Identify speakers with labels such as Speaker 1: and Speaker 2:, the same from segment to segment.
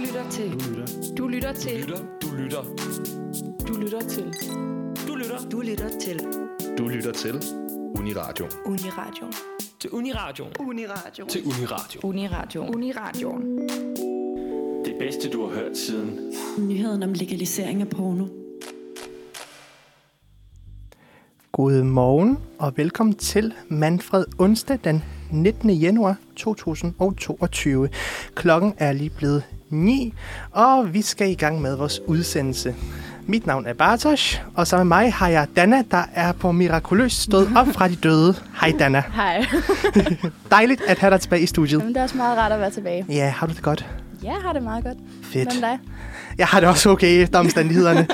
Speaker 1: lytter til.
Speaker 2: Du lytter.
Speaker 1: Du lytter til.
Speaker 2: Du lytter.
Speaker 1: Du lytter til.
Speaker 2: Du lytter.
Speaker 1: Du lytter til.
Speaker 3: Du lytter til Uniradio.
Speaker 1: Uniradio.
Speaker 2: Til Uniradioen.
Speaker 1: Uniradio.
Speaker 2: Til Uniradio.
Speaker 1: Uniradio. Uniradio.
Speaker 2: Det bedste, du har hørt siden.
Speaker 4: Nyheden om legalisering af porno.
Speaker 5: Godmorgen og velkommen til Manfred onsdag den 19. januar 2022. Klokken er lige blevet 9, og vi skal i gang med vores udsendelse. Mit navn er Bartosz, og sammen med mig har jeg Dana, der er på mirakuløs stået op fra de døde. Hej Dana.
Speaker 6: Hej.
Speaker 5: Dejligt at have dig tilbage i studiet.
Speaker 6: Jamen, det er også meget rart at være tilbage.
Speaker 5: Ja, har du det godt?
Speaker 6: Ja, har det meget godt.
Speaker 5: Fedt.
Speaker 6: Hvem dig?
Speaker 5: Jeg har det også okay efter omstændighederne.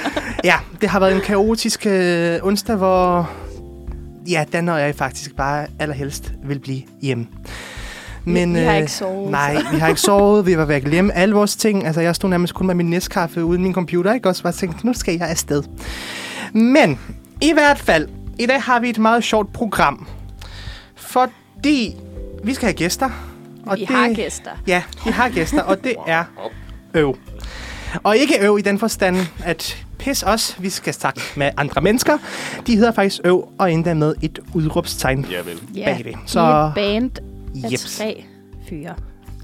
Speaker 5: ja, det har været en kaotisk øh, onsdag, hvor ja, Dan og jeg faktisk bare allerhelst vil blive hjemme.
Speaker 6: vi har
Speaker 5: øh,
Speaker 6: ikke sovet,
Speaker 5: Nej, vi har ikke sovet. Vi var ved at glemme alle vores ting. Altså, jeg stod nærmest kun med min næstkaffe uden min computer, ikke? Også bare tænkte, nu skal jeg afsted. Men i hvert fald, i dag har vi et meget sjovt program. Fordi vi skal have gæster.
Speaker 6: Vi har gæster.
Speaker 5: Ja, vi har gæster, og det er øv. Og ikke øv i den forstand, at pis os, vi skal snakke med andre mennesker. De hedder faktisk øv, og endda med et udråbstegn
Speaker 2: Ja, vel.
Speaker 6: Ja,
Speaker 5: bag det.
Speaker 6: Så... Vi er et
Speaker 5: Så
Speaker 6: band af
Speaker 5: jeps,
Speaker 6: tre fyre.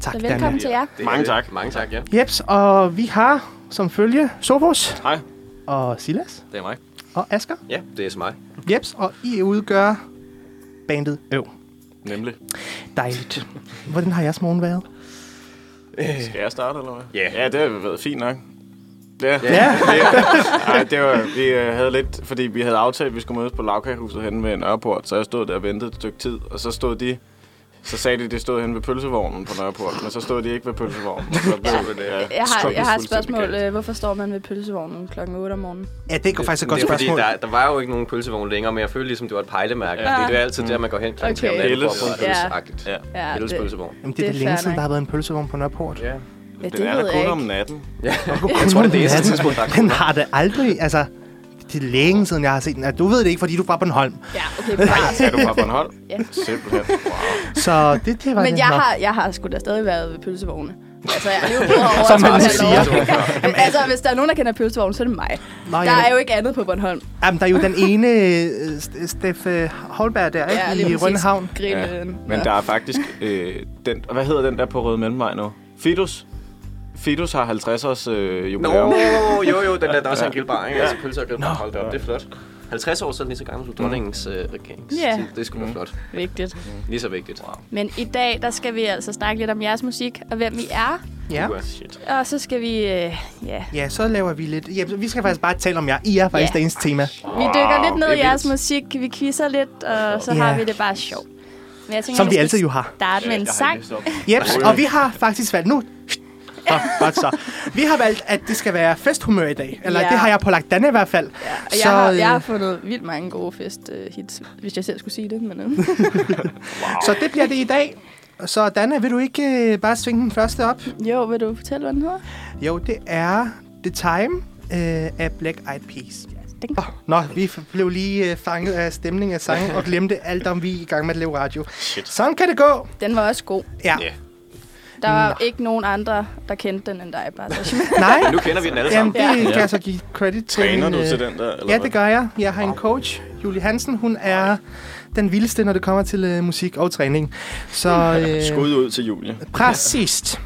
Speaker 5: tak
Speaker 6: Så
Speaker 5: Dana.
Speaker 6: velkommen til jer.
Speaker 2: Mange tak. Mange tak, ja.
Speaker 5: Jeps, og vi har som følge Sofos.
Speaker 2: Hej.
Speaker 5: Og Silas.
Speaker 2: Det er mig.
Speaker 5: Og Asker.
Speaker 3: Ja, det er så mig.
Speaker 5: Jeps, og I udgør bandet øv.
Speaker 2: Nemlig.
Speaker 5: Dejligt. Hvordan har jeres morgen været?
Speaker 7: Skal jeg starte, eller hvad?
Speaker 3: Ja.
Speaker 7: Ja, det har været fint nok. Ja.
Speaker 5: Ja.
Speaker 7: Ej, det var, vi øh, havde lidt, fordi vi havde aftalt, at vi skulle mødes på lavkagehuset henne ved Nørreport, så jeg stod der og ventede et stykke tid, og så stod de, så sagde de, at de stod henne ved pølsevognen på Nørreport, men så stod de ikke ved pølsevognen. og Så blev det, ja.
Speaker 6: Jeg har, jeg har et spørgsmål. Øh, Hvorfor står man ved pølsevognen kl. 8 om morgenen?
Speaker 5: Ja, det er faktisk et godt
Speaker 3: det er,
Speaker 5: spørgsmål.
Speaker 3: Fordi der, der var jo ikke nogen pølsevogn længere, men jeg følte ligesom, det var et pejlemærke. Ja. Det, det er altid der, man går hen kl. Okay. 3 om natten for
Speaker 6: Okay.
Speaker 7: Helles.
Speaker 3: at få en
Speaker 6: Ja.
Speaker 3: pølseagtigt. Ja.
Speaker 6: Ja,
Speaker 3: Helles
Speaker 6: det-
Speaker 3: pølsevogn.
Speaker 5: Jamen, det er da
Speaker 6: det er
Speaker 5: længe
Speaker 6: fair
Speaker 5: siden,
Speaker 6: nok.
Speaker 5: der har været en pølsevogn på Nørreport.
Speaker 3: Ja.
Speaker 6: Ja, det,
Speaker 7: Den er
Speaker 6: ved
Speaker 7: der
Speaker 6: jeg
Speaker 7: kun om
Speaker 6: ikke.
Speaker 7: natten.
Speaker 3: Jeg tror, det er det eneste
Speaker 5: natten.
Speaker 3: tidspunkt, der er
Speaker 5: Den har det aldrig, altså... Det er længe siden, jeg har set den. Altså, Du ved det ikke, fordi du er fra Bornholm.
Speaker 6: Ja, okay, bare.
Speaker 7: Er du fra Bornholm?
Speaker 6: Ja.
Speaker 7: Simpelthen. Wow.
Speaker 5: Så det, det var
Speaker 6: Men
Speaker 5: det.
Speaker 6: jeg
Speaker 5: Nå.
Speaker 6: har, jeg har sgu da stadig været ved pølsevogne. Altså, jeg er jo bedre over
Speaker 5: Som man
Speaker 6: at tage
Speaker 5: siger.
Speaker 6: lov. altså, hvis der er nogen, der kender pølsevognen, så er det mig.
Speaker 5: Nå,
Speaker 6: Der
Speaker 5: ja.
Speaker 6: er jo ikke andet på Bornholm.
Speaker 5: Jamen, der er jo den ene øh, St- Steff øh, Holberg der,
Speaker 6: Ja,
Speaker 5: ikke?
Speaker 6: lige
Speaker 5: I
Speaker 6: præcis.
Speaker 5: Rønnehavn.
Speaker 6: Grillen.
Speaker 7: Men der er faktisk øh, den... Hvad hedder den der på Røde Mellemvej nu? Fidus? Fidus har 50 års øh,
Speaker 3: Nå,
Speaker 7: jubilæum.
Speaker 3: jo, jo, den der, der også er en grillbar, ikke? Altså pølser og grillbar, hold da op, det er flot. 50 år siden lige så gammel som dronningens øh, regeringstid.
Speaker 6: Ja.
Speaker 3: Det skulle være flot.
Speaker 6: Vigtigt.
Speaker 3: Lige så vigtigt. Mm. Wow.
Speaker 6: Men i dag, der skal vi altså snakke lidt om jeres musik og hvem I er.
Speaker 5: Ja.
Speaker 3: Shit.
Speaker 6: Og så skal vi, øh, ja,
Speaker 5: ja, så laver vi lidt... Ja, vi skal faktisk bare tale om jer. I er faktisk
Speaker 6: Ja.
Speaker 5: dagens tema.
Speaker 6: vi dykker lidt ned
Speaker 3: det er
Speaker 6: i jeres
Speaker 3: vildt.
Speaker 6: musik, vi quizzer lidt, og så
Speaker 5: Ja.
Speaker 6: har vi det bare sjovt. Men jeg tænker,
Speaker 5: Som
Speaker 6: vi
Speaker 5: vi
Speaker 6: skal
Speaker 5: altid jo har.
Speaker 6: starte med en sang.
Speaker 5: Jeps, og vi har faktisk valgt nu... Så, godt så. Vi har valgt, at det skal være festhumør i dag. Eller
Speaker 6: Ja.
Speaker 5: det har jeg pålagt Danne i hvert fald. øh, Ja,
Speaker 6: Og jeg, har, jeg har fundet vildt mange gode festhits, hvis jeg selv skulle sige det. Men, øh.
Speaker 5: Så det bliver det i dag. Så Danne, vil du ikke øh, bare svinge den første op?
Speaker 6: jo, vil du fortælle, hvad den hedder?
Speaker 5: Jo, det er The Time øh, af Black Eyed Peas.
Speaker 6: Ding.
Speaker 5: Oh, nå, vi f- blev lige øh, fanget af stemningen af sangen og glemte alt om, vi er i gang med at lave radio. Shit. Sådan kan det gå.
Speaker 6: Den var også god.
Speaker 5: Ja.
Speaker 3: Ja.
Speaker 6: Der var ikke nogen andre, der kendte den end dig, bare.
Speaker 5: Nej,
Speaker 3: Nu kender vi den alle
Speaker 5: jamen,
Speaker 3: sammen.
Speaker 5: det ja. kan jeg så give credit til.
Speaker 7: Træner
Speaker 5: min,
Speaker 7: du
Speaker 5: øh,
Speaker 7: til den der? Eller
Speaker 5: Ja,
Speaker 7: hvad?
Speaker 5: det gør jeg. Jeg har en coach, Julie Hansen. Hun er den vildeste, når det kommer til øh, musik og træning. Så øh,
Speaker 7: Skud ud til Julie.
Speaker 5: præcis.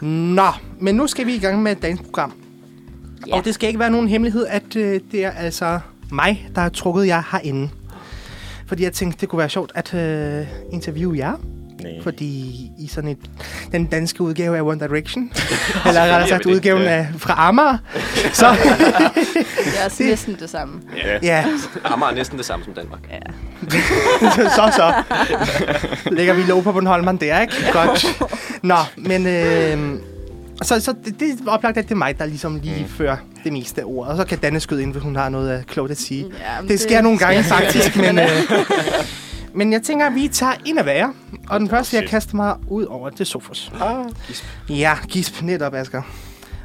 Speaker 5: Nå, men nu skal vi i gang med dagens program.
Speaker 6: Ja.
Speaker 5: Og det skal ikke være nogen hemmelighed, at øh, det er altså mig, der har trukket jer herinde. Fordi jeg tænkte, det kunne være sjovt at øh, interviewe jer.
Speaker 7: Nej.
Speaker 5: Fordi i sådan et, den danske udgave af One Direction, eller rettere sagt udgaven af, fra Amager, så
Speaker 6: Det er også næsten det samme.
Speaker 5: ja,
Speaker 3: Amager er næsten det samme som Danmark.
Speaker 5: så så. Lægger vi lov på Bornholmeren der, ikke? Godt. Nå, men... Øh, så, så det, det er oplagt, at det er mig, der ligesom lige mm. fører det meste af ordet. Og så kan Danne skyde ind, hvis hun har noget øh, klogt at sige.
Speaker 6: Ja, men
Speaker 5: det sker nogle gange faktisk, men... Øh, men jeg tænker, at vi tager en af hver. Og den første, jeg kaster mig ud over, det er Sofus. Ah, gisp. Ja, gisp. Netop, Asger.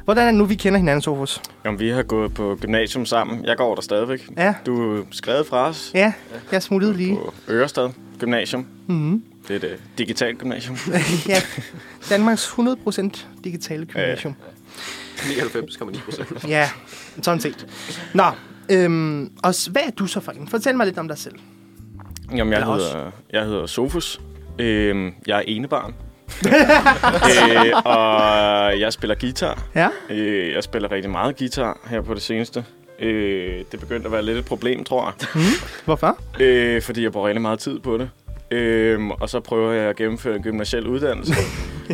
Speaker 5: Hvordan er det nu, vi kender hinanden, Sofus?
Speaker 7: Jamen, vi har gået på gymnasium sammen. Jeg går der stadigvæk.
Speaker 5: Ja.
Speaker 7: Du er skrevet fra os
Speaker 5: Ja, jeg smuttede lige.
Speaker 7: på Ørestad Gymnasium.
Speaker 5: Mhm.
Speaker 7: Det er et øh, digitalt gymnasium.
Speaker 5: ja, Danmarks 100% digitale gymnasium.
Speaker 3: 99,9 procent.
Speaker 5: Ja, sådan set. Nå, øhm, og s- hvad er du så for en? Fortæl mig lidt om dig selv.
Speaker 7: Jamen, jeg
Speaker 5: Eller os.
Speaker 7: hedder, jeg hedder Sofus. Øhm, jeg er enebarn. øh, og jeg spiller guitar.
Speaker 5: Ja,
Speaker 7: Øh, jeg spiller rigtig meget guitar her på det seneste. Øh, det begyndte at være lidt et problem, tror jeg.
Speaker 5: hvorfor?
Speaker 7: Øh, fordi jeg bruger rigtig meget tid på det. Øhm, og så prøver jeg at gennemføre en gymnasiel uddannelse.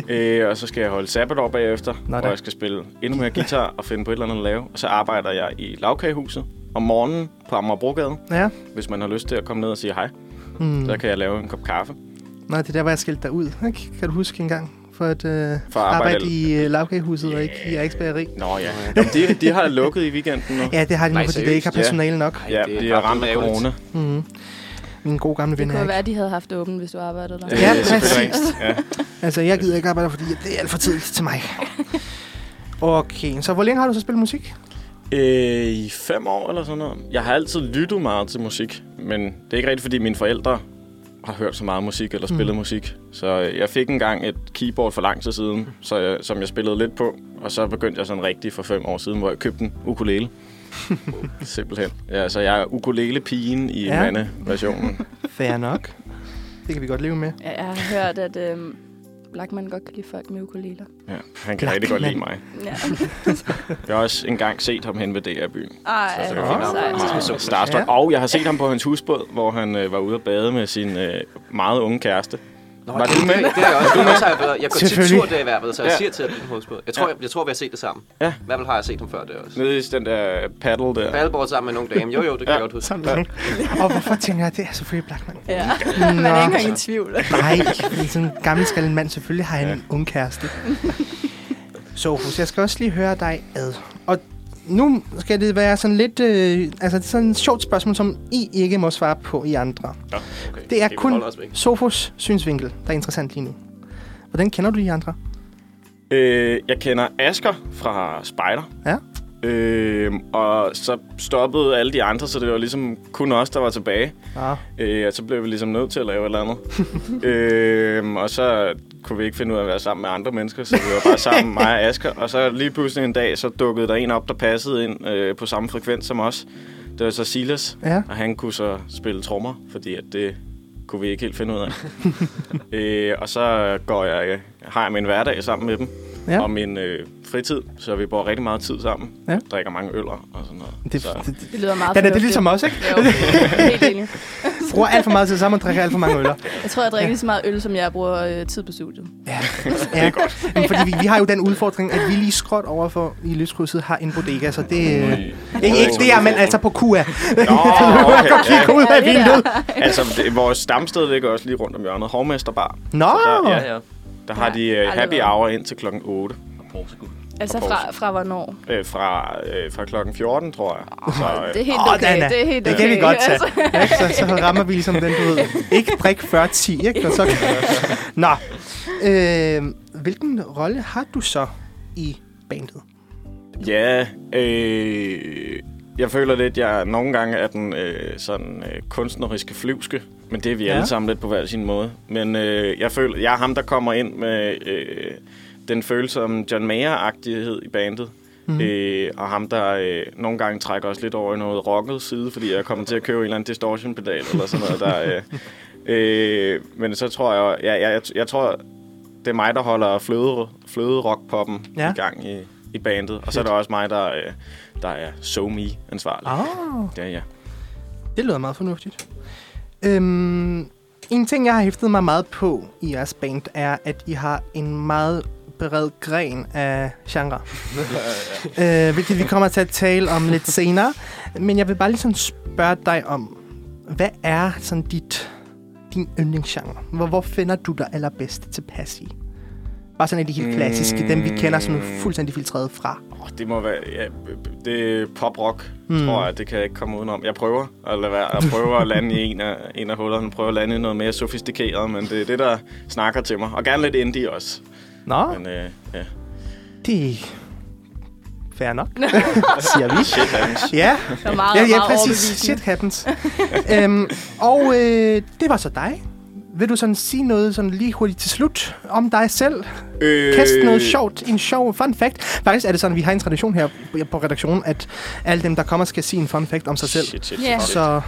Speaker 7: øh, og så skal jeg holde sabbatår bagefter,
Speaker 5: da.
Speaker 7: hvor jeg skal spille endnu mere guitar og finde på et eller andet at lave. Og så arbejder jeg i lavkagehuset om morgenen på Amagerbrogade,
Speaker 5: Ja,
Speaker 7: hvis man har lyst til at komme ned og sige hej.
Speaker 5: mm.
Speaker 7: Så kan jeg lave en kop kaffe.
Speaker 5: Nå, det er der, hvor jeg skilte dig ud. Ikke? Kan du huske engang? For at, øh, for
Speaker 7: arbejde-
Speaker 5: arbejde, i øh, lavkagehuset yeah. og ikke i Eriks Bageri.
Speaker 7: Nå ja, Jamen, de, de har lukket i weekenden nu.
Speaker 5: Ja, det har de nu,
Speaker 3: Nej,
Speaker 5: fordi det
Speaker 3: seriøst?
Speaker 5: ikke har
Speaker 7: Ja.
Speaker 5: personale nok.
Speaker 7: Ja,
Speaker 3: det er
Speaker 7: de har ramt
Speaker 3: ret ærgerligt.
Speaker 7: corona.
Speaker 5: Mm. Min gode gamle
Speaker 6: Det
Speaker 5: ven
Speaker 6: kunne
Speaker 5: Erik.
Speaker 6: være, at de havde haft det åbent, hvis du arbejdede der.
Speaker 7: Øh,
Speaker 5: Ja,
Speaker 7: selvfølgelig.
Speaker 5: præcis.
Speaker 7: Ja.
Speaker 5: Altså, jeg gider ikke arbejde, fordi det er alt for tidligt til mig. Okay, så hvor længe har du så spillet musik?
Speaker 7: Øh, I fem år eller sådan noget. Jeg har altid lyttet meget til musik, men det er ikke rigtigt, fordi mine forældre har hørt så meget musik eller spillet mm. musik. Så øh, jeg fik engang et keyboard for lang tid siden, så jeg, som jeg spillede lidt på. Og så begyndte jeg sådan rigtig for fem år siden, hvor jeg købte en ukulele. Simpelthen. Ja, så jeg er ukulele-pigen i
Speaker 5: Ja.
Speaker 7: ja. versionen
Speaker 5: Fair nok. Det kan vi godt leve med.
Speaker 6: Ja, jeg har hørt, at øhm, Blackman godt kan lide folk med ukuleler.
Speaker 7: Ja, han kan rigtig godt lide mig.
Speaker 6: Ja.
Speaker 7: Jeg har også engang set ham hen ved DR-byen.
Speaker 6: Ej,
Speaker 3: Så-
Speaker 6: det er sejt.
Speaker 7: Så Starstruck.
Speaker 5: Ja.
Speaker 7: Ja. Og jeg har set ham på hans husbåd, hvor han øh, var ude at bade med sin øh, meget unge kæreste.
Speaker 3: Nå,
Speaker 7: Var
Speaker 3: det,
Speaker 7: du med?
Speaker 3: Det, det er jeg også. Jeg, også har været, jeg går tit
Speaker 5: Selvfølgelig.
Speaker 3: tur der i hvert fald, så jeg
Speaker 7: Ja.
Speaker 3: siger til at den hovedspil. Jeg tror,
Speaker 7: Ja.
Speaker 3: jeg, jeg tror, vi har set det sammen.
Speaker 7: Ja.
Speaker 3: I hvert fald har jeg set ham før det også.
Speaker 7: Nede i den der paddle der.
Speaker 3: På Alborg sammen med nogle dame. Jo, jo, det kan
Speaker 7: Ja.
Speaker 3: jeg godt huske.
Speaker 5: Sådan ja. Og hvorfor tænker jeg, at det er selvfølgelig Blackman?
Speaker 6: Ja.
Speaker 5: Nå.
Speaker 6: Man er ikke engang i tvivl.
Speaker 5: Nej, fordi sådan en gammel skaldet mand, selvfølgelig har han ja.
Speaker 7: Ja.
Speaker 5: en ung kæreste. Sofus, jeg skal også lige høre dig ad. Og nu skal det være sådan lidt... Øh, altså, det er sådan et sjovt spørgsmål, som I ikke må svare på i andre.
Speaker 7: Nå,
Speaker 3: okay.
Speaker 5: Det er
Speaker 3: Det
Speaker 5: kun
Speaker 3: holder os væk.
Speaker 5: Sofus synsvinkel, der er interessant lige nu. Hvordan kender du de andre?
Speaker 7: Øh, jeg kender Asker fra Spider.
Speaker 5: Ja.
Speaker 7: Øh, og så stoppede alle de andre, så det var ligesom kun os, der var tilbage.
Speaker 5: Ah,
Speaker 7: Øh, og så blev vi ligesom nødt til at lave et eller andet. øh, og så kunne vi ikke finde ud af at være sammen med andre mennesker, så vi var bare sammen, mig og Asger. Og så lige pludselig en dag, så dukkede der en op, der passede ind øh, på samme frekvens som os. Det var så Silas,
Speaker 5: Ja.
Speaker 7: og han kunne så spille trommer, fordi at det kunne vi ikke helt finde ud af. øh, og så går jeg, øh, har jeg min hverdag sammen med dem,
Speaker 5: Ja.
Speaker 7: ja. og min øh, fritid, så vi bruger rigtig meget tid sammen.
Speaker 5: Ja.
Speaker 7: Drikker mange øller og sådan noget.
Speaker 5: det, det,
Speaker 7: så,
Speaker 5: det,
Speaker 6: Det lyder meget
Speaker 5: den er det
Speaker 6: fornuftigt.
Speaker 5: ligesom os, ikke?
Speaker 6: Jo, helt enig.
Speaker 5: Bruger alt for meget tid sammen og drikker alt for mange øller.
Speaker 6: Jeg tror, jeg drikker lige så meget øl, som jeg bruger øh, tid på studiet.
Speaker 5: Ja, ja. det er godt. Jamen, fordi vi, vi har jo den udfordring, at vi lige skråt overfor i lystkrydset har en bodega, så det... Øh, ikke, ikke der, men altså på KUA.
Speaker 7: Nå, okay, ja.
Speaker 5: Kig ud af
Speaker 6: det er
Speaker 5: vinduet.
Speaker 7: Altså, det, vores stamsted ligger også lige rundt om hjørnet. Hovmester Bar.
Speaker 5: Nå,
Speaker 7: Der, ja,
Speaker 8: ja.
Speaker 7: der har de
Speaker 6: aldrig
Speaker 7: uh, happy
Speaker 6: været.
Speaker 7: hour indtil klokken 8.
Speaker 6: Altså fra, fra hvornår?
Speaker 7: Øh, fra, øh, fra klokken 14, tror jeg. Så,
Speaker 6: Det er
Speaker 7: øh,
Speaker 6: helt
Speaker 5: Åh,
Speaker 6: okay.
Speaker 5: Dana,
Speaker 6: det er helt
Speaker 5: det
Speaker 6: okay.
Speaker 5: kan vi godt tage.
Speaker 6: Altså,
Speaker 5: Ja, så, så rammer vi ligesom den, du ved. Ikke drik før 10, ikke? Og så... Nå. Øh, hvilken rolle har du så i bandet?
Speaker 7: ja, øh, jeg føler lidt, jeg nogle gange er den øh, sådan øh, kunstneriske flyvske. Men det er vi
Speaker 5: Ja.
Speaker 7: ja. alle sammen lidt på hver sin måde. Men øh, jeg føler, jeg er ham, der kommer ind med øh, den følelse om John Mayer-agtighed i bandet. Mm. Øh, og ham, der øh, nogle gange trækker os lidt over i noget rocket side, fordi jeg kommer til at købe en eller anden distortion-pedal eller sådan noget. Der, øh, øh, men så tror jeg, ja, jeg, jeg, jeg tror, det er mig, der holder fløde, fløde rock-poppen
Speaker 5: Ja.
Speaker 7: ja. i gang i, i bandet. Og så er det også mig, der, øh, der er so me ansvarlig
Speaker 5: Oh.
Speaker 7: Ja, ja.
Speaker 5: Det lyder meget fornuftigt. Øhm, en ting, jeg har hæftet mig meget på i jeres band, er, at I har en meget bred gren af genre. øh, hvilket vi kommer til at tale om lidt senere. Men jeg vil bare lige sådan spørge dig om, hvad er sådan dit, din yndlingsgenre? Hvor, hvor finder du dig allerbedst tilpas i? Bare sådan af de helt klassiske, mm. dem vi kender sådan fuldstændig filtreret fra.
Speaker 7: Oh, det må være... Ja, det er pop-rock, mm.
Speaker 5: Hmm.
Speaker 7: tror jeg. Det kan jeg ikke komme udenom. Jeg prøver at lade være. Jeg prøver at lande i en af, en af hullerne. Prøver at lande i noget mere sofistikeret, men det er det, der snakker til mig. Og gerne lidt indie også.
Speaker 5: Nå,
Speaker 7: Men øh, ja.
Speaker 5: det er fair nok, siger vi.
Speaker 7: Shit, Hans.
Speaker 5: Ja,
Speaker 6: der er meget,
Speaker 5: ja, ja
Speaker 6: meget
Speaker 5: præcis.
Speaker 6: overbevisende.
Speaker 5: Shit happens. øhm, og øh, det var så dig. Vil du sådan sige noget sådan lige hurtigt til slut om dig selv?
Speaker 7: Øh,
Speaker 5: Kast noget sjovt, en sjov fun fact. Faktisk er det sådan, at vi har en tradition her på- på redaktionen, at alle dem, der kommer, skal sige en fun fact om sig selv.
Speaker 3: Shit, shit,
Speaker 6: Ja.
Speaker 3: shit. Så
Speaker 5: Så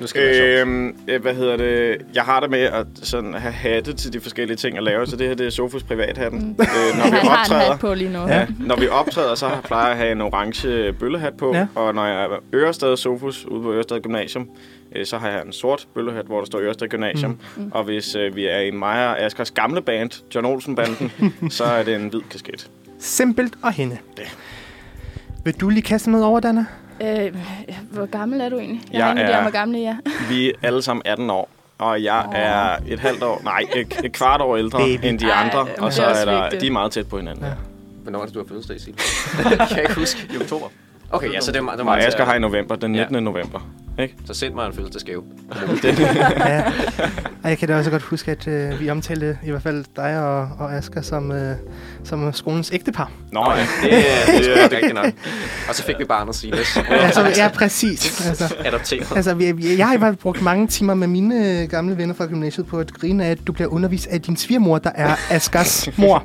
Speaker 3: nu skal det være sjovt.
Speaker 7: Øhm, øh, hvad hedder det? Jeg har det med at sådan have hatte til de forskellige ting at lave, så det her det er Sofus privathatten. øh, når
Speaker 6: Mm.
Speaker 7: vi
Speaker 6: Han har en
Speaker 7: optræder,
Speaker 6: hat på lige nu.
Speaker 5: Ja.
Speaker 6: Ja.
Speaker 7: når vi optræder, så plejer jeg at have en orange bøllehat på,
Speaker 5: Ja.
Speaker 7: ja. og når jeg er Ørested Sofus ude på Ørested Gymnasium, øh, så har jeg en sort bøllehat, hvor der står Ørested Gymnasium. Mm. Og hvis øh, vi er i Maja og Askers gamle band, John Olsen-banden, så er det en hvid kasket.
Speaker 5: simpelt og hende. Vil du lige kaste noget over, Dana?
Speaker 6: Øh, hvor gammel er du egentlig? Jeg,
Speaker 7: Jeg
Speaker 6: jeg er...
Speaker 7: er-
Speaker 6: der, hvor gammel jeg er.
Speaker 7: Vi er alle sammen 18 år, og jeg oh. er et halvt år, nej, et, et kvart år ældre
Speaker 5: Baby.
Speaker 7: Baby. end de
Speaker 6: Ej,
Speaker 7: andre,
Speaker 6: men
Speaker 7: og
Speaker 6: det
Speaker 7: så
Speaker 6: er også
Speaker 7: er der,
Speaker 6: vigtigt.
Speaker 7: de er meget tæt på hinanden. Ja.
Speaker 3: Hvornår er det, du har fødselsdag, Silje? jeg kan ikke huske.
Speaker 2: I oktober.
Speaker 3: Okay, ja, så det er, det er
Speaker 7: Og
Speaker 3: meget
Speaker 7: Asger har i november, den 19. Ja. november.
Speaker 3: Så send mig en fødselsdagsgave.
Speaker 5: Ja. Og jeg kan da også godt huske, at øh, vi omtalte i hvert fald dig og, og Asger som, øh, som skolens ægtepar.
Speaker 7: Nå ja,
Speaker 3: Det er, det er rigtigt nok. Og så fik vi barnet Silas.
Speaker 5: Altså, ja, præcis. Altså,
Speaker 3: Adopteret.
Speaker 5: altså vi- vi- jeg har i hvert fald brugt mange timer med mine øh, gamle venner fra gymnasiet på at grine af, at du bliver undervist af din svigermor, der er Asgers mor.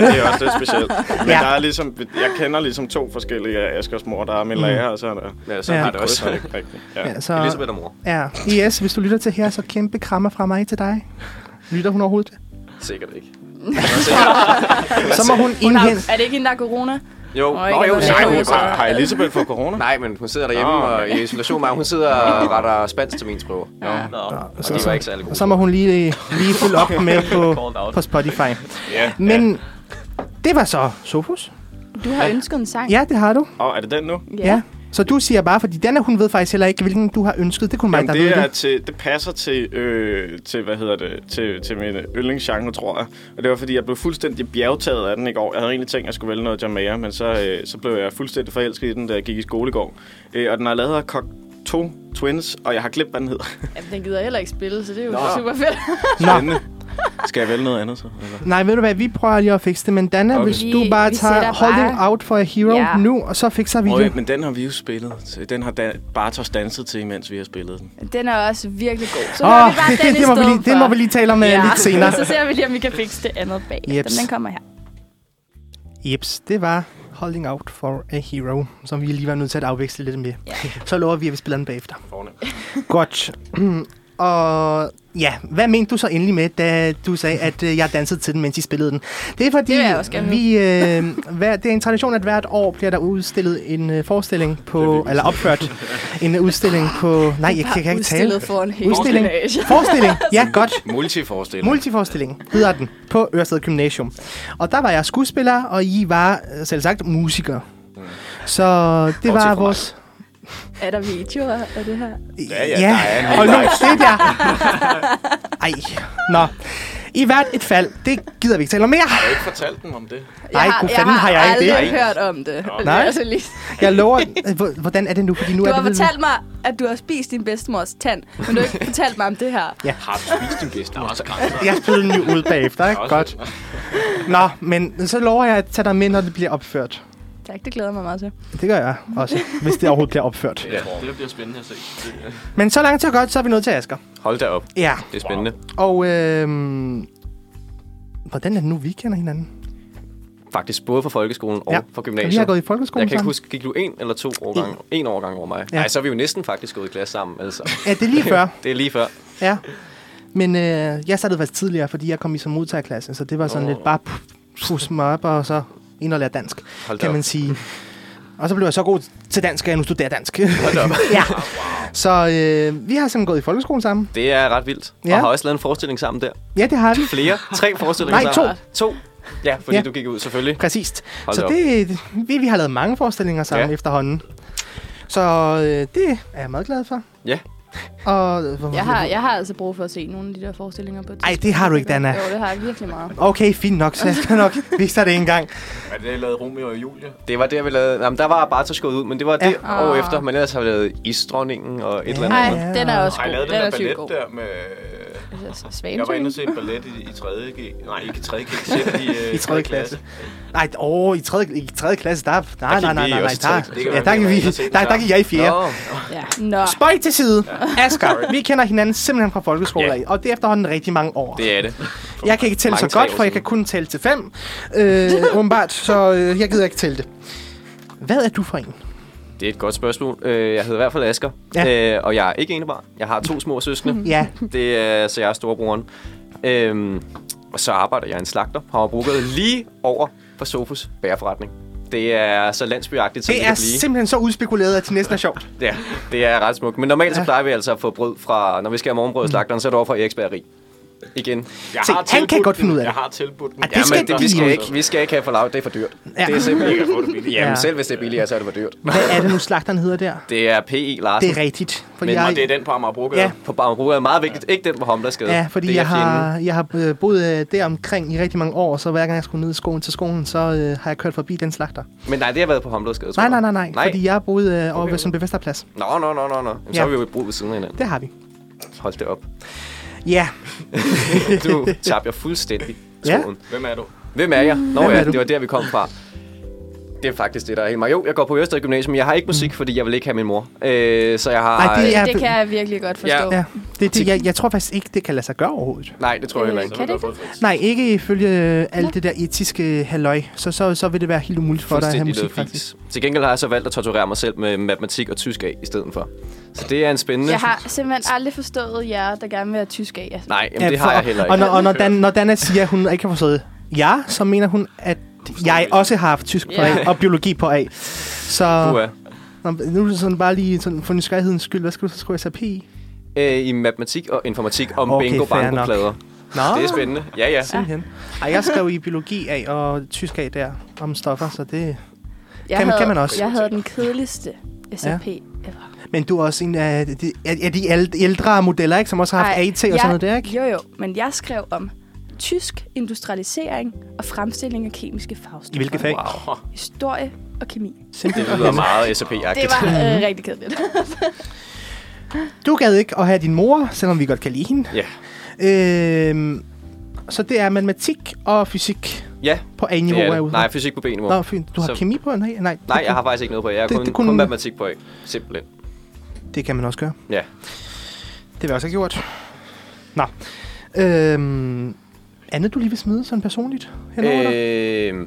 Speaker 7: Ja, det er også lidt specielt. Men
Speaker 5: Ja.
Speaker 7: ja. der er ligesom, jeg kender ligesom to forskellige af Askers mor. Der er min lærer, og så er der...
Speaker 3: Ja, sådan
Speaker 5: Ja.
Speaker 3: har det
Speaker 7: Så er det
Speaker 3: også.
Speaker 7: ikke rigtigt. Ja.
Speaker 5: Ja, så,
Speaker 3: Elisabeth og mor.
Speaker 5: Altså, ja. Yes, hvis du lytter til her, så kæmpe krammer fra mig til dig. Lytter hun overhovedet?
Speaker 3: Sikkert ikke.
Speaker 5: Så må hun
Speaker 6: Hun har,
Speaker 5: indhente...
Speaker 6: er det ikke en, der er corona?
Speaker 3: Jo,
Speaker 6: Nå,
Speaker 3: Nå,
Speaker 6: ikke
Speaker 3: jo,
Speaker 6: noget.
Speaker 7: Nej,
Speaker 3: sikkert.
Speaker 7: hun, har, har Elisabeth fået corona?
Speaker 3: Nej, men hun sidder derhjemme
Speaker 7: Nå,
Speaker 3: og i isolation med, hun sidder og retter spansk til min prøve.
Speaker 6: Ja.
Speaker 3: Og det var ikke særlig
Speaker 5: Og
Speaker 3: godt.
Speaker 5: så må hun lige, øh, lige følge op med på, på Spotify.
Speaker 7: Ja.
Speaker 5: Men det var så Sofus.
Speaker 6: Du har ønsket en sang?
Speaker 5: Ja, det har du.
Speaker 7: Og er det den nu?
Speaker 5: Ja. ja. Så du siger bare, fordi Dana, hun ved faktisk heller ikke, hvilken du har ønsket. Det kunne mig,
Speaker 7: Jamen,
Speaker 5: der
Speaker 7: det,
Speaker 5: ved
Speaker 7: er
Speaker 5: det.
Speaker 7: til, det passer til, øh, til, hvad hedder det, til, til min yndlingsgenre, tror jeg. Og det var, fordi jeg blev fuldstændig bjergtaget af den i går. Jeg havde egentlig tænkt, at jeg skulle vælge noget Jamaica, men så, øh, så blev jeg fuldstændig forelsket i den, da jeg gik i skole i går. Øh, og den har lavet af Cocteau Twins, og jeg har glemt, hvad den hedder.
Speaker 6: Jamen, den gider jeg heller ikke spille, så det er jo Nå. super fedt.
Speaker 5: Nå,
Speaker 7: Skal jeg vælge noget andet så? Eller?
Speaker 5: nej, ved du hvad, vi prøver lige at fikse det, men Dana, okay.
Speaker 7: Okay.
Speaker 5: hvis
Speaker 6: Vi-
Speaker 5: du bare
Speaker 6: vi
Speaker 5: tager
Speaker 6: sætter
Speaker 5: Holding
Speaker 6: bare-
Speaker 5: Out for a Hero
Speaker 6: Ja.
Speaker 5: nu, og så fikser vi
Speaker 7: Øj,
Speaker 5: det.
Speaker 7: men den har vi jo spillet. til- Den har da Bartos danset til, mens vi har spillet den.
Speaker 6: Den er også virkelig god. Så hører
Speaker 5: Åh,
Speaker 6: vi bare
Speaker 5: det,
Speaker 6: den
Speaker 5: det,
Speaker 6: i
Speaker 5: det, må vi
Speaker 6: stedet
Speaker 5: lige, det må
Speaker 6: for.
Speaker 5: vi lige tale om ja. lidt senere.
Speaker 6: så ser vi lige, om vi kan fikse det andet bag.
Speaker 5: Jeps.
Speaker 6: Den kommer her.
Speaker 5: Jeps, det var Holding Out for a Hero, som vi lige var nødt til at afveksle lidt med.
Speaker 6: Ja.
Speaker 5: Så lover vi, at vi spiller den bagefter. Godt. Og ja, hvad mente du så endelig med, da du sagde, at øh, jeg dansede til den, mens I spillede den? Det er fordi,
Speaker 6: Det vil jeg også gerne
Speaker 5: vi, øh, hver, det er en tradition, at hvert år bliver der udstillet en øh, forestilling på, eller opført en udstilling på, nej, jeg, kan- jeg kan ikke tale.
Speaker 6: Udstillet foran hele
Speaker 5: Udstilling.
Speaker 6: gymnasiet.
Speaker 5: Forestilling, ja, godt.
Speaker 3: Multiforestilling.
Speaker 5: Multiforestilling hedder den på Ørsted Gymnasium. Og der var jeg skuespiller, og I var øh, selv sagt musikere. Så det var
Speaker 3: fra mig.
Speaker 5: vores...
Speaker 6: Er der videoer af det her?
Speaker 5: Ja,
Speaker 7: ja, der er en hel
Speaker 5: Hold nu,
Speaker 7: livestream.
Speaker 5: det der. Ej, nå. I hvert et fald, det gider vi ikke tale om mere.
Speaker 7: Har du ikke fortalt dem om det?
Speaker 5: Nej, god
Speaker 6: jeg
Speaker 5: fanden har jeg ikke det.
Speaker 6: aldrig hørt om det. det
Speaker 5: Nej.
Speaker 6: er altså lige.
Speaker 5: Jeg lover... øh, hvor- Hvordan er det nu? Fordi nu
Speaker 6: Du
Speaker 5: er
Speaker 6: har
Speaker 5: det lidt-
Speaker 6: fortalt mig, at du har spist din bedstemors tand, men du har ikke fortalt mig om det her.
Speaker 2: Har du spist din bedste? Der er også grænser.
Speaker 5: Jeg spillede den jo ud bagefter, ikke? Godt. Nå, men så lover jeg at tage dig med, når det bliver opført.
Speaker 6: Tak, det glæder jeg mig meget til.
Speaker 5: Det gør jeg også, hvis det overhovedet bliver opført.
Speaker 2: Ja, det bliver spændende at se. Det-
Speaker 5: Men så langt så godt, så er vi nået til Asger.
Speaker 3: Hold da op.
Speaker 5: Ja,
Speaker 3: Det er spændende.
Speaker 5: og øhm, Hvordan er det nu, vi kender hinanden?
Speaker 3: Faktisk både fra folkeskolen og
Speaker 5: Ja.
Speaker 3: fra
Speaker 5: Ja, vi har
Speaker 3: gymnasiet.
Speaker 5: gået i folkeskolen
Speaker 3: Jeg kan ikke
Speaker 5: sammen.
Speaker 3: huske, gik du en eller to årgange, en årgang over mig?
Speaker 5: Ja.
Speaker 3: Nej, så er vi jo næsten faktisk gået i klasse sammen. Altså.
Speaker 5: Ja, det er lige før.
Speaker 3: Det er lige før.
Speaker 5: Ja. Men øh, jeg startede faktisk tidligere, fordi jeg kom i som modtagerklasse, så det var sådan oh. lidt bare pu- pusse mig op og så ind og lære dansk,
Speaker 3: Hold da
Speaker 5: kan
Speaker 3: op.
Speaker 5: man sige. Og så blev jeg så god til dansk, at jeg nu studerer dansk.
Speaker 3: Hold da op.
Speaker 5: ja. Så øh, vi har simpelthen gået i folkeskolen sammen.
Speaker 3: Det er ret vildt.
Speaker 5: Ja.
Speaker 3: Og har også lavet en forestilling sammen der.
Speaker 5: Ja, det har vi.
Speaker 3: Flere. Tre forestillinger
Speaker 5: Nej,
Speaker 3: sammen. to. To. Ja, fordi
Speaker 5: Ja.
Speaker 3: ja. du gik ud selvfølgelig.
Speaker 5: Præcist.
Speaker 3: Hold
Speaker 5: så
Speaker 3: da op.
Speaker 5: det, vi, vi har lavet mange forestillinger sammen ja.
Speaker 3: Ja.
Speaker 5: efterhånden. Så øh, det er jeg meget glad for.
Speaker 3: Ja.
Speaker 5: Og, øh, hvor-
Speaker 6: Jeg har, jeg har altså brug for at se nogle af de der forestillinger på et
Speaker 5: Ej,
Speaker 6: tidspunkt.
Speaker 5: det har du ikke, Dana.
Speaker 6: Jo, det har jeg virkelig meget.
Speaker 5: Okay, fint nok, så jeg skal nok vise dig det en gang.
Speaker 7: Er det, der lavede Romeo og Julie?
Speaker 3: Det var der, vi lavede... Jamen, der var Bartos gået ud, men det var
Speaker 5: Ja.
Speaker 3: det år
Speaker 6: Ah.
Speaker 3: efter. Men ellers har vi lavet Isdronningen og et eller andet.
Speaker 6: Ej,
Speaker 5: Ja.
Speaker 6: den er også
Speaker 7: Har I
Speaker 6: god.
Speaker 7: lavet
Speaker 6: Den
Speaker 7: den,
Speaker 6: er
Speaker 7: der
Speaker 6: sygt
Speaker 7: ballet
Speaker 6: god.
Speaker 7: der med...
Speaker 6: altså, Svanesøen.
Speaker 7: Jeg var inde og se en ballet i, i 3.G. Nej, ikke i 3.G. selv i,
Speaker 5: I tredje klasse. Nej, åh, i tredje, i tredje klasse, der, nej,
Speaker 7: gik
Speaker 5: nej, nej,
Speaker 7: vi
Speaker 5: nej,
Speaker 7: også
Speaker 5: nej,
Speaker 7: i tredje
Speaker 5: der,
Speaker 7: klasse. Det kan
Speaker 5: ja,
Speaker 7: være,
Speaker 5: der,
Speaker 7: vi
Speaker 5: gik
Speaker 7: var
Speaker 5: vi,
Speaker 7: inde og se det
Speaker 5: der, der
Speaker 7: sammen.
Speaker 5: gik jeg i fjerde.
Speaker 3: Nå,
Speaker 6: Ja. Nå,
Speaker 5: Spøj til side. Asger, vi kender hinanden simpelthen fra folkeskole
Speaker 3: Ja.
Speaker 5: af, og det er efterhånden rigtig mange år.
Speaker 3: det er det.
Speaker 5: Jeg kan ikke tælle så
Speaker 3: Mange tre
Speaker 5: godt,
Speaker 3: år
Speaker 5: for jeg kan
Speaker 3: siden.
Speaker 5: kun tælle til fem, øh, åbenbart, så øh, jeg gider ikke tælle det. Hvad er du for en?
Speaker 3: Det er et godt spørgsmål. Øh, Jeg hedder i hvert fald Asger,
Speaker 5: Ja.
Speaker 3: ja. og jeg er ikke enebarn. Jeg har to små søskende.
Speaker 5: Ja,
Speaker 3: Det er, så jeg er storebroren. Øhm, og så arbejder jeg i en slagter, har brugt lige over for Sofus bæreforretning. Det er så landsbyagtigt, som det,
Speaker 5: det
Speaker 3: det
Speaker 5: er
Speaker 3: kan blive.
Speaker 5: simpelthen så udspekuleret, at det næsten er sjovt.
Speaker 3: Ja, det er ret smukt. Men normalt
Speaker 5: Ja.
Speaker 3: så
Speaker 5: Mm.
Speaker 3: plejer vi altså at få brød fra, når vi skal have morgenbrød i slagteren, så er det over fra Eriks Bageri. Igen.
Speaker 7: Jeg
Speaker 5: Se,
Speaker 7: har
Speaker 5: han kan
Speaker 7: tilbudt
Speaker 5: godt finde ud af
Speaker 7: den.
Speaker 5: det.
Speaker 7: Jeg har tilbudt den.
Speaker 5: Ah, det skal
Speaker 3: men
Speaker 5: de
Speaker 3: vi, skal
Speaker 5: lige.
Speaker 3: ikke, vi skal ikke have for lavt, det er for dyrt.
Speaker 5: Ja.
Speaker 3: Det er simpelthen
Speaker 7: Jeg kan få det billigt.
Speaker 3: Jamen
Speaker 5: Ja.
Speaker 3: ja. selv hvis det er billigere, så er det for dyrt.
Speaker 5: Hvad er det nu, slagteren hedder der?
Speaker 3: Det er P.E. Larsen
Speaker 5: Det er rigtigt. For
Speaker 3: Men-
Speaker 7: Og det er den på Amagerbrogade.
Speaker 5: Ja.
Speaker 7: Ja.
Speaker 3: på Barmeruga er meget vigtigt. Ikke den på Homlerskade.
Speaker 5: Ja, fordi
Speaker 3: det er
Speaker 5: jeg har,
Speaker 3: fjenden.
Speaker 5: jeg har øh, boet øh, der omkring i rigtig mange år, så hver gang jeg skulle ned i skolen til skolen, så øh, har jeg kørt forbi den slagter.
Speaker 3: Men nej, det har været på Homlerskade, tror
Speaker 5: Nej,
Speaker 3: jeg.
Speaker 5: nej, nej, nej,
Speaker 3: nej.
Speaker 5: fordi jeg boede øh, over ved Sundby Vesterplads.
Speaker 3: Nå, nå, nå, nå, nå. Jamen,
Speaker 5: Ja.
Speaker 3: Så har vi jo et brug ved siden af hinanden.
Speaker 5: Det har vi.
Speaker 3: Hold det op.
Speaker 5: Ja,
Speaker 3: Du tabte jeg fuldstændig
Speaker 5: Ja.
Speaker 3: skoen.
Speaker 7: Hvem er du?
Speaker 3: Hvem er jeg? Nå
Speaker 5: Hvem er
Speaker 3: ja,
Speaker 5: du?
Speaker 3: det var der, vi kom fra. Det er faktisk det, der er helt meget. Jo, jeg går på Ørsted Gymnasium. Jeg har ikke musik, fordi jeg vil ikke have min mor. Øh, så jeg har...
Speaker 5: Mm. Ej, det er-
Speaker 6: det kan jeg virkelig godt forstå.
Speaker 5: ja. Det, det, jeg, jeg tror faktisk ikke, det kan lade sig gøre overhovedet.
Speaker 3: Nej, det tror jeg heller
Speaker 6: Øh,
Speaker 3: ikke.
Speaker 6: Kan det ikke?
Speaker 5: Nej, ikke ifølge øh, alt det der etiske halløj. Så, så, så vil det være helt umuligt for dig at have
Speaker 3: Fuldstændig
Speaker 5: musik,
Speaker 3: noget
Speaker 5: faktisk.
Speaker 3: fis. Til gengæld har jeg så valgt at torturere mig selv med matematik og tysk af i stedet for. Så det er en spændende...
Speaker 6: Jeg har simpelthen aldrig forstået jer, der gerne vil have tysk af. Altså.
Speaker 3: Nej, jamen, det
Speaker 5: for-
Speaker 3: har jeg heller
Speaker 5: Og,
Speaker 3: ikke.
Speaker 5: når, og når, Dan, når Dana siger, at hun ikke har forstået ja, så mener hun, at jeg også har haft tysk på
Speaker 6: Ja.
Speaker 5: A og biologi på A. Så
Speaker 3: Uha.
Speaker 5: Nå, nu er det sådan bare lige sådan, for nysgerrighedens skyld, hvad skal du så skrive SAP i?
Speaker 3: Øh, I matematik og informatik om
Speaker 5: Okay,
Speaker 3: okay, bingo
Speaker 5: fair nok.
Speaker 3: banko plader
Speaker 5: Nå,
Speaker 3: Det er spændende. Ja, ja.
Speaker 5: Simpelthen. Ej, jeg skrev i biologi af og tysk af der om stoffer, så det... Kan
Speaker 6: Jeg
Speaker 5: man-
Speaker 6: havde,
Speaker 5: kan man også?
Speaker 6: Jeg havde den kedeligste SAP ever.
Speaker 5: Men du er også en af de, er, er de æl- ældre modeller, ikke? Som også har haft
Speaker 6: Ej,
Speaker 5: AT og sådan
Speaker 6: jeg-
Speaker 5: noget der, ikke?
Speaker 6: Jo, jo, men jeg skrev om tysk industrialisering og fremstilling af kemiske farvestoffer.
Speaker 5: I hvilke fag?
Speaker 3: Wow.
Speaker 6: Historie og kemi.
Speaker 5: Simpelthen.
Speaker 3: Det lyder meget
Speaker 6: Det
Speaker 3: SAP-agtigt.
Speaker 6: var øh, rigtig kedeligt.
Speaker 5: Du gad ikke at have din mor, selvom vi godt kan lide hende.
Speaker 3: Ja.
Speaker 5: Øhm, så det er matematik og fysik
Speaker 3: Ja,
Speaker 5: på A-niveau,
Speaker 3: det
Speaker 5: er
Speaker 3: er
Speaker 5: jeg ude
Speaker 3: det.
Speaker 5: fra.
Speaker 3: Nej, fysik på B-niveau.
Speaker 5: Nå, fint. Du har
Speaker 3: Så-
Speaker 5: kemi på? Nej, nej.
Speaker 3: Nej, jeg har faktisk ikke noget på A. Jeg har
Speaker 5: Det-
Speaker 3: kun,
Speaker 5: det
Speaker 3: det
Speaker 5: kunne-
Speaker 3: kunne... kun matematik på A. Simpelthen.
Speaker 5: Det kan man også gøre.
Speaker 3: Ja.
Speaker 5: Det vil jeg også have gjort. Nå. Øhm, andet, du lige vil smide sådan personligt? henover dig?
Speaker 3: Øh...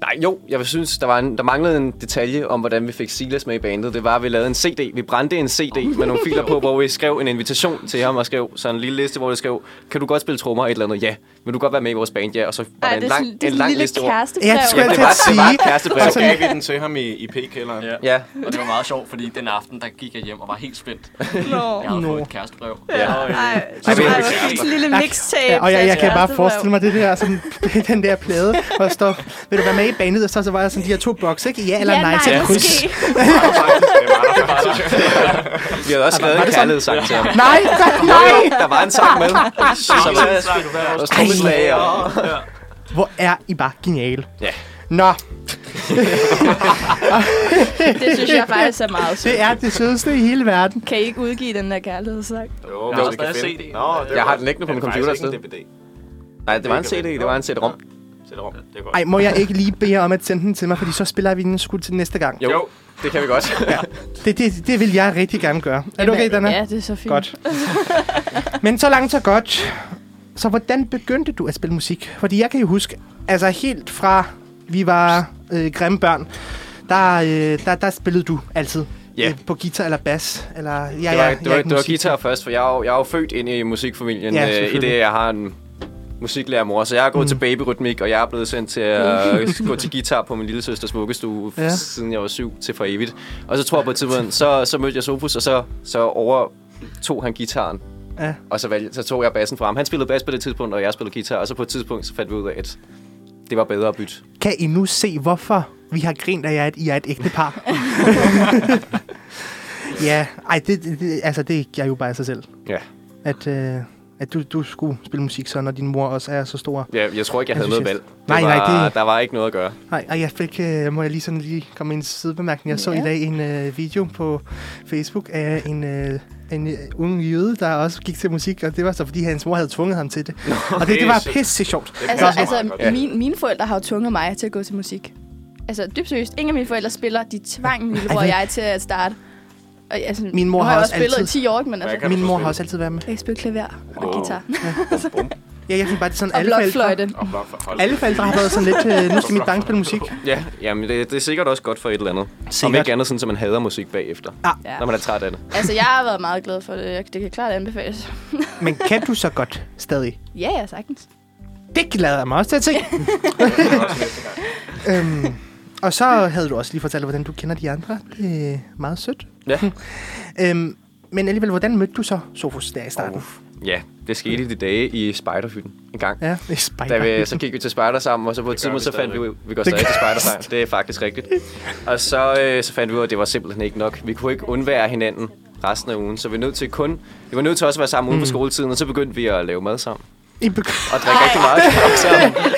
Speaker 3: Nej, jo, jeg synes, der, var en, der manglede en detalje om, hvordan vi fik Silas med i bandet. Det var, at vi lavede en CD. Vi brændte en CD med nogle filer på, hvor vi skrev en invitation til ham og skrev sådan en lille liste, hvor det skrev, kan du godt spille trommer et eller andet? Ja. Vil du godt være med i vores band? Ja. Og så var
Speaker 6: Ej,
Speaker 3: der
Speaker 6: det
Speaker 3: en
Speaker 6: er
Speaker 3: lang,
Speaker 6: sådan, det er
Speaker 3: en
Speaker 6: sådan en
Speaker 3: lang
Speaker 6: lille
Speaker 3: liste over.
Speaker 6: kærestebrev.
Speaker 5: Ja, det skulle jeg
Speaker 3: Det
Speaker 5: til at
Speaker 3: var, det var et
Speaker 5: sige. Altså,
Speaker 3: kærestebrev.
Speaker 7: Så gav vi den til ham i, i P-kælderen. Ja.
Speaker 3: Ja,
Speaker 8: Og det var meget sjovt, fordi den aften, der gik jeg hjem og var helt spændt.
Speaker 6: Nå.
Speaker 8: Jeg havde fået et kærestebrev.
Speaker 3: Ja.
Speaker 8: Og, øh,
Speaker 6: Ej,
Speaker 3: Ej, vi-
Speaker 6: ej, hvor fint. lille mixtape.
Speaker 5: Ja, og jeg,
Speaker 6: til
Speaker 5: jeg kan
Speaker 6: jeres
Speaker 5: bare
Speaker 6: kærestebrev.
Speaker 5: forestille mig det der, sådan, den der plade, hvor der står, vil du være med i bandet? Og så, så var der sådan de her to bokse, ikke? Ja eller
Speaker 6: ja,
Speaker 5: nej,
Speaker 6: nej,
Speaker 5: til et
Speaker 6: nej
Speaker 5: kryds.
Speaker 6: måske.
Speaker 3: vi havde også skrevet en kærlighedssang til ham.
Speaker 5: Nej, nej, nej!
Speaker 3: Der var en sang med. Så hvad der var trommeslager.
Speaker 5: Hvor er I bare geniale.
Speaker 3: Ja.
Speaker 5: Nå,
Speaker 6: Det synes jeg faktisk er meget sødt.
Speaker 5: det er det sødeste i hele verden.
Speaker 6: Kan I ikke udgive den der kærlighedssang?
Speaker 7: Jo,
Speaker 8: har
Speaker 7: hvis vi kan
Speaker 8: stadig CD'en.
Speaker 7: finde den. Nå, det
Speaker 3: Jeg
Speaker 7: var-
Speaker 3: har den liggende på
Speaker 7: det
Speaker 3: min
Speaker 7: er
Speaker 3: computer
Speaker 7: faktisk ikke
Speaker 3: et
Speaker 7: en DVD.
Speaker 3: Nej, det var en CD, det var en CD-rom.
Speaker 7: CD-ROM. Det er godt.
Speaker 5: Ej, må jeg ikke lige bede jer om at sende den til mig, fordi så spiller vi den skud til næste gang.
Speaker 3: Jo, det kan vi godt.
Speaker 5: Det, det, det vil jeg rigtig gerne gøre. Er du okay, Dana?
Speaker 6: øh, Ja, det er så fint.
Speaker 5: Godt. Men så langt, så godt. Så hvordan begyndte du at spille musik? Fordi jeg kan jo huske, altså helt fra vi var øh, grimme børn, der, øh, der, der spillede du altid.
Speaker 3: Ja.
Speaker 5: Øh, på guitar eller bas. Eller, ja,
Speaker 3: Ja,
Speaker 5: ja,
Speaker 3: ja,
Speaker 5: jeg
Speaker 3: det, var,
Speaker 5: er
Speaker 3: det
Speaker 5: ikke
Speaker 3: var
Speaker 5: musik-
Speaker 3: guitar først, for jeg er jo, jeg er jo født ind i musikfamilien,
Speaker 5: Ja,
Speaker 3: ja, øh, i det
Speaker 5: selvfølgelig.
Speaker 3: jeg har en musiklærermor, så jeg er gået mm. til babyrytmik, og jeg er blevet sendt til at gå til guitar på min lille søsters vuggestue,
Speaker 5: Mm. Ja.
Speaker 3: ja. siden jeg var syv til for evigt. Og så tror jeg på et tidspunkt, så, så mødte jeg Sofus, og så, så over tog han gitaren.
Speaker 5: Ja.
Speaker 3: Og så, valg, så tog jeg bassen frem. Han spillede bas på det tidspunkt, og jeg spillede guitar, og så på et tidspunkt så fandt vi ud af, at det var bedre at bytte.
Speaker 5: Kan I nu se, hvorfor vi har grint af jer, at I er et ægte par? ja, ej, det, det- det, altså det er jo bare af sig selv.
Speaker 3: Ja.
Speaker 5: At, øh, at du, du skulle spille musik så, når din mor også er så stor.
Speaker 3: Jeg, jeg tror ikke, jeg
Speaker 5: Jeg
Speaker 3: havde
Speaker 5: synes,
Speaker 3: noget valg.
Speaker 5: jeg-
Speaker 3: Det
Speaker 5: Nej, nej,
Speaker 3: var-
Speaker 5: det-
Speaker 3: Der var ikke noget at gøre.
Speaker 5: Nej, og jeg fik, øh, må jeg lige sådan lige komme med en sidebemærkning. Jeg så ja.
Speaker 6: Ja.
Speaker 5: i dag en øh, video på Facebook af en øh, en øh, ung jøde, der også gik til musik, og det var så, fordi hans mor havde tvunget ham til det. og det, det var
Speaker 7: pisse.
Speaker 5: pisse sjovt.
Speaker 6: Altså,
Speaker 7: passer meget
Speaker 6: altså
Speaker 7: godt. Ja.
Speaker 6: mine, mine forældre har jo tvunget mig til at gå til musik. Altså, dybt seriøst. Ingen af mine forældre spiller. De tvang min lillebror og
Speaker 5: det-
Speaker 6: jeg til at starte. Og, altså,
Speaker 5: Min mor
Speaker 6: nu
Speaker 5: har
Speaker 6: jeg
Speaker 5: også
Speaker 6: spillet
Speaker 5: altid-
Speaker 6: i 10 år, ikke? men
Speaker 7: Hvad
Speaker 6: altså...
Speaker 7: kan du
Speaker 5: Min
Speaker 7: så
Speaker 5: mor
Speaker 7: spille?
Speaker 5: har også altid været med.
Speaker 6: Jeg spiller klaver og
Speaker 7: Wow.
Speaker 6: guitar.
Speaker 5: Ja, jeg synes bare, det er sådan,
Speaker 6: Og
Speaker 5: alle
Speaker 6: blokfløjte.
Speaker 5: forældre,
Speaker 7: Og blot for- hold
Speaker 5: alle
Speaker 7: kæft.
Speaker 5: forældre har været sådan lidt, øh, nu skal mit barn spille musik.
Speaker 3: Ja, jamen det, det er sikkert også godt for et eller andet. Sikkert. Om
Speaker 5: Sikkert.
Speaker 3: ikke andet, sådan, så man hader musik bagefter,
Speaker 6: Ja.
Speaker 3: når man er træt af det.
Speaker 6: Altså, jeg har været meget glad for det. Jeg- Det kan klart anbefales.
Speaker 5: Men kan du så godt stadig?
Speaker 6: Ja, ja, sagtens.
Speaker 5: Det glæder jeg mig også til at se. øhm, og så havde du også lige fortalt, hvordan du kender de andre. Det er meget sødt.
Speaker 3: Ja.
Speaker 5: Øhm, men alligevel, hvordan mødte du så Sofus der i starten?
Speaker 3: ja, det skete i de dage i spejderhytten en gang.
Speaker 5: Ja, i Spider.
Speaker 3: Da vi, øh, altså- så gik vi til spejder sammen, og så på et
Speaker 7: gør
Speaker 3: tidspunkt,
Speaker 7: vi
Speaker 3: så fandt vi
Speaker 7: stadigvæk.
Speaker 3: ud, vi går stadig til spejder sammen. Det er faktisk rigtigt. Og så, øh, så fandt vi ud af, at det var simpelthen ikke nok. Vi kunne ikke undvære hinanden resten af ugen, så vi er nødt til kun, vi var nødt til også at være sammen
Speaker 5: Mm.
Speaker 3: uden for skoletiden, og så begyndte vi at lave mad sammen.
Speaker 5: I beg-
Speaker 3: Og drikke rigtig meget kaffe sammen.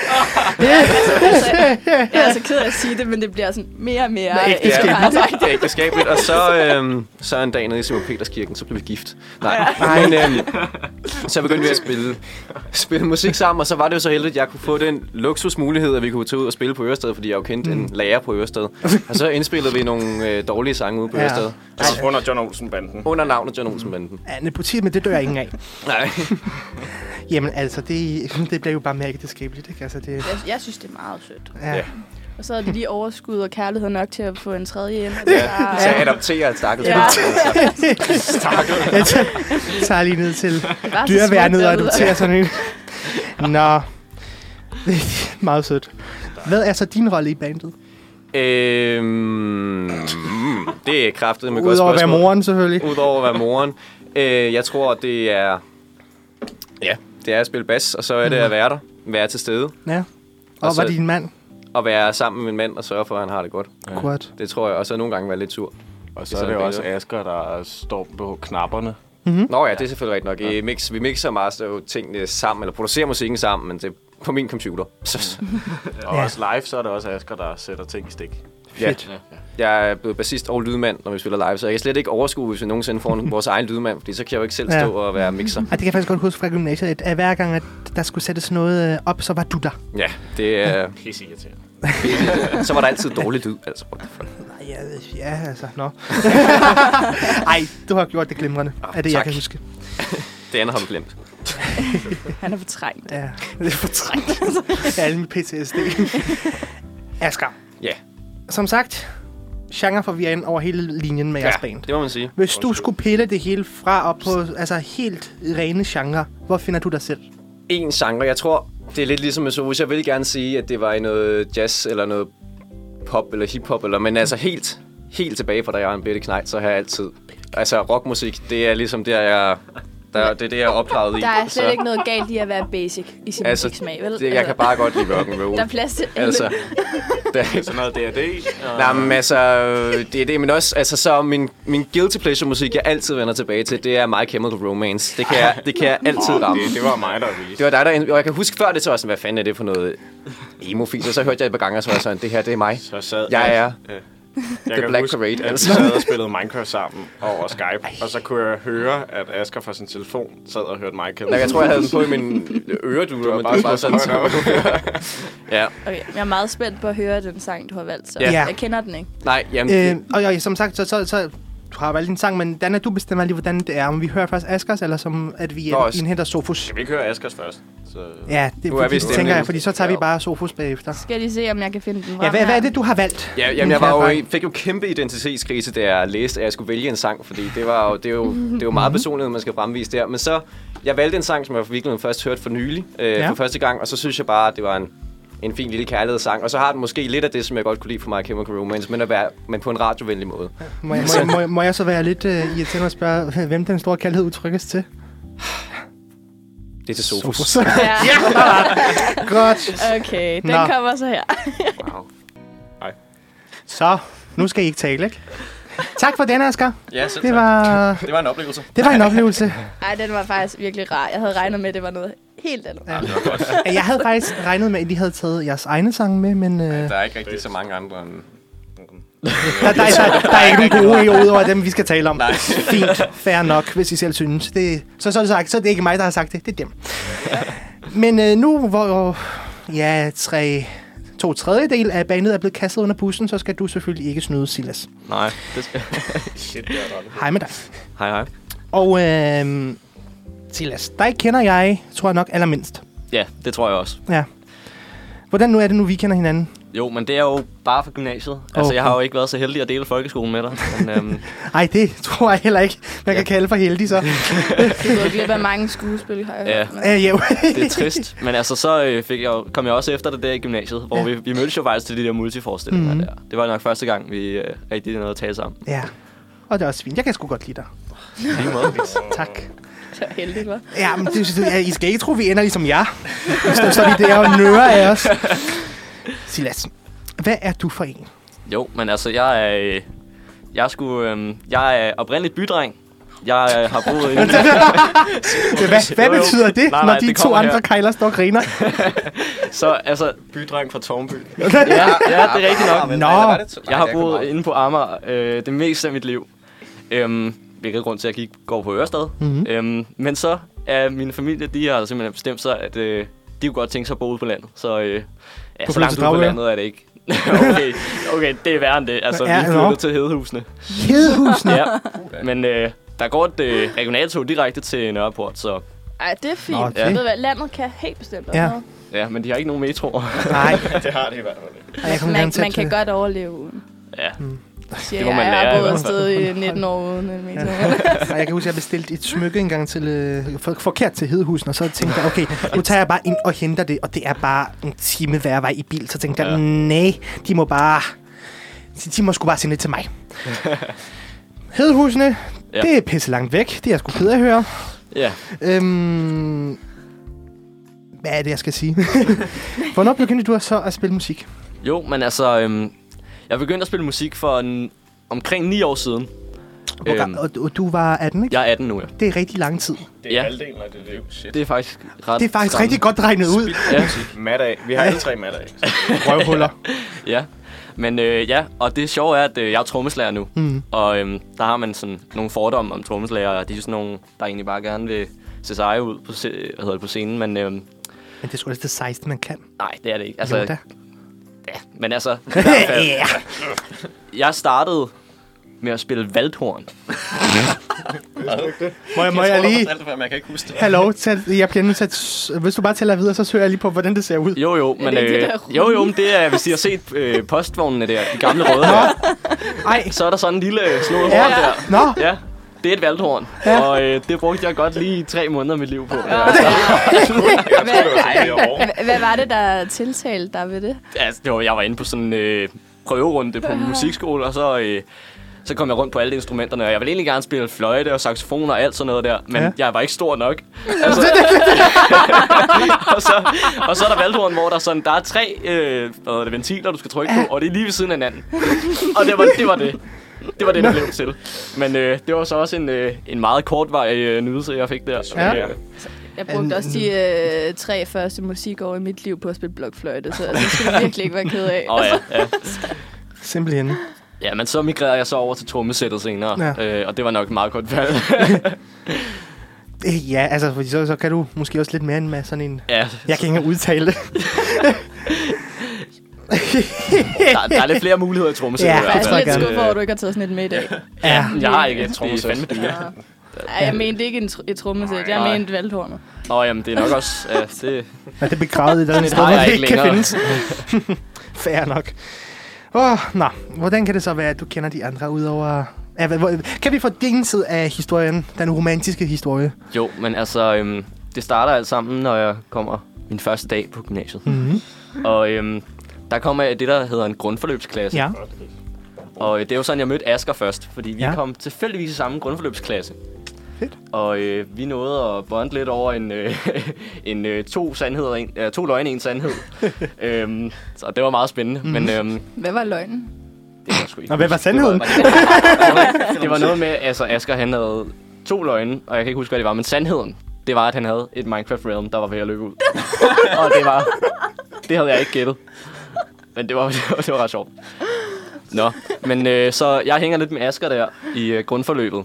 Speaker 6: Altså, Jeg er så ked af at sige det, men det bliver sådan mere og mere...
Speaker 5: Med ægteskab.
Speaker 6: ægteskab.
Speaker 3: Det er ægteskabeligt. Og så, øhm, så en dag nede i Simon Peterskirken, så blev vi gift. Nej, men øhm, så begyndte vi at spille, spille musik sammen, og så var det jo så heldigt, at jeg kunne få den luksusmulighed, at vi kunne tage ud og spille på Ørested, fordi jeg jo kendte
Speaker 5: Mm.
Speaker 3: en lærer på Ørested. Og så indspillede vi nogle øh, dårlige sange ude på
Speaker 5: Ja.
Speaker 3: ja. Ørested.
Speaker 5: altså-
Speaker 7: Ej, Under John Olsen-banden.
Speaker 3: Under navnet John Olsen-banden.
Speaker 5: Ja, nepotisme, det dør ingen af.
Speaker 3: Nej.
Speaker 5: Jamen altså, det, det bliver jo bare mere ægteskabeligt, ikke? Altså, det,
Speaker 6: Jeg, jeg synes, det er meget sødt.
Speaker 5: ja.
Speaker 3: Ja.
Speaker 6: Og så er det lige overskud og kærlighed nok til at få en tredje hjem.
Speaker 3: Så jeg adopterer et stakkels
Speaker 6: Ja.
Speaker 3: ja.
Speaker 5: Jeg tager, tager lige ned til
Speaker 6: var så
Speaker 5: dyreværnet
Speaker 6: smukt
Speaker 5: og
Speaker 6: derude.
Speaker 5: adopterer sådan en. Nå, det er meget sødt. Hvad er så din rolle i bandet?
Speaker 3: Øhm, det er kraftet med godt
Speaker 5: Udover at være
Speaker 3: spørgsmål.
Speaker 5: moren, selvfølgelig.
Speaker 3: Udover at være moren. Øh, jeg tror, det er... Ja, det er at spille bas, og så er det at være der. Være til stede.
Speaker 5: Ja. Og,
Speaker 3: Og
Speaker 5: og
Speaker 3: så-
Speaker 5: var din mand?
Speaker 3: Og være sammen med en mand og sørge for, at han har det godt.
Speaker 5: Ja. Godt.
Speaker 3: Det tror jeg. Og så nogle gange være lidt sur.
Speaker 7: Og så er det jo også Asger, der står på knapperne.
Speaker 3: Nå ja, det er selvfølgelig rigtigt nok. I mix, vi mixer og master jo tingene sammen, eller producerer musikken sammen, men det er på min computer. Så,
Speaker 7: Og også live, så er det også Asger, der sætter ting i stik.
Speaker 5: Fedt.
Speaker 3: Ja. Jeg er blevet bassist og lydmand, når vi spiller live, så jeg kan slet ikke overskue, hvis vi nogensinde får en- vores egen lydmand, fordi så kan jeg jo ikke selv
Speaker 5: Ja.
Speaker 3: stå og være mixer.
Speaker 5: Og det kan jeg faktisk godt huske fra gymnasiet, at at hver gang, at der skulle sættes noget øh, op, så var du der.
Speaker 3: Ja, det er...
Speaker 7: Pisse irriterende.
Speaker 3: Så var der altid dårlig lyd, altså. What the fuck?
Speaker 5: Nej, ja, ja altså, nå. Ej, du har gjort det glimrende,
Speaker 3: Ah,
Speaker 5: er det, jeg
Speaker 3: tak.
Speaker 5: kan huske.
Speaker 3: Det andet har vi glemt.
Speaker 6: Han er fortrængt.
Speaker 5: Ja, det er fortrængt. Af alle mine PTSD. Asger,
Speaker 3: Ja.
Speaker 5: som sagt, genre for vi er inde over hele linjen med jeres band.
Speaker 3: det må man sige.
Speaker 5: Hvis du skulle pille det hele fra op på altså helt rene genre, hvor finder du dig selv?
Speaker 3: En genre, jeg tror, det er lidt ligesom med Sofus. Jeg vil gerne sige, at det var i noget jazz eller noget pop eller hiphop, eller, men altså helt, helt tilbage fra da jeg var en bitte knægt, så har jeg altid... Altså rockmusik, det er ligesom der, jeg... Der, det er det, jeg er opdraget i.
Speaker 6: Der er slet
Speaker 3: så,
Speaker 6: ikke noget galt i at være basic i sin altså,
Speaker 3: altså,
Speaker 6: musiksmag, vel?
Speaker 3: det, jeg kan bare godt lide rock'n'roll.
Speaker 6: Der er plads til alle.
Speaker 3: Altså, der,
Speaker 7: Sådan noget D&D. og-
Speaker 3: Nej, men altså, øh, det er det, men også, altså, så min, min guilty pleasure musik, jeg altid vender tilbage til, det er My Chemical Romance. Det kan jeg, det kan jeg altid ramme.
Speaker 7: Det, det var mig, der viste.
Speaker 3: Det var dig, der... ind- Og jeg kan huske før det, så var jeg sådan, hvad fanden er det for noget emo -fis? Og så hørte jeg et par gange, og så var jeg sådan, det her, det er mig.
Speaker 7: Så sad
Speaker 3: Jeg er
Speaker 7: jeg
Speaker 3: The
Speaker 7: kan
Speaker 3: Black
Speaker 7: huske,
Speaker 3: Parade,
Speaker 7: at vi
Speaker 3: altså.
Speaker 7: sad og spillede Minecraft sammen over Skype, og så kunne jeg høre, at Asger fra sin telefon sad og hørte Michael.
Speaker 3: Nå, jeg tror, jeg havde den på i min øreduer, men det var bare sådan... Så... Ja.
Speaker 6: Okay, jeg er meget spændt på at høre den sang, du har valgt. Så.
Speaker 3: Ja.
Speaker 6: Jeg kender den ikke.
Speaker 3: Nej, jamen...
Speaker 5: Øh,
Speaker 3: det-
Speaker 5: og, og som sagt, så, så, så du har valgt en sang, men Dana, du bestemmer lige, hvordan det er. Om vi hører først Askers, eller som, at vi
Speaker 3: Nå, s-
Speaker 5: indhenter Sofus.
Speaker 7: Kan vi ikke høre Askers først? Så...
Speaker 5: Ja, det
Speaker 3: Nu er vi i
Speaker 5: fordi, tænker
Speaker 3: stemningen.
Speaker 5: jeg, fordi så tager vi
Speaker 3: Ja.
Speaker 5: bare Sofus bagefter.
Speaker 6: Skal de se, om jeg kan finde den
Speaker 5: Ja, hvad, hvad er det, du har valgt?
Speaker 3: Ja,
Speaker 5: min
Speaker 3: jamen, jeg var
Speaker 5: kære
Speaker 3: jo,
Speaker 5: dreng?
Speaker 3: i- fik jo kæmpe identitetskrise, da jeg læste, at jeg skulle vælge en sang, fordi det, var jo, det, er, jo, det er jo
Speaker 5: Mhm.
Speaker 3: meget personlighed, man skal fremvise der. Men så, jeg valgte en sang, som jeg virkelig først hørte for nylig, øh,
Speaker 5: Ja.
Speaker 3: ja. for første gang, og så synes jeg bare, at det var en, en fin lille kærlighedssang. Og så har den måske lidt af det, som jeg godt kunne lide fra My Chemical Romance, men, at være, men på en radiovenlig måde.
Speaker 5: Må jeg, må, jeg, må, jeg, må jeg så være lidt uh, irriterende og spørge, hvem den store kaldhed udtrykkes til?
Speaker 3: Det er til Sofus.
Speaker 5: Sofus.
Speaker 6: Ja.
Speaker 5: Godt.
Speaker 6: Okay, den
Speaker 5: Nå.
Speaker 6: kommer så her.
Speaker 5: Så, nu skal I ikke tale, ikke? Tak for den, Asger.
Speaker 3: Ja, selv
Speaker 5: Det var,
Speaker 3: det var en oplevelse.
Speaker 5: det var en oplevelse.
Speaker 6: Ej, den var faktisk virkelig rar. Jeg havde regnet med, at det var noget helt andet. Ja.
Speaker 5: Jeg havde faktisk regnet med, at I havde taget jeres egne sange med, men... Uh,
Speaker 3: Der er ikke rigtig så mange andre end
Speaker 5: Der, der, der, der er ikke nogen gode ikke ud over dem, vi skal tale om. Nej. Fint, fair nok, hvis I selv synes. Det, så, så, er det sagt, så er det ikke mig, der har sagt det. Det er dem. Men øh, nu, hvor ja, tre, to tredjedel af bandet er blevet kastet under bussen, så skal du selvfølgelig ikke snyde, Silas.
Speaker 3: Nej, det skal
Speaker 5: Hej med dig.
Speaker 3: Hej, hej.
Speaker 5: Og øh, Silas, dig kender jeg, tror jeg nok, allermindst.
Speaker 8: Ja, det tror jeg også.
Speaker 5: Ja. Hvordan nu er det nu, vi kender hinanden?
Speaker 8: Jo, men det er jo bare fra gymnasiet. Altså, jeg har jo ikke været så heldig at dele folkeskolen med dig. Men, øhm,
Speaker 5: Ej, det tror jeg heller ikke, man kan kalde for heldig, så.
Speaker 6: Det går glip af mange skuespil, har jeg
Speaker 8: Ja.
Speaker 6: hørt.
Speaker 5: Æh, Øh, jo.
Speaker 8: det er trist. Men altså, så øh, fik jeg, jo- kom jeg også efter det der i gymnasiet, hvor vi, vi mødtes jo faktisk til de der multiforestillinger
Speaker 5: Mhm.
Speaker 8: mm. der. Det var nok første gang, vi øh, rigtig nåede at tale sammen.
Speaker 5: Ja. Og det er også fint. Jeg kan sgu godt lide dig.
Speaker 8: Lige måde.
Speaker 5: Tak.
Speaker 6: Så heldigt, hva'?
Speaker 5: Ja, men det, det, ja, I skal ikke tro, vi ender ligesom jer. Så står vi der og nører af os. Silas, hvad er du for en?
Speaker 8: Jo, men altså, jeg er... Øh, jeg, er sgu, øh, jeg er oprindeligt bydreng. Jeg øh, har boet inde...
Speaker 5: Hvad, hvad
Speaker 8: Jo, jo.
Speaker 5: betyder det,
Speaker 8: Nej,
Speaker 5: når
Speaker 8: nej,
Speaker 5: de
Speaker 8: det
Speaker 5: to
Speaker 8: kommer
Speaker 5: andre
Speaker 8: her.
Speaker 5: kejler står og griner?
Speaker 8: så altså...
Speaker 7: Bydreng fra Tornby.
Speaker 8: Ja, ja, det er rigtigt nok.
Speaker 5: Nå.
Speaker 8: Jeg har boet inde på Amager øh, det meste af mit liv. Øhm, hvilket grund til, at jeg gik, går på Ørestad.
Speaker 5: Mhm.
Speaker 8: Mm-hmm. Øhm, men så er min familie, de har simpelthen bestemt sig, at øh, de kunne godt tænke sig at bo ude på landet. Så, øh, ja,
Speaker 5: På
Speaker 8: så langt ude
Speaker 5: Flyvske
Speaker 8: på
Speaker 5: Dragør?
Speaker 8: landet er det ikke. okay, okay, det er værre end det. Altså,
Speaker 5: Ja,
Speaker 8: vi
Speaker 5: nå.
Speaker 8: flyttede til Hedehusene.
Speaker 5: Hedehusene.
Speaker 8: Ja, men øh, der går et øh, regionaltog direkte til Nørreport, så
Speaker 6: Ej, det er fint.
Speaker 5: Nå, okay.
Speaker 6: Okay. Ved du hvad, landet kan helt bestemt også
Speaker 5: Ja.
Speaker 6: noget.
Speaker 8: ja, men de har ikke nogen metroer.
Speaker 5: Nej,
Speaker 7: det har det i hvert fald.
Speaker 5: og jeg kommer
Speaker 6: Man,
Speaker 5: gerne til
Speaker 6: man
Speaker 5: at...
Speaker 6: kan godt overleve uden.
Speaker 8: ja,
Speaker 6: Siger,
Speaker 8: Det må man
Speaker 6: jeg,
Speaker 8: lære
Speaker 6: jeg
Speaker 8: i
Speaker 6: har boet
Speaker 8: hvert
Speaker 6: afsted i 19 år uden en meter. Ja.
Speaker 5: Og jeg kan huske, at jeg bestilte et smykke engang til, øh, for, forkert til Hedehusen, og så tænkte jeg, okay, nu tager jeg bare ind og henter det, og det er bare en time hver vej i bil. Så tænkte jeg,
Speaker 8: Ja.
Speaker 5: nej, de må bare... de- De må sgu bare sende det til mig. Hedehusene, ja.
Speaker 8: Ja.
Speaker 5: det er pisse langt væk. Det er jeg sgu ked af at høre.
Speaker 8: ja.
Speaker 5: Øhm, hvad er det, jeg skal sige? Hvornår begyndte du så at spille musik?
Speaker 8: Jo, men altså, øhm, jeg begyndte at spille musik for en, omkring 9 år siden.
Speaker 5: Hvor
Speaker 8: Øhm.
Speaker 5: ga- og, og du var 18, ikke?
Speaker 8: Jeg er 18 nu, ja.
Speaker 5: Det er rigtig lang tid.
Speaker 7: Det er
Speaker 8: Ja.
Speaker 7: halvdelen af det liv. Shit.
Speaker 8: Det er faktisk ret
Speaker 5: Det er faktisk
Speaker 8: skræmmende.
Speaker 5: rigtig godt regnet ud.
Speaker 8: Ja,
Speaker 7: Mat af. Vi har alle tre mat af.
Speaker 5: Røvhuller.
Speaker 8: ja. Men øh, ja, og det sjove er, at øh, jeg er trommeslager nu.
Speaker 5: Mm.
Speaker 8: Og øhm, der har man sådan nogle fordomme om trommeslager, og de er sådan nogle, der egentlig bare gerne vil se seje ud på, se, hvad hedder det, på scenen. Men øhm,
Speaker 5: Men det er sgu da det 16, man kan.
Speaker 8: nej, det er det ikke.
Speaker 5: Altså,
Speaker 8: Altså,
Speaker 5: jo, da.
Speaker 8: ja, men altså,
Speaker 5: ja.
Speaker 8: jeg startede med at spille valthorn.
Speaker 5: Må jeg, må jeg lige... Hallo, tæl, jeg bliver nødt til at... s- Hvis du bare tæller videre, så søger jeg lige på, hvordan det ser ud.
Speaker 8: Jo, jo, men
Speaker 6: det det
Speaker 8: øh,
Speaker 6: der rulle?
Speaker 8: jo, jo, men det er, hvis I har set øh, postvognene der, de gamle røde der,
Speaker 5: Ej,
Speaker 8: så er der sådan en lille snodet
Speaker 5: ja.
Speaker 8: horn der.
Speaker 5: Nå,
Speaker 8: Ja, det er et valthorn,
Speaker 5: Ja.
Speaker 8: ja. og øh, det brugte jeg godt lige tre måneder af mit liv på. Ja.
Speaker 6: Hva- Hvad var det, der tiltalte dig ved det?
Speaker 8: Altså, det var, jeg var inde på sådan en øh, prøverunde på musikskole, og så, øh, så kom jeg rundt på alle instrumenterne, og jeg ville egentlig gerne spille fløjte og saxofon og alt sådan noget der, men
Speaker 5: Ja.
Speaker 8: ja. jeg var ikke stor nok. Altså, og, så, og så er der valgturen, hvor der, er sådan, der er tre øh, hvad hedder det, ventiler, du skal trykke på, og det er lige ved siden af hinanden. og det var det. Var det. Det var det, der blev til. Men øh, det var så også en, øh, en meget kortvarig øh, nydelse, jeg fik der.
Speaker 5: Ja.
Speaker 8: Øh,
Speaker 6: Jeg brugte også de øh, tre første musikår i mit liv på at spille blokfløjte, så det skal du virkelig ikke være ked af.
Speaker 8: og ja, ja.
Speaker 5: simpelthen.
Speaker 8: Ja, men så migrerede jeg så over til trommesættet senere,
Speaker 5: Ja.
Speaker 8: ja. øh, og det var nok et meget godt valg.
Speaker 5: Øh, Ja, altså, fordi så, så kan du måske også lidt mere end med sådan en...
Speaker 8: ja,
Speaker 5: Jeg kan ikke engang udtale det.
Speaker 8: der, der er lidt flere muligheder i trommesættet.
Speaker 5: Ja,
Speaker 8: i hvert
Speaker 5: det
Speaker 8: fald.
Speaker 5: tror
Speaker 6: Jeg er lidt
Speaker 5: gerne.
Speaker 6: skuffet
Speaker 8: øh,
Speaker 6: over, at du ikke har taget sådan et med i dag.
Speaker 5: Ja.
Speaker 8: Jeg har ikke et
Speaker 7: trommesæt.
Speaker 8: trommesæt. Det er fandme dyrt.
Speaker 6: Ej, jeg mente ikke en tr- et trommesæt, jeg
Speaker 8: Nej.
Speaker 6: mente valghornet.
Speaker 8: Nå, jamen, det er nok også... Ja, det,
Speaker 5: Men det er begravet i den sted,
Speaker 8: har
Speaker 5: hvor
Speaker 8: jeg
Speaker 5: det
Speaker 8: ikke
Speaker 5: ikke kan
Speaker 8: længere.
Speaker 5: findes. Fair nok. Åh, oh, nå. Hvordan kan det så være, at du kender de andre udover... Ja, hvad- hvor- Kan vi få din side af historien? Den romantiske historie.
Speaker 8: jo, men altså, øhm, det starter alt sammen, når jeg kommer min første dag på gymnasiet. Mm-hmm. Og øhm, der kommer jeg i det, der hedder en grundforløbsklasse.
Speaker 5: Ja.
Speaker 8: Og øh, det er jo sådan, jeg mødte Asger først, fordi vi
Speaker 5: Ja.
Speaker 8: ja. kom tilfældigvis i samme grundforløbsklasse.
Speaker 5: Fedt.
Speaker 8: Og øh, vi nåede at bonde lidt over en, øh, en øh, to, sandheder, en, øh, to løgne, en sandhed. øhm, så det var meget spændende, men øhm,
Speaker 6: Hvad var løgnen?
Speaker 8: det var sgu ikke.
Speaker 5: Mhm. Nå, hvad var sandheden?
Speaker 8: Det var, det var noget med, altså Asger han havde to løgne, og jeg kan ikke huske, hvad det var, men sandheden, det var, at han havde et Minecraft Realm, der var ved at løbe ud. og det var, det havde jeg ikke gættet. Men det var, det var, det var ret sjovt. Nå, men øh, så jeg hænger lidt med Asger der i øh, grundforløbet.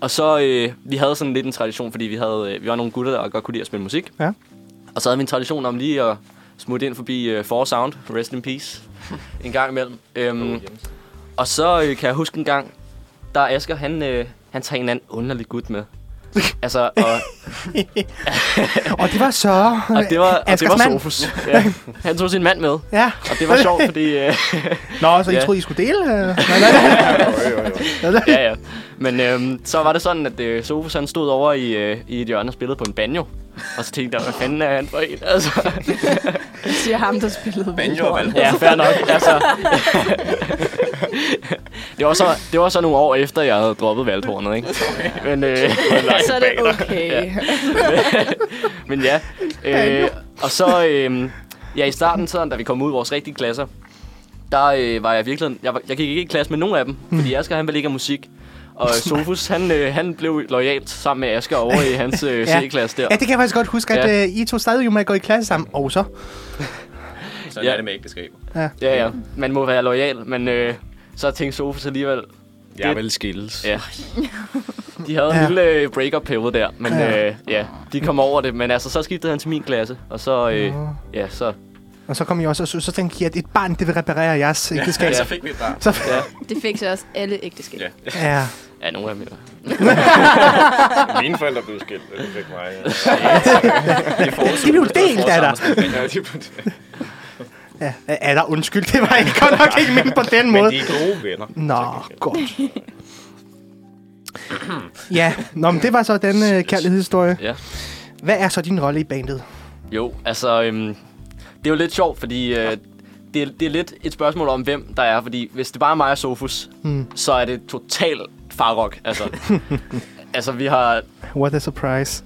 Speaker 8: Og så, øh, vi havde sådan lidt en tradition, fordi vi, havde, øh, vi var nogle gutter, der godt kunne lide at spille musik.
Speaker 5: Ja.
Speaker 8: Og så havde vi en tradition om lige at smutte ind forbi øh, Four Sound, Rest in Peace, en gang imellem. Øhm, og så øh, kan jeg huske en gang, der er Asger, han, øh, han tager en eller anden underlig gut med. Altså, og
Speaker 5: Og det var så...
Speaker 8: Og det var, og det
Speaker 5: Askers
Speaker 8: var
Speaker 5: mand.
Speaker 8: Sofus. Ja. Han tog sin mand med, og
Speaker 5: Ja.
Speaker 8: det var sjovt, fordi... Øh,
Speaker 5: Nå, så I
Speaker 8: Ja.
Speaker 5: troede, I skulle dele? øh? Nej, nej, nej.
Speaker 8: ja, ja. Men øh, så var det sådan, at øh, Sofus han stod over i, øh, i et hjørne og spillede på en banjo. Og så tænkte jeg, hvad fanden er han for en? Altså,
Speaker 6: siger ham, der spillede Valhorn.
Speaker 8: ja, fair nok. Altså, det, var så, det var så nogle år efter, jeg havde droppet valthornet, ikke? Men, øh,
Speaker 6: Så er det okay.
Speaker 8: Ja. Men ja. Øh, og så, øh, ja, i starten, sådan, da vi kom ud i vores rigtige klasser, der øh, var jeg virkelig... Jeg, var- jeg gik ikke i klasse med nogen af dem, fordi Asger, han ville ikke have musik. Og Sofus, han, øh, han blev lojalt sammen med Asger over i hans øh,
Speaker 5: Ja.
Speaker 8: C-klasse der.
Speaker 5: Ja, det kan jeg faktisk godt huske, at
Speaker 8: Ja.
Speaker 5: øh, I to startede jo med at gå i klasse sammen. Og så...
Speaker 8: Ja.
Speaker 9: Sådan er det med ægteskab.
Speaker 8: Ja, ja. Man må være lojal, men øh, så tænkte Sofus alligevel...
Speaker 9: Jeg vil skilles.
Speaker 8: Ja. De havde ja.
Speaker 5: Ja.
Speaker 8: en lille øh, break-up periode der, men
Speaker 5: Ja.
Speaker 8: ja. Øh, ja, de kom over det. Men altså, så skiftede han til min klasse, og så, øh, ja, så
Speaker 5: Og så kom I også, og så, så tænkte I, at et barn, det vil reparere jeres øh, ægteskab.
Speaker 9: Så fik vi et barn.
Speaker 5: Så,
Speaker 6: Det fik så også alle ægteskab.
Speaker 9: Ja.
Speaker 5: ja.
Speaker 8: Ja, nogle af dem. ja.
Speaker 7: Mine forældre blev skilt, og de fik mig. Ja.
Speaker 5: De blev delt af dig.
Speaker 9: Ja, de er på det.
Speaker 5: Ja, er der undskyld, det var ikke godt nok ikke mindre på den måde.
Speaker 9: de er gode venner.
Speaker 5: Nå, godt. ja, nå, men det var så den øh, kærlighedshistorie.
Speaker 8: Ja.
Speaker 5: Hvad er så din rolle i bandet?
Speaker 8: Jo, altså, øhm, det er jo lidt sjovt, fordi øh, det, er, det er lidt et spørgsmål om, hvem der er. Fordi hvis det bare er mig og Sofus, mm. så er det totalt farrock. Altså, altså, vi har...
Speaker 5: What a surprise.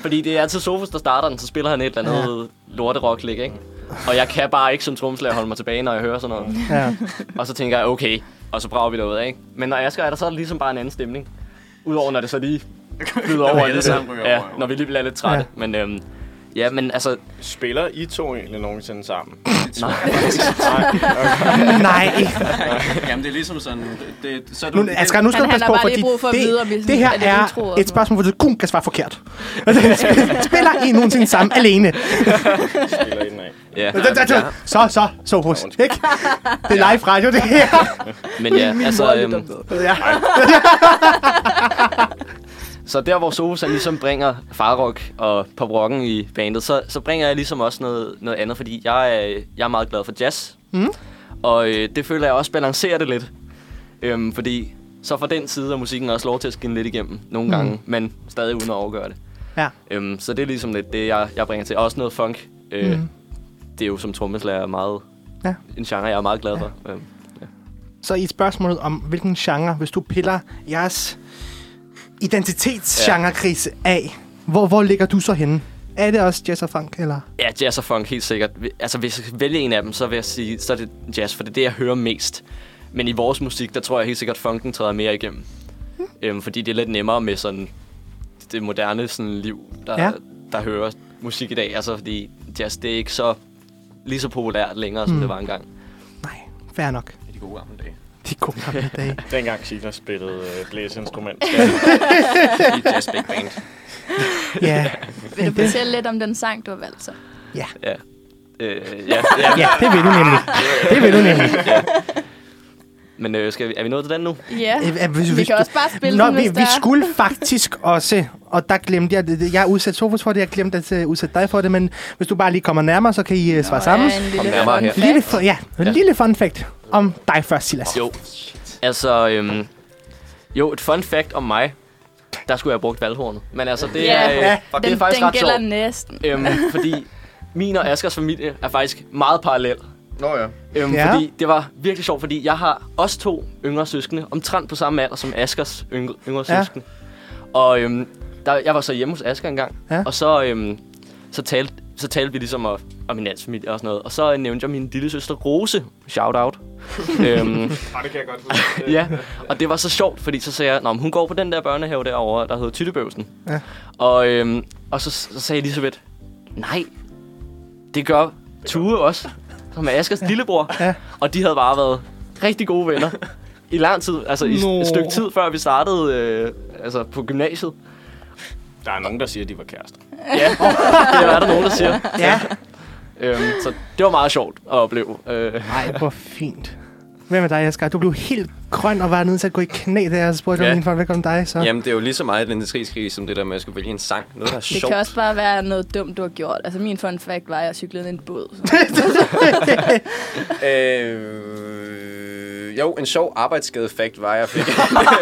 Speaker 8: Fordi det er altid Sofus, der starter den, så spiller han et eller andet ja. lorterocklæg, ikke? Og jeg kan bare ikke som tromslærer holde mig tilbage, når jeg hører sådan noget.
Speaker 5: Ja.
Speaker 8: Og så tænker jeg, okay, og så brager vi derud af, ikke? Men når Asger er der, så er det ligesom bare en anden stemning. Udover når det så lige flyder over.
Speaker 7: alle
Speaker 8: lidt.
Speaker 7: sammen ryger
Speaker 8: ja,
Speaker 7: over, jo.
Speaker 8: når vi lige bliver lidt trætte. Ja. Men, øhm, ja, men altså,
Speaker 7: Spiller I to egentlig nogensinde sammen?
Speaker 5: Nej.
Speaker 9: Jamen, det er ligesom sådan... Det, så er du,
Speaker 5: Nu, Asger, nu skal
Speaker 6: Han-
Speaker 5: du
Speaker 6: han
Speaker 5: passe
Speaker 6: har
Speaker 5: på,
Speaker 6: bare lige
Speaker 5: fordi
Speaker 6: brug for at vide, om vi
Speaker 5: det,
Speaker 6: sådan-
Speaker 5: det her
Speaker 6: er det utro og
Speaker 5: er
Speaker 6: sådan
Speaker 5: et spørgsmål, hvor du kun kan svare forkert. Altså, Spiller I nogensinde sammen alene?
Speaker 7: Spiller I den af?
Speaker 8: ja.
Speaker 5: Så, så, så hos. Ikke? Det er live radio, det her.
Speaker 9: Øhm.
Speaker 8: Men ja, altså... Øhm,
Speaker 5: Ja.
Speaker 8: så der, hvor Sofus han ligesom bringer farrock og poprocken i bandet, så, så bringer jeg ligesom også noget, noget andet, fordi jeg er, jeg er meget glad for jazz. Mm. Og øh, det føler jeg også balancerer det lidt. Øhm, fordi så fra den side er musikken også lov til at skinne lidt igennem nogle gange, men stadig uden at overgøre det.
Speaker 5: Ja.
Speaker 8: Øhm, så det er ligesom lidt det, jeg, jeg bringer til. Også noget funk. Øh, mm. Det er jo som trommeslager meget...
Speaker 5: Ja.
Speaker 8: Ja. En genre, jeg er meget glad for. Ja. Øhm,
Speaker 5: Så i spørgsmålet om, hvilken genre, hvis du piller jeres identitetsgenrekrise af, hvor, hvor ligger du så henne? Er det også jazz og funk, eller?
Speaker 8: Ja, jazz og funk, helt sikkert. Vi- Altså, hvis jeg skal vælge en af dem, så vil jeg sige, så er det jazz, for det er det, jeg hører mest. Men i vores musik, der tror jeg helt sikkert, funken træder mere igennem. Mm. Øhm, fordi det er lidt nemmere med sådan det moderne sådan, liv, der,
Speaker 5: Ja.
Speaker 8: ja. der hører musik i dag. Altså, fordi jazz, det er ikke så lige så populært længere, som det var engang.
Speaker 5: Nej, fair nok.
Speaker 9: De gode gamle dage.
Speaker 5: De gode gamle dage.
Speaker 7: Dengang Silas spillede øh, blæseinstrument.
Speaker 9: I et jazz big band.
Speaker 5: Ja,
Speaker 6: Vil du fortælle lidt om den sang, du har valgt så?
Speaker 8: Ja. Øh, ja, ja.
Speaker 5: ja det vil du nemlig. Det vil du nemlig.
Speaker 8: Men øh, skal vi, er vi nået til den nu?
Speaker 6: Ja,
Speaker 5: Øh, øh, hvis-
Speaker 6: vi
Speaker 5: hvis
Speaker 6: kan
Speaker 5: du-
Speaker 6: også bare spille
Speaker 5: Nå,
Speaker 6: den,
Speaker 5: vi,
Speaker 6: hvis der
Speaker 5: vi
Speaker 6: er-
Speaker 5: skulle faktisk også, og der glemte jeg, det- det- jeg udsætte Sofus for det, jeg glemte at øh, udsætte dig for det, men hvis du bare lige kommer nærmere, så kan I øh, svare sammen.
Speaker 6: Ja, en lille
Speaker 8: nærmere
Speaker 6: fun
Speaker 8: her.
Speaker 6: fact.
Speaker 5: Lille, fu- ja, en
Speaker 8: Ja.
Speaker 5: lille fun fact om dig først, Silas.
Speaker 8: Jo. Altså, øhm, jo, et fun fact om mig. Der skulle jeg have brugt valghornet. Men altså, det,
Speaker 6: Ja.
Speaker 8: er, øh,
Speaker 5: Ja.
Speaker 8: det
Speaker 6: Den,
Speaker 8: er faktisk
Speaker 6: den
Speaker 8: ret sjovt.
Speaker 6: gælder næsten.
Speaker 8: Øhm, fordi min og Askers familie er faktisk meget parallel.
Speaker 9: Nå ja.
Speaker 8: Øhm,
Speaker 5: Ja.
Speaker 8: ja. Fordi det var virkelig sjovt, fordi jeg har også to yngre søskende, omtrent på samme alder som Askers yngre, yngre
Speaker 5: Ja.
Speaker 8: ja. søskende. Og øhm, der, jeg var så hjemme hos Asker engang,
Speaker 5: Ja.
Speaker 8: ja. og så, øhm, så, talte, så talte vi ligesom om, om min andens familie og sådan noget. Og så øh, nævnte jeg min lille søster Rose. Shout out. øhm,
Speaker 7: Nej, det kan jeg godt huske.
Speaker 8: ja, og det var så sjovt, fordi så sagde jeg, Nå, men hun går på den der børnehave derovre, der hedder Tyttebøvsen.
Speaker 5: Ja.
Speaker 8: Og, øhm, og så, så sagde Elisabeth, nej, det gør Tue også, som er Askers ja. lillebror.
Speaker 5: Ja.
Speaker 8: Og de havde bare været rigtig gode venner i lang tid, altså i no.
Speaker 5: Nå.
Speaker 8: et stykke tid før vi startede øh, altså på gymnasiet.
Speaker 7: Der er nogen, der siger, at de var kærester.
Speaker 8: Ja, det er der nogen, der siger.
Speaker 5: Ja.
Speaker 8: Øhm, så det var meget sjovt at opleve. Øh,
Speaker 5: Ej, hvor fint. Hvem er dig, Asger? Du blev helt grøn og var nødt til at gå i knæ, da jeg spurgte ja.
Speaker 3: Ja.
Speaker 5: om din folk. Hvad kom dig så?
Speaker 3: Jamen, det er jo lige så meget identitetskrig, som det der med, at jeg skulle vælge en sang. Noget, der er
Speaker 6: Det
Speaker 3: sjovt.
Speaker 6: kan også bare være noget dumt, du har gjort. Altså, min fun fact var, at jeg cyklede i en båd. Så.
Speaker 3: Øh, jo, en sjov arbejdsskade-fact var, jeg fik.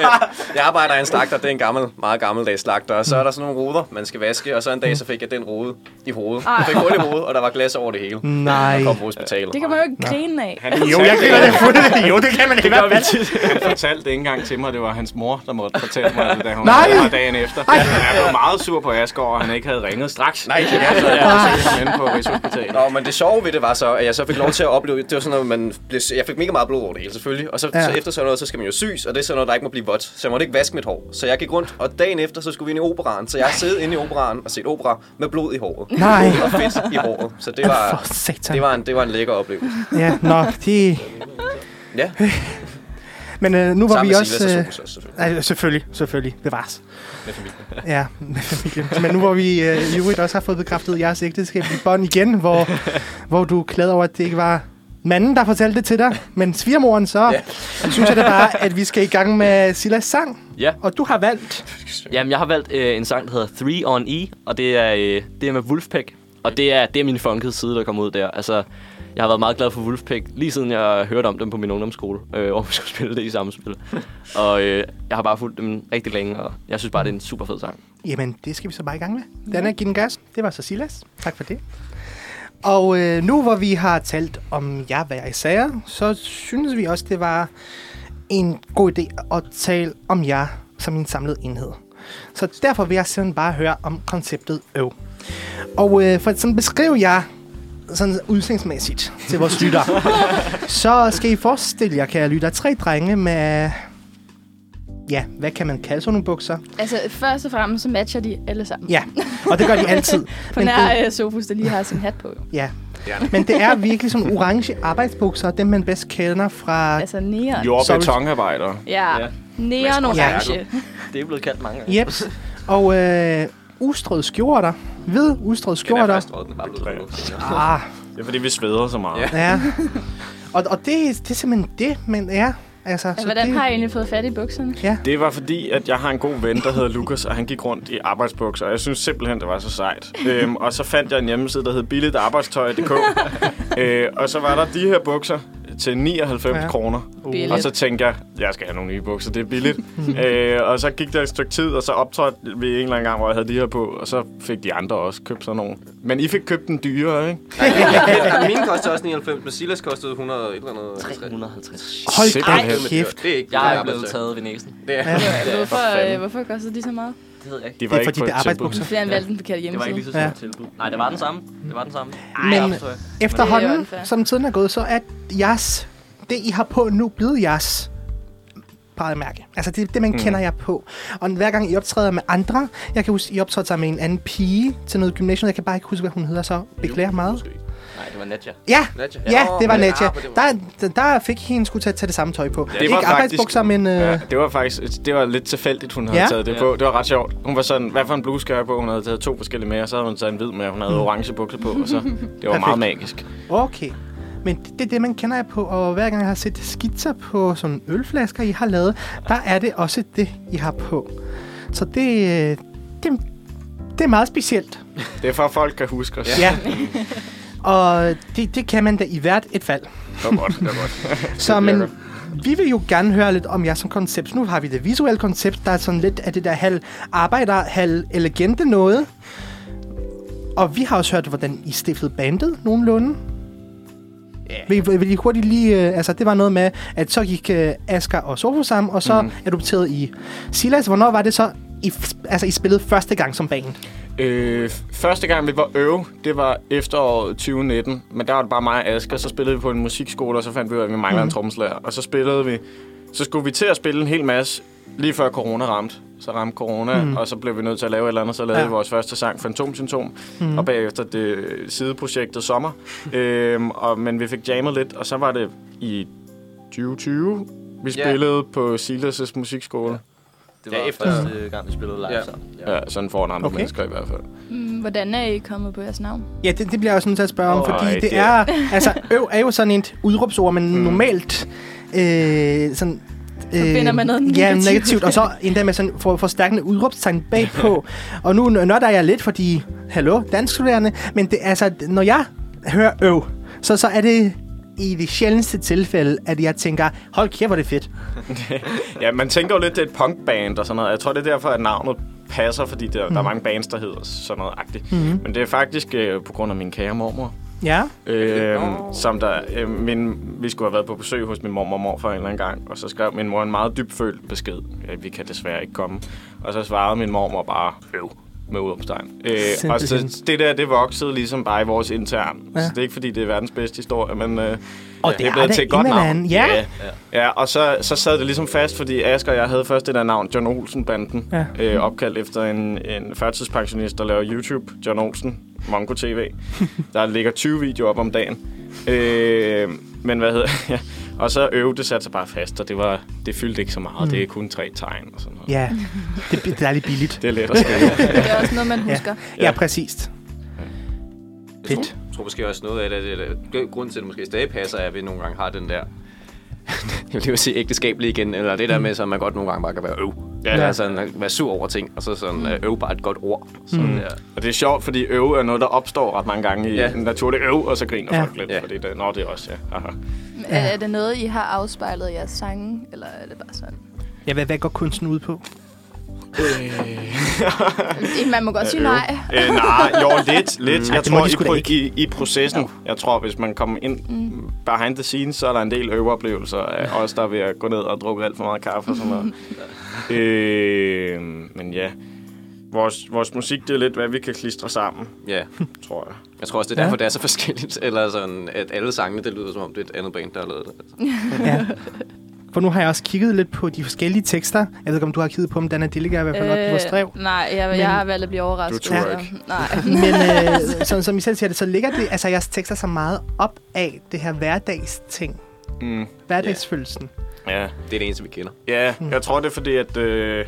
Speaker 3: jeg arbejder i en slagter, det er en gammel, meget gammeldags slagter, og så er der sådan nogle ruder, man skal vaske, og så en dag, så fik jeg den rode i hovedet.
Speaker 6: Ah.
Speaker 3: Jeg fik hul i hovedet, og der var glas over det hele.
Speaker 5: Nej.
Speaker 3: Jeg kom på hospitalet.
Speaker 6: Det kan man jo ikke grine af.
Speaker 5: Jo, jeg griner det fuldt. Jo, det kan man ikke. Det
Speaker 7: vi tit. Han fortalte ikke engang til mig, det var hans mor, der måtte fortælle mig det, da hun
Speaker 5: Nej!
Speaker 7: var dagen efter. Ej. Jeg blev meget sur på Asger, og han ikke havde ringet straks.
Speaker 3: Nej, det
Speaker 7: Ja, så jeg var inde på Rigshospitalet.
Speaker 3: Nå, men det sjove ved det var så, at jeg så fik lov til at opleve, det var sådan noget, man blev, jeg fik mega meget blod over det hele selvfølgelig, og så,
Speaker 5: Ja.
Speaker 3: ja. så efter sådan noget, så skal man jo syes, og det er sådan noget, der ikke må blive vådt, så jeg måtte ikke vaske mit hår. Så jeg gik rundt, og dagen efter, så skulle vi ind i operaren, så jeg sad inde i operaren og set opera med blod i håret.
Speaker 5: Nej.
Speaker 3: Og fedt i håret, så det var,
Speaker 5: For satan.
Speaker 3: det var, en, det var en lækker oplevelse.
Speaker 5: Ja, nå, de...
Speaker 3: Ja,
Speaker 5: Men øh, nu var
Speaker 3: sammen
Speaker 5: vi
Speaker 3: med
Speaker 5: også...
Speaker 3: Silas
Speaker 5: Øh,
Speaker 3: og Sofus også selvfølgelig.
Speaker 5: nej, selvfølgelig, selvfølgelig. Det var Med familien. Ja, med familien. Men nu hvor vi øh, i øvrigt også har fået bekræftet jeres ægteskab i bånd igen, hvor, hvor du klæder over, at det ikke var manden, der fortalte det til dig, men svigermoren, så ja.
Speaker 3: Ja.
Speaker 5: synes jeg da bare, at vi skal i gang med Silas sang.
Speaker 8: Ja.
Speaker 5: Og du har valgt...
Speaker 8: Jamen, jeg har valgt øh, en sang, der hedder Three on E, og det er, øh, det er med Wolfpack. Og det er, det er min funkede side, der kommer ud der. Altså, jeg har været meget glad for Wolfpack, lige siden jeg hørte om dem på min ungdomsskole, øh, hvor vi skulle spille det i samspil. og øh, jeg har bare fulgt dem rigtig længe, og jeg synes bare, det er en super fed sang.
Speaker 5: Jamen, det skal vi så bare i gang med. Dana, giv den gas. Det var så Silas. Tak for det. Og øh, nu hvor vi har talt om jer hver især, så synes vi også, det var en god idé at tale om jer som en samlet enhed. Så derfor vil jeg simpelthen bare høre om konceptet øv. Og øh, for at sådan beskrive jer sådan udseendemæssigt til vores lytter, så skal I forestille jer, kære lytter, tre drenge med, ja, hvad kan man kalde sådan nogle bukser?
Speaker 6: Altså, først og fremmest, så matcher de alle sammen.
Speaker 5: Ja, og det gør de altid.
Speaker 6: På
Speaker 5: Men det-
Speaker 6: nær øh, Sofus, der lige har sin hat på. Jo.
Speaker 5: Ja. Men det er virkelig sådan orange arbejdsbukser, dem man bedst kender fra...
Speaker 6: Altså, neon.
Speaker 7: Jord-
Speaker 5: Sorry.
Speaker 7: og betonarbejdere.
Speaker 6: Ja, neon orange.
Speaker 8: Det er blevet kaldt mange gange.
Speaker 5: Jeps. Og øh, ustrøde skjorter. Ved ustrøde
Speaker 3: Den er
Speaker 5: skjorter.
Speaker 3: faktisk rød, den er bare blevet rød.
Speaker 5: Ah,
Speaker 7: Det er fordi, vi sveder så meget.
Speaker 3: Ja.
Speaker 5: ja. Og, og det, det er simpelthen det, men ja. Altså, så
Speaker 6: Hvordan
Speaker 5: det,
Speaker 6: har I egentlig fået fat i bukserne?
Speaker 7: Det var fordi, at jeg har en god ven, der hedder Lukas, og han gik rundt i arbejdsbukser, og jeg synes simpelthen, det var så sejt. Øhm, og så fandt jeg en hjemmeside, der hed billigtarbejdstøj.dk, øh, og så var der de her bukser til 99
Speaker 5: Ja.
Speaker 7: ja. kroner.
Speaker 6: Billigt.
Speaker 7: Og så tænkte jeg, jeg skal have nogle nye bukser, det er billigt. øh, og så gik der et stykke tid, og så optrådte vi en eller anden gang, hvor jeg havde de her på, og så fik de andre også købt sådan nogle. Men I fik købt den dyrere, ikke?
Speaker 3: Ja, Min kostede også 99, men Silas kostede 100 et eller andet.
Speaker 8: 350.
Speaker 5: Hold
Speaker 7: Simpelthen.
Speaker 5: da kæft.
Speaker 3: Det er ikke
Speaker 8: Jeg er blevet taget ved næsen.
Speaker 3: Det er,
Speaker 6: Hvorfor, øh, hvorfor kostede de så meget?
Speaker 8: Det ved jeg ikke.
Speaker 7: De
Speaker 5: Det
Speaker 7: var
Speaker 5: er
Speaker 7: ikke
Speaker 5: fordi,
Speaker 7: på
Speaker 5: det er
Speaker 7: et tilbud.
Speaker 5: arbejdsbukser.
Speaker 6: Fordi han valgte den forkerte
Speaker 8: Det var ikke
Speaker 6: hjemmeside.
Speaker 8: lige så stort ja. tilbud. Nej, det var den samme. Det var den samme.
Speaker 5: Men-
Speaker 8: jeg forstår ikke.
Speaker 5: Efterhånden,
Speaker 6: Det er jo
Speaker 5: som tiden er gået, så er jeres, det I har på nu, blevet jeres mærke. Altså det, er det man mm. kender jer på. Og hver gang I optræder med andre, jeg kan huske, I optrådte sammen med en anden pige til noget gymnasium, jeg kan bare ikke huske, hvad hun hedder, så beklager meget.
Speaker 8: Nej, det var Nadja.
Speaker 5: Ja,
Speaker 3: Nadja.
Speaker 5: ja,
Speaker 3: Nå,
Speaker 5: det var
Speaker 3: men-
Speaker 5: Nadja.
Speaker 3: ah, men det var-
Speaker 5: Der, der fik hende skulle tage, tage det samme tøj på. Det
Speaker 7: var
Speaker 5: ikke
Speaker 7: faktisk-
Speaker 5: arbejdsbukser, men... Øh,
Speaker 7: Ja,
Speaker 5: ja.
Speaker 7: det var faktisk det var lidt tilfældigt, hun havde
Speaker 5: Ja.
Speaker 7: ja. taget det
Speaker 8: Ja.
Speaker 7: på. Det var ret sjovt. Hun var sådan, hvad for en bluse skal jeg have på? Hun havde taget to forskellige med, og så havde hun taget en hvid med, og hun
Speaker 5: Mm.
Speaker 7: havde orange bukser på, og så det var meget magisk.
Speaker 5: Okay. Men det, det er det, man kender jer på, og hver gang jeg har set skitser på sådan ølflasker, I har lavet, der er det også det, I har på. Så det, øh, det, det er meget specielt.
Speaker 7: Det er for, at folk kan huske os.
Speaker 5: Ja. Og det, det kan man da i hvert et fald.
Speaker 7: Det var godt, det var godt.
Speaker 5: Så
Speaker 7: Det
Speaker 5: men,
Speaker 7: virker.
Speaker 5: vi vil jo gerne høre lidt om jer som koncept. Nu har vi det visuelle koncept, der er sådan lidt af det der halv arbejder, halv elegante noget. Og vi har også hørt, hvordan I stiftede bandet nogenlunde. Yeah. Vil, I- vil I hurtigt lige... Øh, altså, det var noget med, at så gik øh, Asger og Sofus sammen, og så mm. adopterede I Silas. Hvornår var det så, I, f- altså, I spillede første gang som band?
Speaker 7: Øh, første gang, vi var øve, det var efteråret 2019. Men der var det bare mig og Asger. Så spillede vi på en musikskole, og så fandt vi ud af, at vi manglede en trommeslager. Og så spillede vi... Så skulle vi til at spille en hel masse, lige før corona ramte. Så ramte corona, mm. og så blev vi nødt til at lave et eller andet. Så lavede
Speaker 5: Ja.
Speaker 7: ja. vi vores første sang, Fantomsymptom. Mm. Og bagefter det sideprojektet Sommer. øhm, og, men vi fik jammet lidt, og så var det i 2020. Vi
Speaker 9: Ja.
Speaker 7: spillede på Silas' musikskole.
Speaker 9: Det
Speaker 8: Ja,
Speaker 9: var ja,
Speaker 8: efter-
Speaker 9: efter første gang, vi spillede live
Speaker 8: Ja.
Speaker 9: ja. sammen.
Speaker 7: Ja, ja sådan får andre
Speaker 5: Okay.
Speaker 7: okay. mennesker i hvert fald.
Speaker 6: Mm, hvordan er I kommet på jeres navn?
Speaker 5: Ja, det, det bliver jeg også nødt til at spørge om, oh,
Speaker 7: Åh,
Speaker 5: fordi
Speaker 7: ej,
Speaker 5: det, det
Speaker 7: det-
Speaker 5: er... Altså, øv er jo sådan et udråbsord, men mm. normalt... Øh, sådan, øh,
Speaker 6: Forbinder man noget
Speaker 5: Ja,
Speaker 6: negativt.
Speaker 5: negativt. Og så endda med sådan for, forstærkende udråbstegn bagpå. og nu nørder jeg lidt, fordi... Hallo, danskstuderende. Men det, altså, når jeg hører øv, så, så er det i det sjældneste tilfælde, at jeg tænker, hold kæft, hvor er det fedt.
Speaker 7: Ja, man tænker jo lidt, det er et punkband og sådan noget. Jeg tror, det er derfor, at navnet passer, fordi der, mm. der er mange bands, der hedder sådan noget agtigt. Mm. Men det er faktisk øh, på grund af min kære mormor.
Speaker 5: Ja.
Speaker 7: Øh, som der, øh, min, vi skulle have været på besøg hos min mormor og morfar en eller anden gang, og så skrev min mor en meget dybfølt besked. Øh, vi kan desværre ikke komme. Og så svarede min mormor bare, øv, med udopstegn. Øh, og
Speaker 5: Simpelthen.
Speaker 7: så, det der, det voksede ligesom bare i vores intern.
Speaker 5: Ja.
Speaker 7: Ja. Så det er ikke, fordi det er verdens bedste historie, men... Øh,
Speaker 5: Og det,
Speaker 7: det er
Speaker 5: er
Speaker 7: blevet til
Speaker 5: da
Speaker 7: et godt navn.
Speaker 5: Immerland. Ja.
Speaker 7: ja. ja og så, så sad det ligesom fast, fordi Asger og jeg havde først det der navn, John Olsen-banden.
Speaker 5: Ja.
Speaker 7: Ja. Øh, opkaldt efter en, en førtidspensionist, der laver YouTube, John Olsen, Mongo TV. der ligger 20 videoer op om dagen. Øh, men hvad hedder ja. Og så øv, det satte sig bare fast, og det, var, det fyldte ikke så meget. Mm. Det er kun tre tegn og sådan noget.
Speaker 5: ja. Det, er bi- det er lidt billigt.
Speaker 7: Det er let at skrive.
Speaker 6: Det er også noget, man husker.
Speaker 5: Ja, ja præcist.
Speaker 9: Jeg
Speaker 5: Fedt.
Speaker 9: tror, tror måske også noget af det, det, det grunden til, at det måske stadig passer, er, at vi nogle gange har den der
Speaker 3: Jeg vil sige ægteskabelig igen, eller det der med, så man godt nogle gange bare kan være øv. Ja,
Speaker 5: Ja.
Speaker 7: altså.
Speaker 3: ja. sådan, være sur over ting, og så sådan, øh, øv bare et godt ord. Sådan mm. der.
Speaker 7: og det er sjovt, fordi øv er noget, der opstår ret mange gange i
Speaker 3: Ja.
Speaker 7: ja. naturlig øv, og så griner
Speaker 5: Ja.
Speaker 7: ja. folk lidt.
Speaker 3: Ja.
Speaker 7: Ja. Fordi det, nå, det er også, ja. Aha.
Speaker 6: Ja. Er, er det noget, I har afspejlet i jeres sange, eller er det bare sådan?
Speaker 5: Ja, hvad, hvad går kunsten ud på?
Speaker 6: Øh, Man må godt sige nej.
Speaker 7: Øh, nej, jo, lidt. lidt. Jeg
Speaker 5: Mm. det må
Speaker 7: tror,
Speaker 5: de
Speaker 7: i,
Speaker 5: sgu da
Speaker 7: pro-
Speaker 5: ikke.
Speaker 7: i, i processen, jeg tror, hvis man kommer ind mm. behind the scenes, så er der en del øveoplevelser af os, der er ved at gå ned og drukke alt for meget kaffe og sådan noget. øh, men ja, vores, vores musik, det er lidt, hvad vi kan klistre sammen,
Speaker 3: Ja.
Speaker 7: tror jeg.
Speaker 3: Jeg tror også, det er derfor, det er så forskelligt. Eller sådan, at alle sangene, det lyder som om, det er et andet band, der har lavet det. Altså.
Speaker 5: Ja. For nu har jeg også kigget lidt på de forskellige tekster. Jeg ved ikke, om du har kigget på dem, Dana. Det ligger i hvert fald øh, op på vores drev.
Speaker 6: nej, jeg,
Speaker 5: Men-
Speaker 6: jeg har valgt at blive overrasket.
Speaker 7: Du tror
Speaker 6: så-
Speaker 7: ikke.
Speaker 6: Nej.
Speaker 5: Men øh, som, som I selv siger det, så ligger det, altså jeres tekster så meget op af det her hverdagsting.
Speaker 7: Mm.
Speaker 5: Hverdagsfølelsen.
Speaker 7: Ja.
Speaker 3: Det er det eneste, vi kender.
Speaker 7: Ja, jeg tror det er fordi, at øh,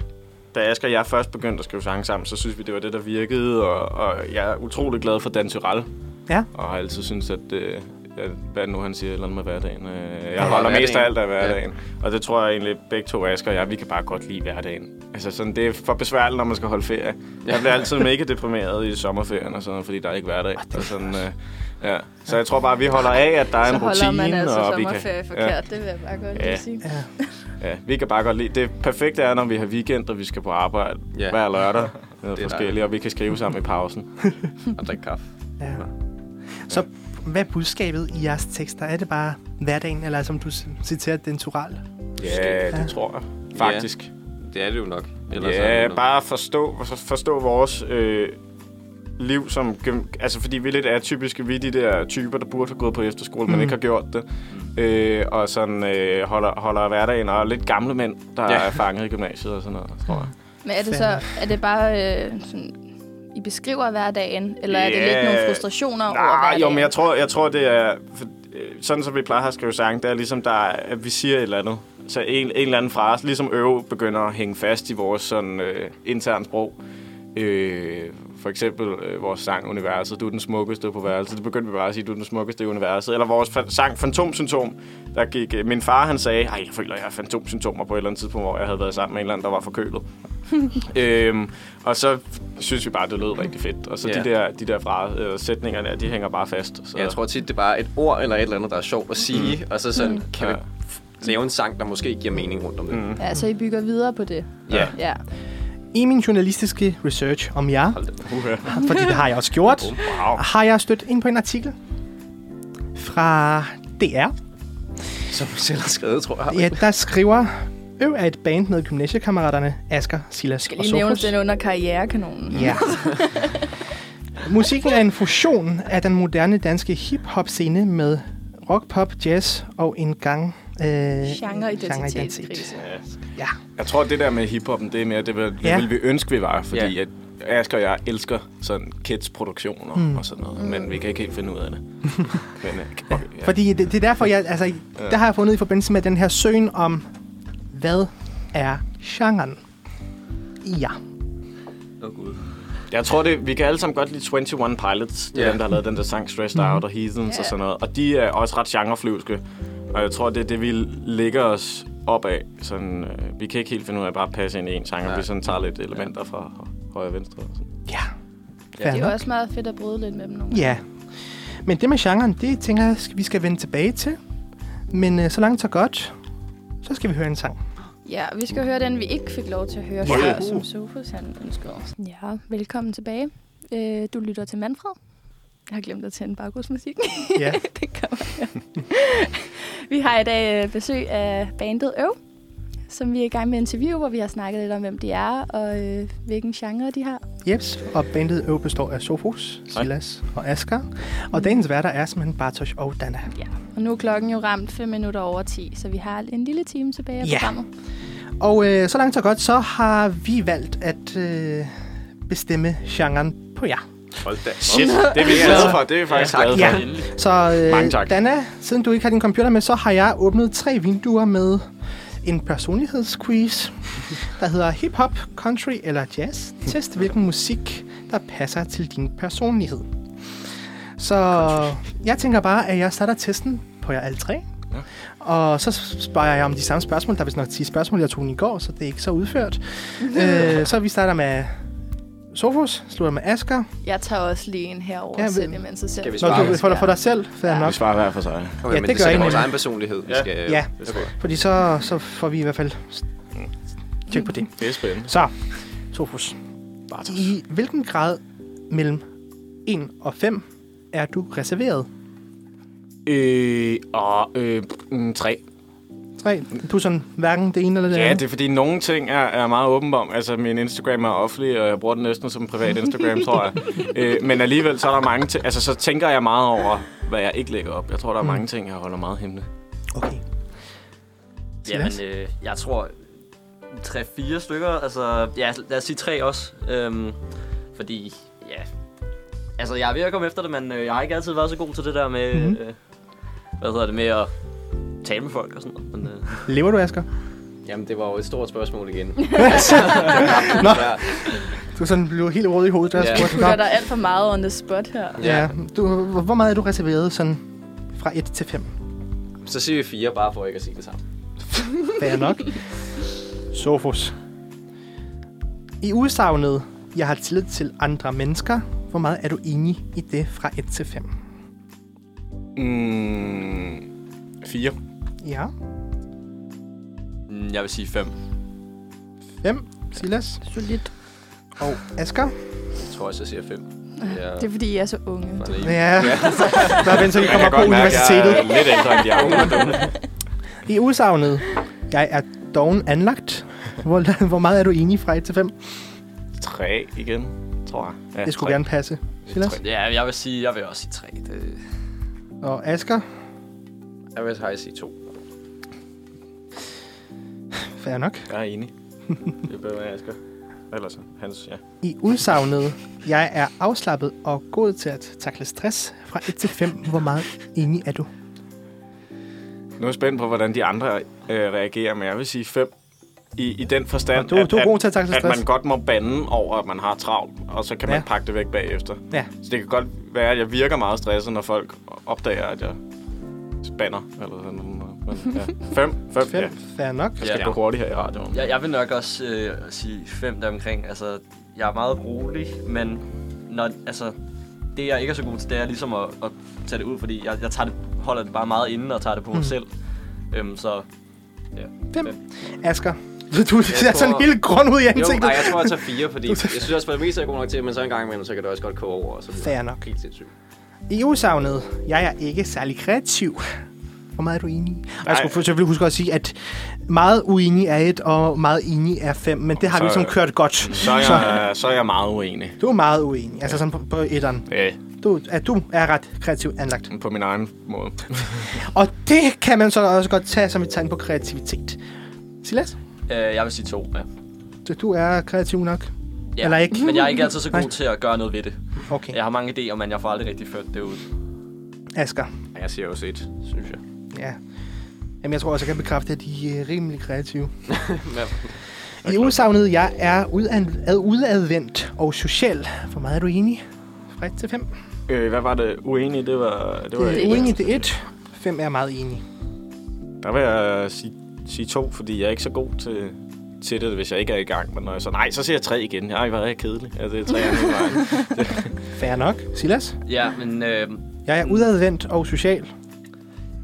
Speaker 7: da Asger og jeg først begyndte at skrive sange sammen, så synes vi, det var det, der virkede, og, og jeg er utrolig glad for Dan Tyrell.
Speaker 5: Ja.
Speaker 7: Og har altid synes at, øh, at hvad er det nu han siger, et eller andet med hverdagen. Øh, jeg
Speaker 3: bare
Speaker 7: holder mest af
Speaker 3: hverdagen.
Speaker 7: alt af hverdagen. Og det tror jeg egentlig, begge to, Asger og jeg, vi kan bare godt lide hverdagen. Altså sådan, det er for besværligt, når man skal holde ferie. Jeg bliver altid mega deprimeret i sommerferien og sådan noget, fordi der er ikke hverdag. Og sådan, øh, ja. Så jeg tror bare, vi holder af, at der er
Speaker 6: Så
Speaker 7: en rutine.
Speaker 6: holder man altså
Speaker 7: og vi
Speaker 6: sommerferie
Speaker 7: kan,
Speaker 6: forkert, det vil jeg bare godt
Speaker 7: Ja.
Speaker 6: lige sige.
Speaker 5: Ja.
Speaker 7: Ja, vi kan bare godt lide. Det perfekte er, når vi har weekend, og vi skal på arbejde
Speaker 3: Ja.
Speaker 7: ja. hver lørdag. Det er
Speaker 3: dejligt.
Speaker 7: forskelligt, og vi kan skrive sammen i pausen.
Speaker 3: Og drikke kaffe.
Speaker 5: ja. Så hvad er budskabet i jeres tekster? Er det bare hverdagen, eller som du c- citerer den tural?
Speaker 7: Ja, det tror jeg. Faktisk.
Speaker 3: Det er det jo nok.
Speaker 7: Ja,
Speaker 3: er det
Speaker 7: ja
Speaker 3: noget-
Speaker 7: bare forstå, forstå vores øh, liv som... gem- Altså, fordi vi er lidt atypiske. Vi er de der typer, der burde have gået på efterskole, mm. men ikke har gjort det. Øh, og sådan øh, holder, holder hverdagen, og lidt gamle mænd, der
Speaker 3: Ja.
Speaker 7: er fanget i gymnasiet og sådan noget, tror jeg.
Speaker 6: Men er det så, er det bare øh, sådan, I beskriver hverdagen, eller er det
Speaker 7: Ja.
Speaker 6: lidt nogle frustrationer over
Speaker 7: Nej,
Speaker 6: hverdagen?
Speaker 7: jo, men jeg tror, jeg tror det er... For, øh, sådan som vi plejer at skrive sange, det er ligesom, der, er- at vi siger et eller andet. Så en, en eller anden frase, ligesom øve, begynder at hænge fast i vores sådan, øh, interne sprog. Øh, for eksempel øh, vores sang Universet, du er den smukkeste på værelset. Det begyndte vi bare at sige, du er den smukkeste i universet. Eller vores fa- sang Fantomsymptom, der gik... Øh, min far, han sagde, ej, jeg føler, jeg har fantomsymptomer på et eller andet tidspunkt, hvor jeg havde været sammen med en eller anden, der var forkølet. øhm, og så synes vi bare, det lød rigtig fedt. Og så
Speaker 3: Ja.
Speaker 7: de der, de der fra, øh, sætninger der, de hænger bare fast. Så.
Speaker 3: Jeg tror tit, det er bare et ord eller et eller andet, der er sjovt at sige, mm. og så sådan, kan vi
Speaker 7: Ja.
Speaker 3: f- lave en sang, der måske giver mening rundt om det. Mm.
Speaker 6: Ja, så I bygger videre på det.
Speaker 3: Ja.
Speaker 6: Ja.
Speaker 5: I min journalistiske research om jer,
Speaker 7: Uha.
Speaker 5: fordi det har jeg også gjort,
Speaker 7: Wow.
Speaker 5: har jeg stødt ind på en artikel fra DR,
Speaker 3: Som vi selv har skrevet, tror jeg.
Speaker 5: Ja, der skriver... Øv er et band med gymnasiekammeraterne Asker, Silas
Speaker 6: Skal
Speaker 5: og
Speaker 6: lige nævne
Speaker 5: Sofus.
Speaker 6: den under karrierekanonen.
Speaker 5: Ja. Musikken er en fusion af den moderne danske hip-hop-scene med rock, pop, jazz og en gang... Øh,
Speaker 6: Genreidentitetskrise.
Speaker 5: Ja.
Speaker 7: Jeg tror, det der med hiphoppen, det er mere, det, vil,
Speaker 5: Ja.
Speaker 7: det vil vi ønske, vi var. Fordi
Speaker 3: Ja.
Speaker 7: at Asger og jeg elsker sådan kids produktioner mm. og sådan noget, men vi kan ikke helt finde ud af det. men, øh, okay, ja.
Speaker 5: Fordi det, det er derfor, jeg, altså, der har jeg fundet i forbindelse med den her søgen om, hvad er genren? Ja.
Speaker 7: Jeg tror, det, vi kan alle sammen godt lide 21 Pilots. Det er
Speaker 9: Ja.
Speaker 7: yeah. dem, der har lavet den der sang Stressed mm. Out og Heathens yeah. og sådan noget. Og de er også ret genreflyvske. Og jeg tror, det er det, vi lægger os op af. Sådan, øh, vi kan ikke helt finde ud af at bare passe ind i en sang, og vi sådan tager lidt elementer fra hø- højre og venstre. Og sådan.
Speaker 5: Ja.
Speaker 6: Det er
Speaker 5: Fair
Speaker 6: jo
Speaker 5: nok.
Speaker 6: også meget fedt at bryde lidt med dem nogle
Speaker 5: Ja. Men det med genren, det tænker jeg, vi skal vende tilbage til. Men øh, så langt så godt, så skal vi høre en sang.
Speaker 6: Ja, og vi skal høre den, vi ikke fik lov til at høre yeah. før, som Sofus han ønskede. Ja, velkommen tilbage. Øh, du lytter til Manfred. Jeg har glemt at tænde baggrundsmusik.
Speaker 5: Ja.
Speaker 6: det kommer her. vi har i dag øh, besøg af bandet Øv, som vi er i gang med at interview, hvor vi har snakket lidt om, hvem de er og øh, hvilken genre de har.
Speaker 5: Jeps, og bandet Øv består af Sofus, Silas og Asger. Og dagens værter er simpelthen Bartosz og Dana.
Speaker 6: Og nu er klokken jo ramt 5 minutter over 10, så vi har en lille time tilbage af
Speaker 5: Ja.
Speaker 6: programmet.
Speaker 5: Og øh, så langt så godt, så har vi valgt at øh, bestemme genren på jer.
Speaker 9: Hold da.
Speaker 7: Shit, det er vi glade for. Det er vi faktisk ja, glade for.
Speaker 5: Ja. Så
Speaker 7: Mange
Speaker 5: øh,
Speaker 7: tak.
Speaker 5: Dana, siden du ikke har din computer med, så har jeg åbnet tre vinduer med en personlighedsquiz, der hedder hip-hop, country eller jazz. Test hvilken musik, der passer til din personlighed. Så jeg tænker bare, at jeg starter testen på jer alle tre. Og så spørger jeg om de samme spørgsmål. Der er vist nok 10 spørgsmål, jeg tog i går, så det er ikke så udført. øh, så vi starter med Sofus, slutter med Asger.
Speaker 6: Jeg tager også lige en herover
Speaker 5: Ja,
Speaker 6: ja,
Speaker 5: vi-
Speaker 6: selv, imens jeg selv.
Speaker 9: Skal vi
Speaker 5: Når
Speaker 9: Bare
Speaker 5: du får dig for dig selv, fair
Speaker 6: Ja.
Speaker 5: nok.
Speaker 7: Vi svarer hver for sig.
Speaker 9: Okay,
Speaker 5: Ja,
Speaker 9: ja, men
Speaker 5: det
Speaker 9: det,
Speaker 5: gør
Speaker 9: det er
Speaker 5: jeg
Speaker 9: vores
Speaker 5: nemlig.
Speaker 9: egen personlighed, vi skal...
Speaker 5: Ja.
Speaker 9: Okay.
Speaker 5: Fordi så, så får vi i hvert fald tjek på det.
Speaker 7: Det er spændende.
Speaker 5: Så, Sofus. I hvilken grad mellem 1 og 5 er du reserveret?
Speaker 7: Øh, og øh, mm, tre.
Speaker 5: 3. Du er sådan hverken det ene eller det
Speaker 7: Ja,
Speaker 5: andet?
Speaker 7: det er fordi nogle ting er, er meget åben om. Altså, min Instagram er offentlig, og jeg bruger den næsten som privat Instagram, tror jeg. Øh, men alligevel, så er der mange ting. Altså, så tænker jeg meget over, hvad jeg ikke lægger op. Jeg tror, der er mange ting, jeg holder meget hemmelig.
Speaker 5: Okay. Silas?
Speaker 8: Jamen, øh, jeg tror 3-4 stykker. Altså, ja, lad os sige 3 også. Øhm, fordi, ja... Altså, jeg er ved at komme efter det, men øh, jeg har ikke altid været så god til det der med...
Speaker 5: Mhm.
Speaker 8: Mm-hmm. Øh, hvad hedder det? Med at tale med folk og sådan noget. Men, øh,
Speaker 5: Lever du, Asger?
Speaker 9: Jamen, det var jo et stort spørgsmål igen.
Speaker 5: Du er sådan blev helt rød i hovedet, der
Speaker 9: Ja.
Speaker 5: yeah.
Speaker 6: Du gør
Speaker 5: spurgte
Speaker 6: dig alt for meget on the spot her.
Speaker 5: Ja. Du, hvor meget er du reserveret sådan fra 1 til 5?
Speaker 9: Så siger vi fire, bare for ikke at sige det samme.
Speaker 5: Fair nok. Sofus. I udsagnet, jeg har tillid til andre mennesker, hvor meget er du enig i det fra 1 til 5?
Speaker 7: Mm, fire.
Speaker 5: Ja.
Speaker 8: mm, jeg vil sige 5.
Speaker 5: 5. Silas
Speaker 6: Solidt.
Speaker 5: og Asger.
Speaker 9: Jeg tror også, jeg siger fem. Ja.
Speaker 6: Det er fordi, I er så unge.
Speaker 5: Ja. Bare vent, så vi kommer på universitetet.
Speaker 7: jeg er lidt ældre end de andre.
Speaker 5: I udsagnet, jeg er doven anlagt. Hvor, hvor meget er du enig fra 1 til 5?
Speaker 7: Tre igen, tror jeg. Ja,
Speaker 5: Det skulle
Speaker 7: tre.
Speaker 5: gerne passe. Silas
Speaker 8: Ja, jeg vil sige, jeg vil også sige 3. Det,
Speaker 5: og Asger.
Speaker 9: Jeg vil have sige to.
Speaker 5: Fair nok.
Speaker 7: Jeg er enig. Det er bedre, end jeg skal. Ellers, hans, ja.
Speaker 5: I udsagnet, jeg er afslappet og god til at takle stress fra 1 til 5. Hvor meget enig er du?
Speaker 7: Nu er jeg spændt på, hvordan de andre øh, reagerer, men jeg vil sige 5. I, I den forstand,
Speaker 5: Og du- du er god til at takle
Speaker 7: at
Speaker 5: stress.
Speaker 7: man godt må bande over, at man har travlt, og så kan ja.
Speaker 5: Ja.
Speaker 7: man pakke det væk bagefter.
Speaker 5: Ja.
Speaker 7: Så det kan godt være, at jeg virker meget stresset, når folk opdager, at jeg banner eller sådan noget. Men, ja. fem, fem, fem.
Speaker 5: 5.
Speaker 7: Ja.
Speaker 5: Fair nok.
Speaker 7: Jeg skal
Speaker 8: Ja.
Speaker 7: gå hurtigt her i radioen.
Speaker 8: jeg, jeg vil nok også øh, sige 5 deromkring. Altså, jeg er meget rolig, men når, altså, det, jeg ikke er så god til, det er ligesom at, at tage det ud, fordi jeg, jeg tager det, holder det bare meget inde og tager det på mig mm. selv. Øhm, så
Speaker 5: 5. Asger. Du ser sådan
Speaker 9: tror-
Speaker 5: helt grøn ud i
Speaker 9: Jo,
Speaker 5: ansigtet.
Speaker 9: nej, jeg tror, jeg tager fire, fordi jeg synes også, at mest er god nok til, men så en gang imellem, så kan det også godt koge over. Og så
Speaker 5: Fair nok.
Speaker 9: Helt sindssygt.
Speaker 5: I udsagnet, jeg er ikke særlig kreativ. Hvor meget er du enig? i? Og Jeg skulle for- selvfølgelig huske at sige, at meget uenig er et, og meget enig er fem, men det har vi
Speaker 7: Så-
Speaker 5: ligesom kørt godt.
Speaker 7: Så, er jeg, så er jeg meget uenig
Speaker 5: Du er meget uenig, altså sådan på, på etteren.
Speaker 7: øh,
Speaker 5: Du, at du er ret kreativt anlagt.
Speaker 7: på min egen måde.
Speaker 5: Og det kan man så også godt tage som et tegn på kreativitet. Silas,
Speaker 8: øh, jeg vil sige 2. Ja.
Speaker 5: så du er kreativ nok.
Speaker 8: Ja,
Speaker 5: Eller ikke?
Speaker 8: Men jeg er ikke altid så god
Speaker 5: Nej.
Speaker 8: til at gøre noget ved det.
Speaker 5: Okay,
Speaker 8: Jeg har mange idéer, men jeg får aldrig rigtig ført det ud.
Speaker 5: Asger.
Speaker 9: Jeg siger også et, synes jeg.
Speaker 5: Ja. Jamen, jeg tror også, jeg kan bekræfte, at de er rimelig kreative. I udsagnet, jeg er udan- ad- udadvendt og social. Hvor meget er du enig? Fra 1 til 5.
Speaker 7: Øh, hvad var det? Uenig, det var... Det var
Speaker 5: Det er uenig, det er 1. 5 er meget enig.
Speaker 7: Der vil jeg sige, sige to, fordi jeg er ikke så god til, til det, hvis jeg ikke er i gang. Men når jeg så, nej, så siger jeg tre igen. Ej, hvor er jeg kedelig. Altså, det er tre hele vejen.
Speaker 5: Fair nok. Silas?
Speaker 8: Ja, men øh,
Speaker 5: Jeg er udadvendt og social.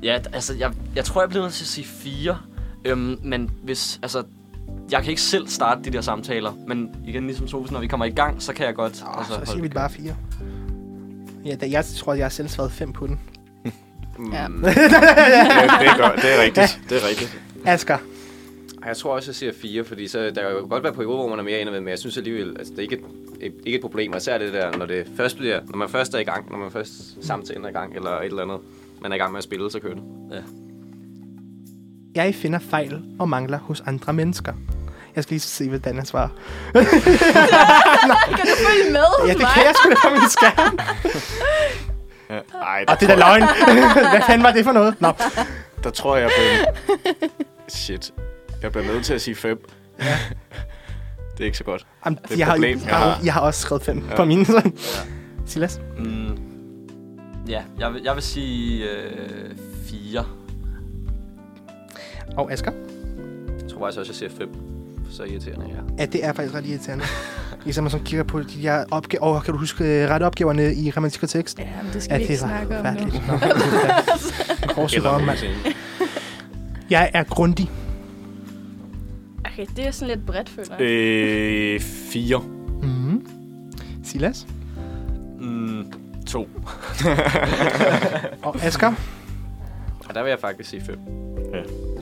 Speaker 8: ja, d- altså, jeg, jeg tror, jeg bliver nødt til at sige fire. Øhm, men hvis, altså, jeg kan ikke selv starte de der samtaler. Men igen, ligesom Sofus, når vi kommer i gang, så kan jeg godt... altså,
Speaker 5: Oh, så siger
Speaker 8: holde-
Speaker 5: vi bare 4. Ja, da, jeg tror, jeg har selv svaret 5 på den.
Speaker 6: Ja.
Speaker 7: Ja, det, er godt. det er rigtigt. Det er rigtigt.
Speaker 5: Asger.
Speaker 9: Ej, Jeg tror også, jeg siger fire, fordi så, der kan jo godt være perioder, hvor man er mere indadvendt, men jeg synes alligevel, altså, det er ikke et, et, ikke et problem, og især det der, når, det først bliver, når man først er i gang, når man først samtalen er i gang, eller et eller andet, man er i gang med at spille, så kører det.
Speaker 5: Jeg finder fejl og mangler hos andre mennesker. Jeg skal lige se, hvad Dana svarer.
Speaker 6: Kan du følge med hos
Speaker 5: Ja, det
Speaker 6: mig?
Speaker 5: kan jeg sgu da på min skærm.
Speaker 7: Ja. Ej,
Speaker 5: Og
Speaker 7: der,
Speaker 5: det er da løgn. hvad fanden var det for noget? Nå,
Speaker 7: der tror jeg, jeg blev... Shit. Jeg bliver nødt til at sige fem. det er ikke så godt.
Speaker 5: Jamen,
Speaker 7: er et
Speaker 5: jeg, har,
Speaker 7: problem,
Speaker 5: jeg,
Speaker 7: jeg har.
Speaker 5: har, jeg har også skrevet 5 ja. på mine. Så. Silas?
Speaker 8: Mm, ja, jeg, vil- jeg vil sige øh, fire.
Speaker 5: Og Asger?
Speaker 9: Jeg tror faktisk også, jeg siger fem, for så irriterende jeg er.
Speaker 5: Ja, det er faktisk ret irriterende. Ligesom man sådan kigger på de her opgaver. Åh, kan du huske øh, rette opgaverne i grammatik og tekst?
Speaker 6: Ja, men det skal
Speaker 5: Ja,
Speaker 6: vi
Speaker 5: det
Speaker 6: ikke
Speaker 5: var
Speaker 6: snakke om nu.
Speaker 5: forfærdeligt. Nå. Korset om, mand. Jeg er grundig.
Speaker 6: Okay, det er sådan lidt bredt, føler jeg.
Speaker 7: Øh, fire.
Speaker 5: Mm-hmm. Silas?
Speaker 8: Mm, to.
Speaker 5: Og Asger?
Speaker 9: Og der vil jeg faktisk sige fem.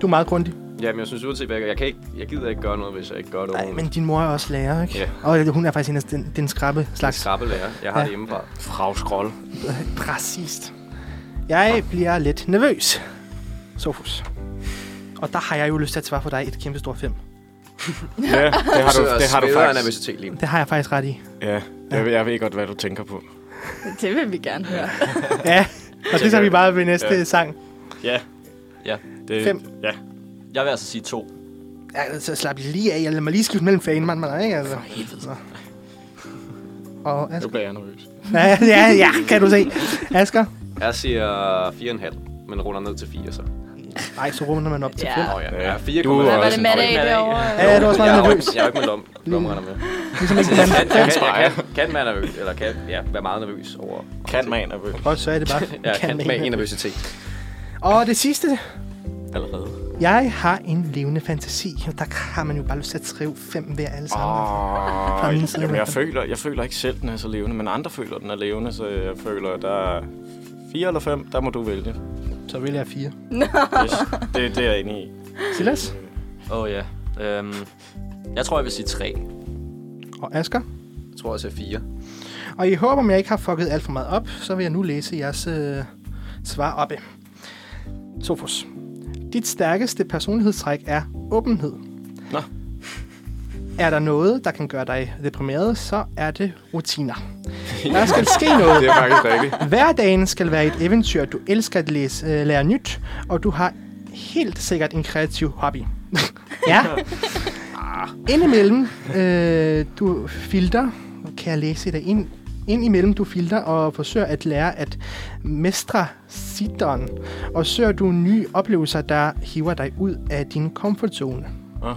Speaker 5: Du er meget grundig.
Speaker 9: Jamen, jeg synes uanset hvad, jeg, gør, jeg, kan ikke, jeg gider ikke gøre noget, hvis jeg ikke gør det
Speaker 5: Nej,
Speaker 9: ordentligt.
Speaker 5: men din mor er også lærer, ikke?
Speaker 9: Ja.
Speaker 5: Og hun er faktisk en af den, den skrappe
Speaker 9: Jeg er
Speaker 5: slags.
Speaker 9: skrabbelærer. Jeg har
Speaker 5: Ja.
Speaker 9: det hjemmefra.
Speaker 7: Fragskrol.
Speaker 5: Præcist. Jeg bliver lidt nervøs, Sofus. Og der har jeg jo lyst til at svare for dig et kæmpe stort fem.
Speaker 7: Ja, det har du, det har du faktisk.
Speaker 9: nervøsitet lige nu.
Speaker 5: Det har jeg faktisk ret i.
Speaker 7: Ja, jeg, ved- jeg ved godt, hvad du tænker på.
Speaker 6: Det vil vi gerne høre.
Speaker 5: Ja, og det tager vi bare ved næste ja. sang.
Speaker 7: Det,
Speaker 5: Fem.
Speaker 7: Ja.
Speaker 8: Jeg vil altså sige to.
Speaker 5: Ja, så slap lige af. Jeg lader mig lige skifte mellem fagene, mand. Man, ikke? Altså. For helvede. Og
Speaker 7: Nu
Speaker 5: Asger.
Speaker 7: bliver jeg nervøs.
Speaker 5: Ja, ja, ja, kan du se. Asger.
Speaker 9: Jeg siger 4,5, men runder ned til 4 så.
Speaker 5: Nej, så runder man op til
Speaker 6: Ja.
Speaker 5: fem.
Speaker 9: Nå ja, ja
Speaker 7: Du er
Speaker 9: 4,5.
Speaker 6: Hvad var
Speaker 7: også
Speaker 6: det
Speaker 7: en
Speaker 6: med
Speaker 8: frygtelig
Speaker 6: dig
Speaker 8: mand, ikke?
Speaker 6: derovre?
Speaker 5: Ja, det var også meget
Speaker 9: jeg, er jo
Speaker 5: nervøs.
Speaker 9: ikke- jeg er jo ikke med lom, lommerender med.
Speaker 5: Ligesom ikke man.
Speaker 9: Kan, kan, jeg kan, kan man er nervøs, eller kan ja, være meget nervøs over...
Speaker 7: Kan man er nervøs.
Speaker 5: Og så er det bare.
Speaker 9: Ja, kan,
Speaker 5: man
Speaker 9: med en nervøsitet.
Speaker 5: Og det sidste.
Speaker 7: Allerede.
Speaker 5: Jeg har en levende fantasi. Og der har man jo bare lyst til at skrive fem hver alle sammen.
Speaker 7: Ah. Åh,
Speaker 5: min side i
Speaker 7: jamen,
Speaker 5: hvert
Speaker 7: jeg,
Speaker 5: fald.
Speaker 7: føler, jeg føler ikke selv, den er så levende, men andre føler, den er levende, så jeg føler, at der er fire eller fem, der må du vælge.
Speaker 5: Så vil jeg fire.
Speaker 7: Yes, det, det er jeg inde i.
Speaker 5: Silas
Speaker 8: Åh oh, ja. Øhm, jeg tror, jeg vil sige tre.
Speaker 5: og Asger.
Speaker 9: Jeg tror, jeg siger 4.
Speaker 5: Og i håb om jeg ikke har fucket alt for meget op, så vil jeg nu læse jeres øh, svar oppe. Sofus. Dit stærkeste personlighedstræk er åbenhed.
Speaker 7: Nå.
Speaker 5: Er der noget, der kan gøre dig deprimeret, så er det rutiner. Der skal ske noget.
Speaker 7: Det er faktisk rigtigt.
Speaker 5: Hverdagen skal være et eventyr, du elsker at læse, øh, lære nyt, og du har helt sikkert en kreativ hobby. ja. Indimellem, øh, du filter, kan jeg læse det ind, ind imellem du filter og forsøger at lære at mestre sidderen, og søger du nye oplevelser, der hiver dig ud af din komfortzone.
Speaker 7: Nå.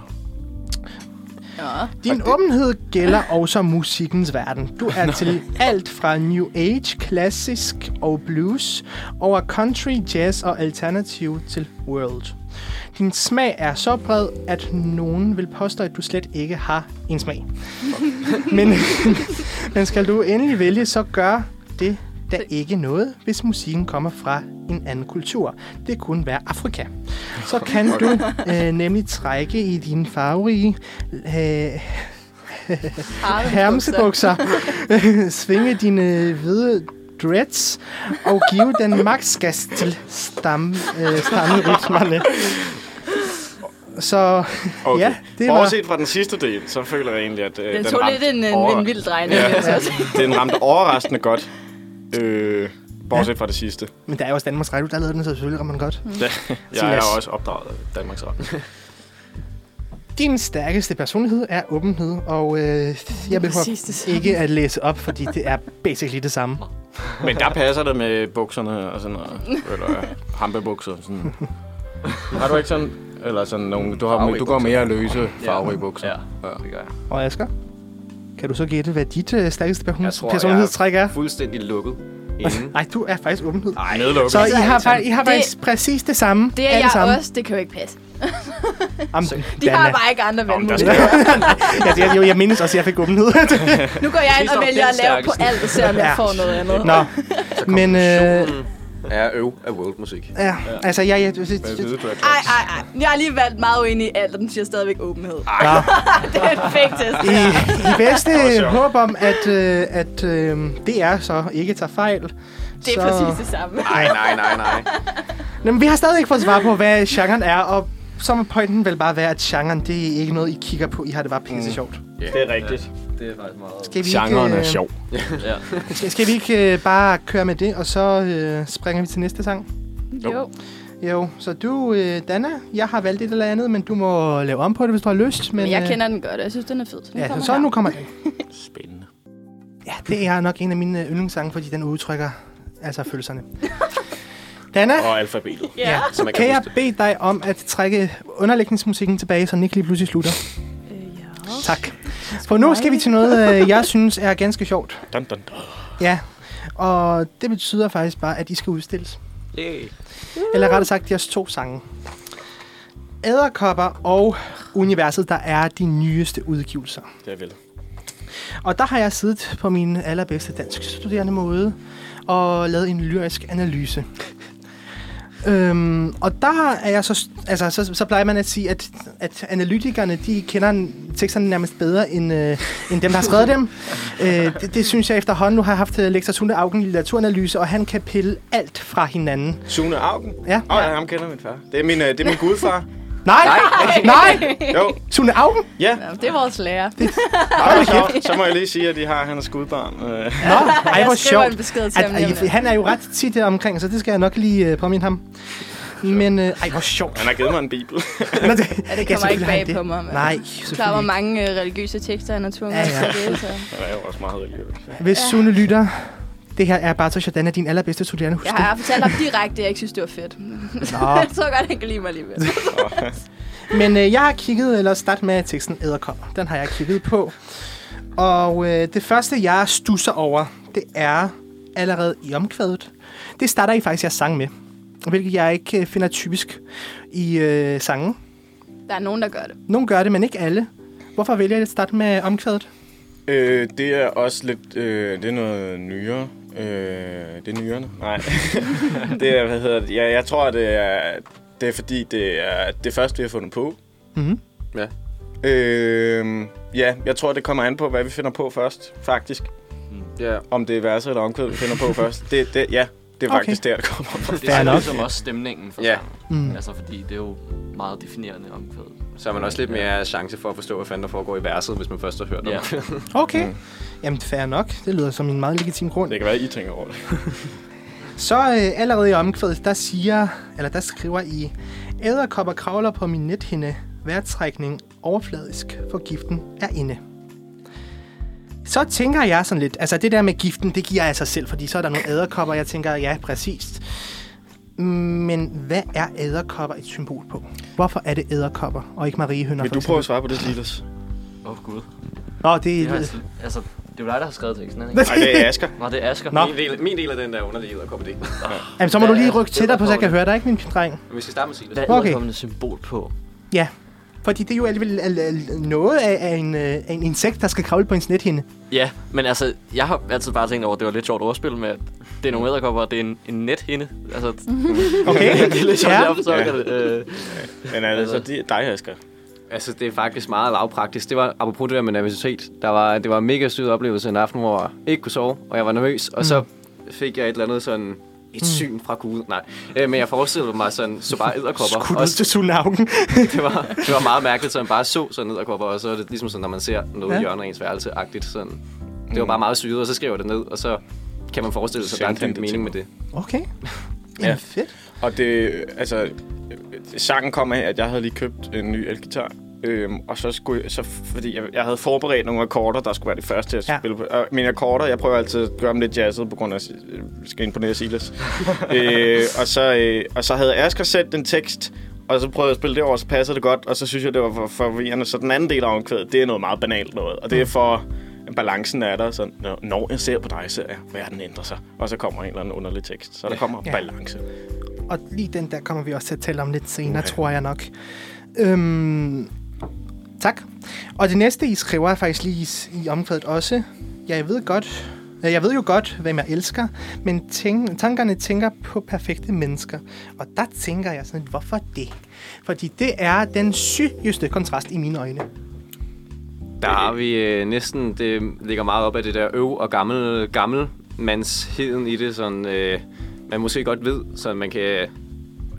Speaker 6: Nå.
Speaker 5: Din åbenhed gælder også musikkens verden. Du er til alt fra New Age, klassisk og blues, over country, jazz og alternativ til world. Din smag er så bred, at nogen vil påstå, at du slet ikke har en smag. Men, men skal du endelig vælge, så gør det da ikke noget, hvis musikken kommer fra en anden kultur. Det kunne være Afrika. Så kan du øh, nemlig trække i dine farverige øh,
Speaker 6: Arme
Speaker 5: hermsebukser, svinge dine hvide dreads og give den max gas til stam, øh, stammerytmerne. Så
Speaker 7: Okay.
Speaker 5: ja, det var...
Speaker 7: Bortset fra den sidste del, så føler jeg egentlig, at øh,
Speaker 10: Den tog lidt en, en,
Speaker 7: over-
Speaker 10: en vild drejning.
Speaker 7: Ja.
Speaker 10: vil jeg så sige.
Speaker 7: Den ramte overraskende godt. Øh, bortset fra det sidste.
Speaker 5: Men der er jo også Danmarks Radio, der lavede den, så selvfølgelig rammer man godt. Mm.
Speaker 7: Jeg
Speaker 5: Silas.
Speaker 7: er også opdraget af Danmarks Radio.
Speaker 5: Din stærkeste personlighed er åbenhed, og øh, jeg
Speaker 10: præcis det
Speaker 5: behøver
Speaker 10: samme.
Speaker 5: ikke at læse op, fordi det er basically det samme.
Speaker 7: Men der passer det med bukserne og sådan noget. Eller hampebukser. Sådan. Har du ikke sådan... Eller sådan nogle... Du, har, du går mere løse farverige bukser.
Speaker 8: Ja.
Speaker 5: Og Asger, kan du så gætte, hvad dit øh, stærkeste person-
Speaker 9: Jeg tror, jeg er-
Speaker 5: personlighedstræk er?
Speaker 9: Fuldstændig lukket. Inden.
Speaker 5: Nej, du er faktisk åbenhed.
Speaker 7: Ej, nedlukket.
Speaker 5: Så I har,
Speaker 9: Altså,
Speaker 5: fa- I har
Speaker 6: Det-
Speaker 5: faktisk præcis det samme.
Speaker 6: Det er
Speaker 5: alle
Speaker 6: jeg
Speaker 5: sammen.
Speaker 6: også, det kan jo ikke passe.
Speaker 5: Jamen,
Speaker 6: De har
Speaker 5: Dana.
Speaker 6: bare ikke andre
Speaker 7: der
Speaker 6: valgmuligheder.
Speaker 5: jeg,
Speaker 7: skal,
Speaker 5: jeg, jo, jeg mindes også, at jeg fik åbenhed.
Speaker 6: Nu går jeg ind og
Speaker 9: Sidst om
Speaker 6: vælger
Speaker 9: den
Speaker 6: at lave på
Speaker 9: stærkeste.
Speaker 6: alt, og ser om jeg
Speaker 5: Ja.
Speaker 6: får noget andet.
Speaker 5: Nå, men øh,
Speaker 9: Er øv af worldmusik.
Speaker 5: ja, altså, jeg, jeg, jeg,
Speaker 7: jeg ved, du er
Speaker 6: Ej, ej, ej. Jeg har lige valgt meget uenig i alt, og den siger stadigvæk åbenhed.
Speaker 5: Nå.
Speaker 6: det er en fake test.
Speaker 5: I, I bedste håb om, at, øh, at øh, DR så ikke tager fejl.
Speaker 6: Det er
Speaker 5: så...
Speaker 6: præcis det samme.
Speaker 9: Nej, nej, nej, nej.
Speaker 5: Nå, men vi har stadig ikke fået svar på, hvad genren er, og så må pointen vel bare være, at genren, det er ikke noget, I kigger på. I har det bare pisse mm. sjovt.
Speaker 7: Det er rigtigt.
Speaker 9: Det er faktisk meget...
Speaker 5: Skal vi
Speaker 7: Genren
Speaker 5: ikke,
Speaker 7: er
Speaker 5: øh,
Speaker 7: sjov.
Speaker 5: Skal, skal vi ikke øh, bare køre med det, og så øh, springer vi til næste sang?
Speaker 6: Jo.
Speaker 5: Jo, så du, øh, Dana, jeg har valgt et eller andet, men du må lave om på det, hvis du har lyst. Men,
Speaker 6: Men jeg
Speaker 5: øh,
Speaker 6: kender den godt, og jeg synes, den er fed. Så den
Speaker 5: Ja,
Speaker 6: kommer
Speaker 5: så
Speaker 6: her.
Speaker 5: nu kommer den.
Speaker 7: Spændende.
Speaker 5: Ja, det er nok en af mine øh, yndlingssange, fordi den udtrykker altså følelserne. Dana,
Speaker 7: Og alfabetet.
Speaker 5: ja.
Speaker 9: Så man
Speaker 5: kan
Speaker 9: kan
Speaker 5: jeg
Speaker 9: huske det.
Speaker 5: bede dig om at trække underlægningsmusikken tilbage, så den ikke lige pludselig slutter? ja. Tak. For nu skal vi til noget, øh, jeg synes er ganske sjovt.
Speaker 7: Dun, dun, dun.
Speaker 5: Ja, og det betyder faktisk bare, at I skal udstilles. Yeah. Eller rettere sagt, jeres to sange. Æderkopper og Universet, der er de nyeste udgivelser.
Speaker 7: Det er vel.
Speaker 5: Og der har jeg siddet på min allerbedste dansk studerende måde og lavet en lyrisk analyse. øhm, og der er jeg så, altså, så, så plejer man at sige, at, at analytikerne, de kender n- teksterne nærmest bedre, end, øh, end dem, der har skrevet dem. øh, det, det, synes jeg efterhånden. Nu har jeg haft øh, Lektor Sune Augen i litteraturanalyse, og han kan pille alt fra hinanden.
Speaker 7: Sune Augen.
Speaker 5: Ja.
Speaker 7: Åh, oh, ja, ham kender min far. Det er min, øh, det er min gudfar.
Speaker 5: Nej! Nej! Nej!
Speaker 7: Jo,
Speaker 5: Sune Augen?
Speaker 7: ja.
Speaker 6: Nå, Det er vores lærer.
Speaker 7: Ej, så, så må jeg lige sige, at de har, han er skudbarn. Øh,
Speaker 5: Nå, ej, hvor
Speaker 6: Jeg skriver en
Speaker 5: sjovt.
Speaker 6: besked til ham
Speaker 5: At,
Speaker 6: lige om
Speaker 5: at,
Speaker 6: lidt.
Speaker 5: han er jo ret tit der omkring, så det skal jeg nok lige øh, påminde ham. Men øh, ej, hvor sjovt.
Speaker 7: han har givet mig en bibel.
Speaker 5: Nå, det, ja,
Speaker 6: det kommer ikke
Speaker 5: selvfølgelig har
Speaker 6: bag
Speaker 5: det.
Speaker 6: på mig, men-
Speaker 5: Nej,
Speaker 6: Jeg er klar, hvor
Speaker 5: selvfølgelig
Speaker 6: mange øh, religiøse tekster han har tvunget
Speaker 5: Ja,
Speaker 6: ja,
Speaker 5: ja.
Speaker 6: ja. til det. Så.
Speaker 7: Han er jo også meget religiøs.
Speaker 5: ikke. Hvis Sune lytter, det her er bare så sådan, at din allerbedste studerende husk
Speaker 6: Jeg
Speaker 5: det.
Speaker 6: har fortalt ham direkte, at jeg ikke synes, det var fedt. jeg tror godt, han kan lide mig alligevel.
Speaker 5: Men øh, jeg har kigget, eller start med teksten Æderkopper. Den har jeg kigget på. Og øh, det første, jeg stusser over, det er allerede i omkvædet. Det starter I faktisk jeres sang med. Hvilket jeg ikke øh, finder typisk i øh, sangen.
Speaker 6: Der er nogen, der gør det.
Speaker 5: Nogle gør det, men ikke alle. Hvorfor vælger jeg at starte med omkvædet?
Speaker 7: Øh, det er også lidt... Øh, det er noget nyere. Øh, det er nyere. Nej. det er, hvad hedder det? Ja, jeg tror, det er, det er fordi, det er det første, vi har fundet på.
Speaker 5: Mhm.
Speaker 9: Ja.
Speaker 7: Øh, ja, jeg tror, det kommer an på, hvad vi finder på først, faktisk.
Speaker 9: Ja.
Speaker 7: Om det er verser eller omkvæd, vi finder på først. Det, det, ja, det er
Speaker 5: Okay.
Speaker 7: faktisk der, det kommer fra.
Speaker 8: Det
Speaker 5: Fair
Speaker 8: er
Speaker 5: nok.
Speaker 8: ligesom også stemningen for
Speaker 9: Ja.
Speaker 8: sangen.
Speaker 5: Mm.
Speaker 8: Altså, fordi det er jo meget definerende omkvædet.
Speaker 9: Så har man også lidt mere chance for at forstå, hvad fanden der foregår i verset, hvis man først har hørt det.
Speaker 8: Ja.
Speaker 9: Ja.
Speaker 5: Okay. Mm. Jamen, fair nok. Det lyder som en meget legitim grund.
Speaker 7: Det kan være, I tænker over det.
Speaker 5: Så øh, allerede i omkvædet, der siger, eller der skriver I, æderkopper kravler på min nethinde, vejrtrækning overfladisk, for giften er inde. Så tænker jeg sådan lidt, altså det der med giften, det giver jeg sig selv, fordi så er der nogle æderkopper, jeg tænker, ja, præcis. Men hvad er æderkopper et symbol på? Hvorfor er det æderkopper, og ikke mariehønder?
Speaker 7: Vil
Speaker 5: for
Speaker 7: du
Speaker 5: eksempel?
Speaker 7: prøve at svare på det, Silas?
Speaker 8: Åh, oh, gud.
Speaker 5: Nå, det
Speaker 8: Det er,
Speaker 5: er...
Speaker 8: altså, altså, det er jo dig, der har skrevet teksten, er det ikke?
Speaker 7: Nej, det er Asger.
Speaker 8: Nå, det er Asger.
Speaker 5: Nå.
Speaker 9: Min, del, min del af den der underlige edderkoppe del.
Speaker 5: Jamen, så må du
Speaker 8: Hvad
Speaker 5: lige
Speaker 8: er
Speaker 5: rykke tættere på, så jeg kan høre dig, ikke, min dreng?
Speaker 9: Men vi skal starte med Silas.
Speaker 8: Hvad
Speaker 5: Okay.
Speaker 8: er okay. et symbol på?
Speaker 5: Ja, fordi det er jo alligevel al- al- noget af, af, en, øh, af en insekt, der skal kravle på en snethinde.
Speaker 8: Ja, men altså, jeg har altid bare tænkt over, at det var lidt sjovt ordspil med, at det er nogle æderkopper, og det er en, en nethinde. Altså,
Speaker 5: Okay?
Speaker 8: det er lidt sjovt,
Speaker 5: Ja.
Speaker 8: ja. derfor, så
Speaker 7: Ja.
Speaker 8: ja. det. Øh,
Speaker 7: Men altså, det er dig, Asger.
Speaker 9: Altså, det er faktisk meget lavpraktisk. Det var, apropos det der med nervøsitet, der var, det var
Speaker 5: Mm.
Speaker 9: en mega sød oplevelse en aften, hvor jeg ikke kunne sove, og jeg var nervøs, og så fik jeg et eller andet sådan
Speaker 3: et syn fra Gud. Nej, øh, men jeg forestillede mig sådan, så bare edderkopper.
Speaker 5: Skudt
Speaker 3: Og
Speaker 5: ud til Sunaugen.
Speaker 3: det, var, det var meget mærkeligt, så han bare så sådan edderkopper, og så er det ligesom sådan, når man ser noget
Speaker 5: Ja. Mm.
Speaker 3: ja. hjørne af ens værelse-agtigt. Sådan. Det var bare meget syret, og så skrev jeg det ned, og så kan man forestille sig, at der er en
Speaker 7: Sendte han
Speaker 3: dyb
Speaker 7: det
Speaker 3: mening med
Speaker 7: til
Speaker 3: det.
Speaker 5: Okay.
Speaker 7: Ja.
Speaker 5: Ja. Fedt.
Speaker 7: Og det, altså, øh, sangen kom af, at jeg havde lige købt en ny elgitar. Øhm, og så skulle jeg, så, fordi jeg, jeg havde forberedt nogle akkorder, der skulle være det første, jeg
Speaker 5: Ja.
Speaker 7: ja. spille på. Og mine akkorder, jeg prøver altid at gøre dem lidt jazzet, på grund af, at jeg skal imponere Silas. øh, og, så, øh, og så havde Asger sendt en tekst, og så prøvede jeg at spille det over, så passede det godt, og så synes jeg, det var for forvirrende. Så den anden del af omkvædet, det er noget meget banalt noget, og
Speaker 5: Mm.
Speaker 7: det er for balancen er der, så når- når jeg ser på dig, ser jeg, verden ændrer sig. Og så kommer en eller anden underlig tekst. Så der kommer
Speaker 5: Ja.
Speaker 7: balance.
Speaker 5: Og lige den der kommer vi også til at tale om lidt senere, okay. tror jeg nok. Øhm, tak. Og det næste, I skriver, er faktisk lige i, i omkvædet også. Jeg ved godt, øh, jeg ved jo godt, hvem jeg elsker, men tænk, tankerne tænker på perfekte mennesker. Og der tænker jeg sådan, hvorfor det? Fordi det er den sygeste kontrast i mine øjne.
Speaker 3: Der har vi øh, næsten, det ligger meget op af det der øv og gammel, gammelmandsheden i det, sådan, øh, man måske godt ved, så man kan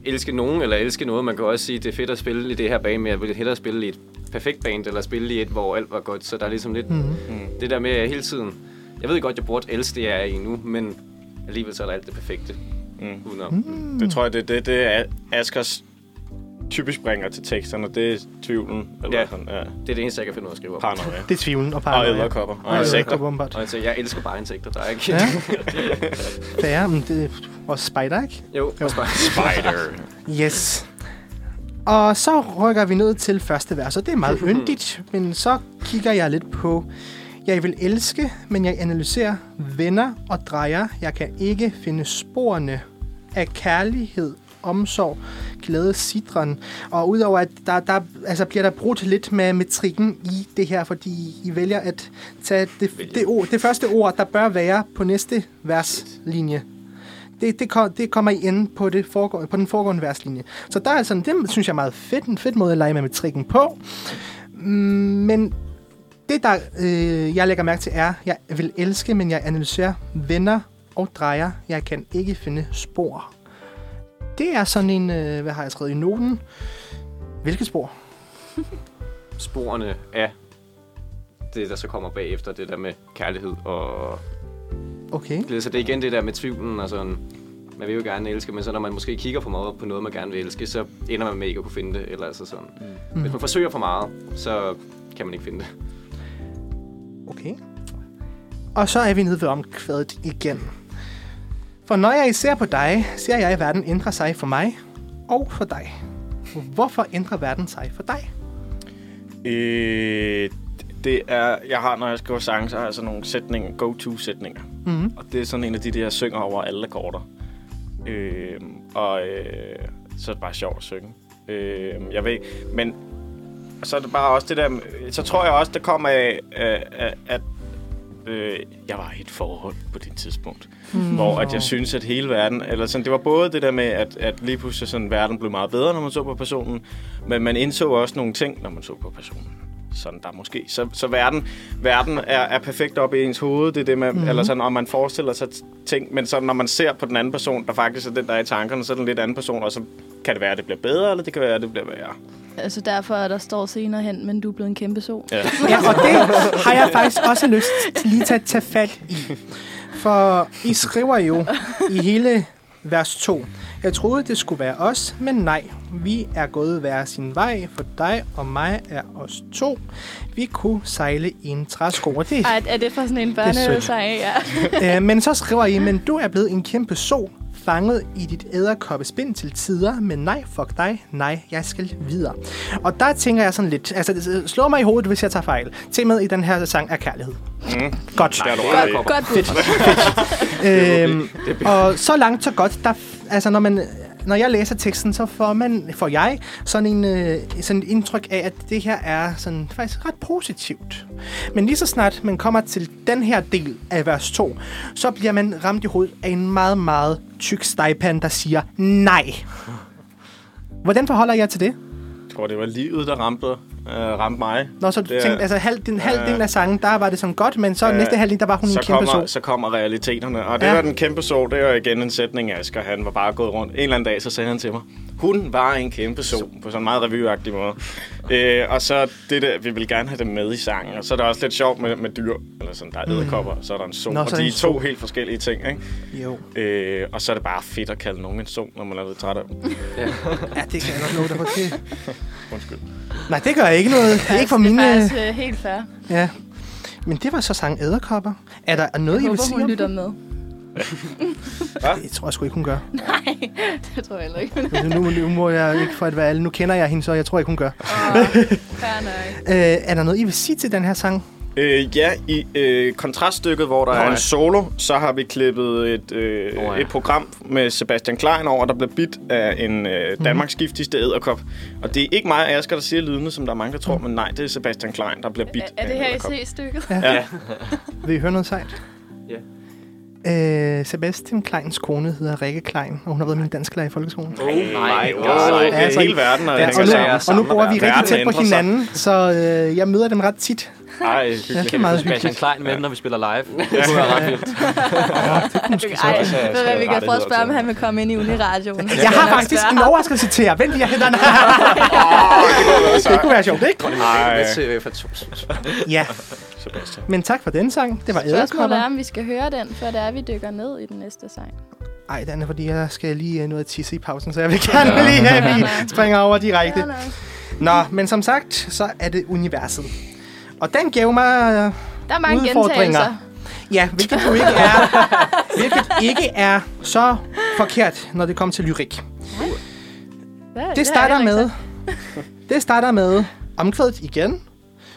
Speaker 3: elske nogen eller elske noget. Man kan også sige, det er fedt at spille i det her band, men jeg vil hellere spille i et perfekt band, eller spille i et, hvor alt var godt. Så der er ligesom lidt mm. det der med at jeg hele tiden. Jeg ved godt, jeg burde elske det, jeg er i nu, men alligevel så er der alt det perfekte. Mm. Udenom. Mm.
Speaker 7: Det tror jeg, det er det, det er Askers typisk bringer til teksterne. Det er tvivlen. Eller
Speaker 3: Ja.
Speaker 7: Sådan, ja.
Speaker 3: Det er det eneste, jeg kan finde ud af at skrive op.
Speaker 7: Paranoia.
Speaker 5: Det er tvivlen og
Speaker 7: Og
Speaker 5: paranoia.
Speaker 7: æderkopper. Og
Speaker 5: Og
Speaker 7: insekter.
Speaker 5: æderkopper, åbenbart.
Speaker 3: Og altså, jeg elsker bare insekter, der er ikke...
Speaker 5: Ja. Færre, men det er også spider, ikke?
Speaker 3: jo,
Speaker 5: Jo.
Speaker 3: jo.
Speaker 7: Spider.
Speaker 5: Yes. Og så rykker vi ned til første vers, og det er meget yndigt, men så kigger jeg lidt på, jeg vil elske, men jeg analyserer, venner og drejer. Jeg kan ikke finde sporene af kærlighed, omsorg, glæde, sidren. Og udover at der, der altså bliver der brudt lidt med metrikken i det her, fordi I vælger at tage det, det, ord, det første ord, der bør være på næste verslinje det, det, kom, det kommer I ind på, det foregående, på den foregående verslinje. Så der er sådan, det synes jeg er meget fedt, en fed måde at lege med metrikken på. Mm, Men det, der øh, jeg lægger mærke til, er, jeg vil elske, men jeg analyserer venner og drejer. Jeg kan ikke finde spor. Det er sådan en, øh, hvad har jeg skrevet i noten? Hvilke spor?
Speaker 3: sporene af det, der så kommer bagefter, det der med kærlighed og
Speaker 5: Okay.
Speaker 3: glæde. Så det er igen det der med tvivlen og sådan, man vil jo gerne elske, men så når man måske kigger for meget på noget, man gerne vil elske, så ender man med ikke at kunne finde det, eller altså sådan. Mm. Hvis man forsøger for meget, så kan man ikke finde det.
Speaker 5: Okay. Og så er vi nede ved omkvædet igen. For når jeg ser på dig, ser jeg, at verden ændrer sig for mig og for dig. Hvorfor ændrer verden sig for dig?
Speaker 7: Øh, det er, jeg har, når jeg skriver sange, så har jeg sådan nogle sætninger, go-to-sætninger.
Speaker 5: Mhm.
Speaker 7: Og det er sådan en af de, der jeg synger over alle akkorder. Øh, og øh, så er det bare sjovt at synge. Øh, jeg ved, men og så er det bare også det der, så tror jeg også, det kommer af, af, af at øh, jeg var i et forhold på det tidspunkt, mm. hvor at jeg synes at hele verden, eller sådan, det var både det der med, at, at lige pludselig sådan, verden blev meget bedre, når man så på personen, men man indså også nogle ting, når man så på personen. Sådan der måske. Så, så verden, verden er, er perfekt op i ens hoved, det er det, man,
Speaker 5: Mhm.
Speaker 7: mm. eller sådan, og man forestiller sig t- ting, men så når man ser på den anden person, der faktisk er den, der er i tankerne, så er den lidt anden person, og så kan det være, at det bliver bedre, eller det kan være, at det bliver værre.
Speaker 6: Altså derfor, er der står senere hen, men du er blevet en kæmpe sol.
Speaker 7: Ja.
Speaker 5: Ja, og det har jeg faktisk også lyst til lige til at tage fat i. For I skriver jo i hele vers 2. Jeg troede, det skulle være os, men nej. Vi er gået hver sin vej, for dig og mig er os to. Vi kunne sejle i en træsko, og det
Speaker 6: Ej, er det fra sådan en børnesang? Ja.
Speaker 5: Øh, men så skriver I, men du er blevet en kæmpe sol, fanget i dit æderkoppespind til tider, men nej, fuck dig, nej, jeg skal videre. Og der tænker jeg sådan lidt, altså det slår mig i hovedet, hvis jeg tager fejl. Temaet i den her sang er kærlighed. Mm. Godt.
Speaker 7: Der er du
Speaker 6: Godt,
Speaker 7: ret i.
Speaker 6: godt bud.
Speaker 5: Øhm, og så langt, så godt. Der, f- altså, når, man, når jeg læser teksten, så får, man, får jeg sådan, en, øh, sådan et indtryk af, at det her er sådan, faktisk ret positivt. Men lige så snart man kommer til den her del af vers 2, så bliver man ramt i hovedet af en meget, meget tyk stejpan, der siger nej. Hvordan forholder jeg til det?
Speaker 7: tror, det var livet, der ramte, øh, ramte mig.
Speaker 5: Nå, så du
Speaker 7: Det er-
Speaker 5: tænkte, altså halv, den halvdelen af sangen, der var det sådan godt, men så
Speaker 7: Ja.
Speaker 5: øh, næste halvdel, der var hun en
Speaker 7: så
Speaker 5: kæmpe
Speaker 7: kommer,
Speaker 5: sol.
Speaker 7: så kommer realiteterne. Og det
Speaker 5: Ja.
Speaker 7: ja. var den kæmpe sol. Det var igen en sætning, Asger. Han var bare gået rundt. En eller anden dag, så sagde han til mig, hun var en kæmpe sol. På sådan en meget revyagtig måde. øh, og så det der, vi vil gerne have dem med i sangen. Og så er der også lidt sjovt med, med dyr. Eller sådan, der er edderkopper, og så er der en sol.
Speaker 5: Mm. Nå,
Speaker 7: Nå,
Speaker 5: så er der
Speaker 7: og de
Speaker 5: en
Speaker 7: er to helt forskellige ting, ikke?
Speaker 5: Jo.
Speaker 7: Øh, og så er det bare fedt at kalde nogen en sol, når man er lidt træt af dem.
Speaker 5: Ja, det kan jeg godt love dig for. Det.
Speaker 7: Undskyld.
Speaker 5: Nej, det gør jeg ikke noget. Ikke for mine...
Speaker 6: Det er faktisk øh, helt fair.
Speaker 5: Ja. Men det var så sang Æderkopper. Er der noget,
Speaker 6: Jeg
Speaker 5: I vil
Speaker 6: håber,
Speaker 5: sige? om
Speaker 6: hun lytter
Speaker 5: den?
Speaker 6: med.
Speaker 5: Det tror jeg sgu ikke, hun gør.
Speaker 6: Nej, det tror jeg heller ikke.
Speaker 5: Altså, nu, nu må jeg ikke for at være alle. Nu kender jeg hende, så jeg tror ikke, hun gør.
Speaker 6: Fair nok.
Speaker 5: Øh, er der noget, I vil sige til den her sang?
Speaker 7: Øh, ja, i øh, kontraststykket, hvor der
Speaker 3: Nå,
Speaker 7: er
Speaker 3: ja.
Speaker 7: en solo, så har vi klippet et, øh,
Speaker 3: Nå,
Speaker 7: oh,
Speaker 3: ja.
Speaker 7: ja. et program med Sebastian Klein over, der blev bidt af en øh,
Speaker 3: Mhm.
Speaker 7: Danmarks giftigste æderkop. Og det er ikke mig og Asger, der siger lydene, som der er mange, der tror,
Speaker 3: Mhm.
Speaker 7: men nej, det er Sebastian Klein, der bliver bidt
Speaker 6: Er, er det
Speaker 7: af en
Speaker 6: her i
Speaker 7: edderkop.
Speaker 6: C-stykket?
Speaker 5: Vil I høre noget sejt?
Speaker 3: Ja.
Speaker 5: Øh, Sebastian Kleins kone hedder Rikke Klein, og hun har været min dansklærer i folkeskolen.
Speaker 3: Oh my
Speaker 7: Nej,
Speaker 5: Ja,
Speaker 7: det
Speaker 5: så-
Speaker 7: er hele verden,
Speaker 5: Ja,
Speaker 7: og hænger
Speaker 5: og,
Speaker 3: så jeg
Speaker 7: sammen.
Speaker 5: nu, og nu
Speaker 3: samler
Speaker 5: bor vi
Speaker 3: verden.
Speaker 5: rigtig tæt på
Speaker 7: Verden ændrer sig.
Speaker 5: hinanden, så øh, jeg møder dem ret tit.
Speaker 7: Ej,
Speaker 5: Ja,
Speaker 7: hyggeligt.
Speaker 5: det er meget
Speaker 8: Sebastian
Speaker 5: hyggeligt.
Speaker 8: Klein med, når vi spiller live. Det kunne være ret vildt.
Speaker 6: Ej,
Speaker 7: også
Speaker 6: ved
Speaker 7: have
Speaker 6: du hvad, vi kan
Speaker 7: rettigheder
Speaker 6: prøve at spørge, om
Speaker 7: til.
Speaker 6: han vil komme ind i Uniradioen.
Speaker 5: Jeg har faktisk en overraskelse til jer. Vent lige, jeg henter en. det kunne være sjovt, ikke?
Speaker 7: Ej,
Speaker 9: Med til for to.
Speaker 5: Ja,
Speaker 7: Sebastian.
Speaker 5: men tak for den sang. Det var
Speaker 6: Spørgsmålet er,
Speaker 5: æderkopper.
Speaker 6: om vi skal høre den, før det er, vi dykker ned i den næste sang.
Speaker 5: Ej, den er fordi, jeg skal lige øh, nå at tisse i pausen, så jeg vil gerne lige have, at vi springer over direkte.
Speaker 6: Fair nok.
Speaker 5: Nå, men som sagt, så er det universet. Og den gav mig, øh,
Speaker 6: Der er mange
Speaker 5: Udfordringer.
Speaker 6: gentagelser.
Speaker 5: ja, hvilket jo ikke er, hvilket ikke er så forkert, når det kommer til lyrik.
Speaker 6: Hvad? har
Speaker 5: Det
Speaker 6: jeg
Speaker 5: starter
Speaker 6: heller
Speaker 5: med,
Speaker 6: ikke
Speaker 5: det starter med omkvædet igen,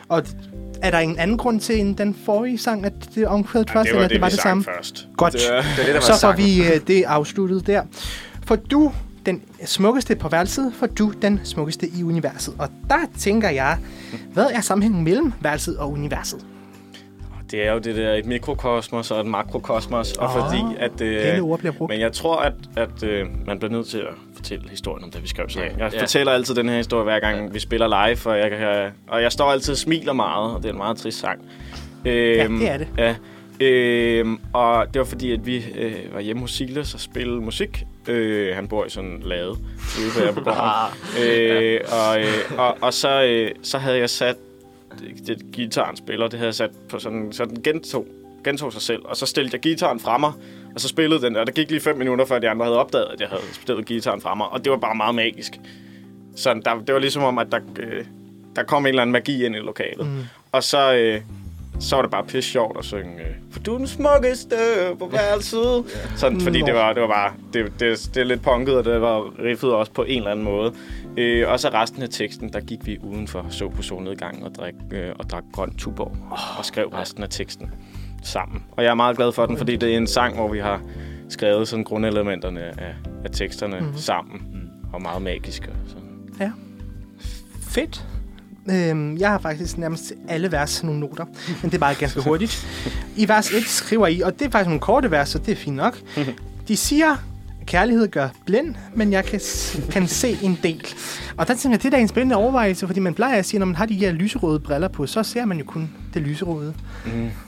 Speaker 5: og er der en anden grund til end den forrige sang, at det er omkvædet først, eller det var det
Speaker 7: sang
Speaker 5: samme?
Speaker 7: først.
Speaker 5: Godt.
Speaker 7: Det er-
Speaker 9: Det er det, der var
Speaker 5: Så får
Speaker 9: sagt.
Speaker 5: vi øh, det afsluttet der. For du, den smukkeste på værelset, for du, den smukkeste i universet. Og der tænker jeg, hvad er sammenhængen mellem værelset og universet?
Speaker 7: Det er jo det der et mikrokosmos og et makrokosmos, og
Speaker 5: Åh,
Speaker 7: fordi at... Øh,
Speaker 5: pæne Ah, ord bliver brugt.
Speaker 7: Men jeg tror, at, at øh, man bliver nødt til at fortælle historien om det, vi skrev sammen. Jeg fortæller altid den her historie, hver gang vi spiller live, og jeg, kan, øh, og jeg står altid og smiler meget, og det er en meget trist sang. Øhm,
Speaker 5: det er det.
Speaker 7: Ja. Øhm, og det var fordi, at vi øh, var hjemme hos Silas og spillede musik. Øh, han bor i sådan en lade ude på Jærbogården. øh, og, øh, og, og så, øh, så havde jeg sat det, det, guitaren spiller, det havde jeg sat på sådan, så den gentog, gentog sig selv. Og så stillede jeg gitaren fra mig, og så spillede den, og der gik lige 5 minutter, før de andre havde opdaget, at jeg havde spillet gitaren fra mig. Og det var bare meget magisk. Så der, det var ligesom om, at der, øh, der kom en eller anden magi ind i lokalet. Mm. Og så, øh, så var det bare pisse sjovt at synge, øh, for du er den smukkeste på hver side. Sådan, fordi
Speaker 5: Nå.
Speaker 7: det var, det var bare, det, det, det er lidt punket, og det var riffet også på en eller anden måde. Øh, og så resten af teksten, der gik vi udenfor, så på solnedgangen og drak, øh, og drak grøn tuborg, oh, og skrev resten af teksten sammen. Og jeg er meget glad for den, fordi det er en sang, hvor vi har skrevet sådan grundelementerne af, af teksterne mm-hmm. sammen. Og meget magisk og sådan.
Speaker 5: Fedt. Øhm, jeg har faktisk nærmest til alle vers nogle noter, men det er bare ganske hurtigt. I vers 1 skriver I, og det er faktisk nogle korte vers, så det er fint nok. De siger, kærlighed gør blind, men jeg kan, s- kan se en del. Og der tænker jeg, det er da en spændende overvejelse, fordi man plejer at sige, når man har de her lyserøde briller på, så ser man jo kun det lyserøde.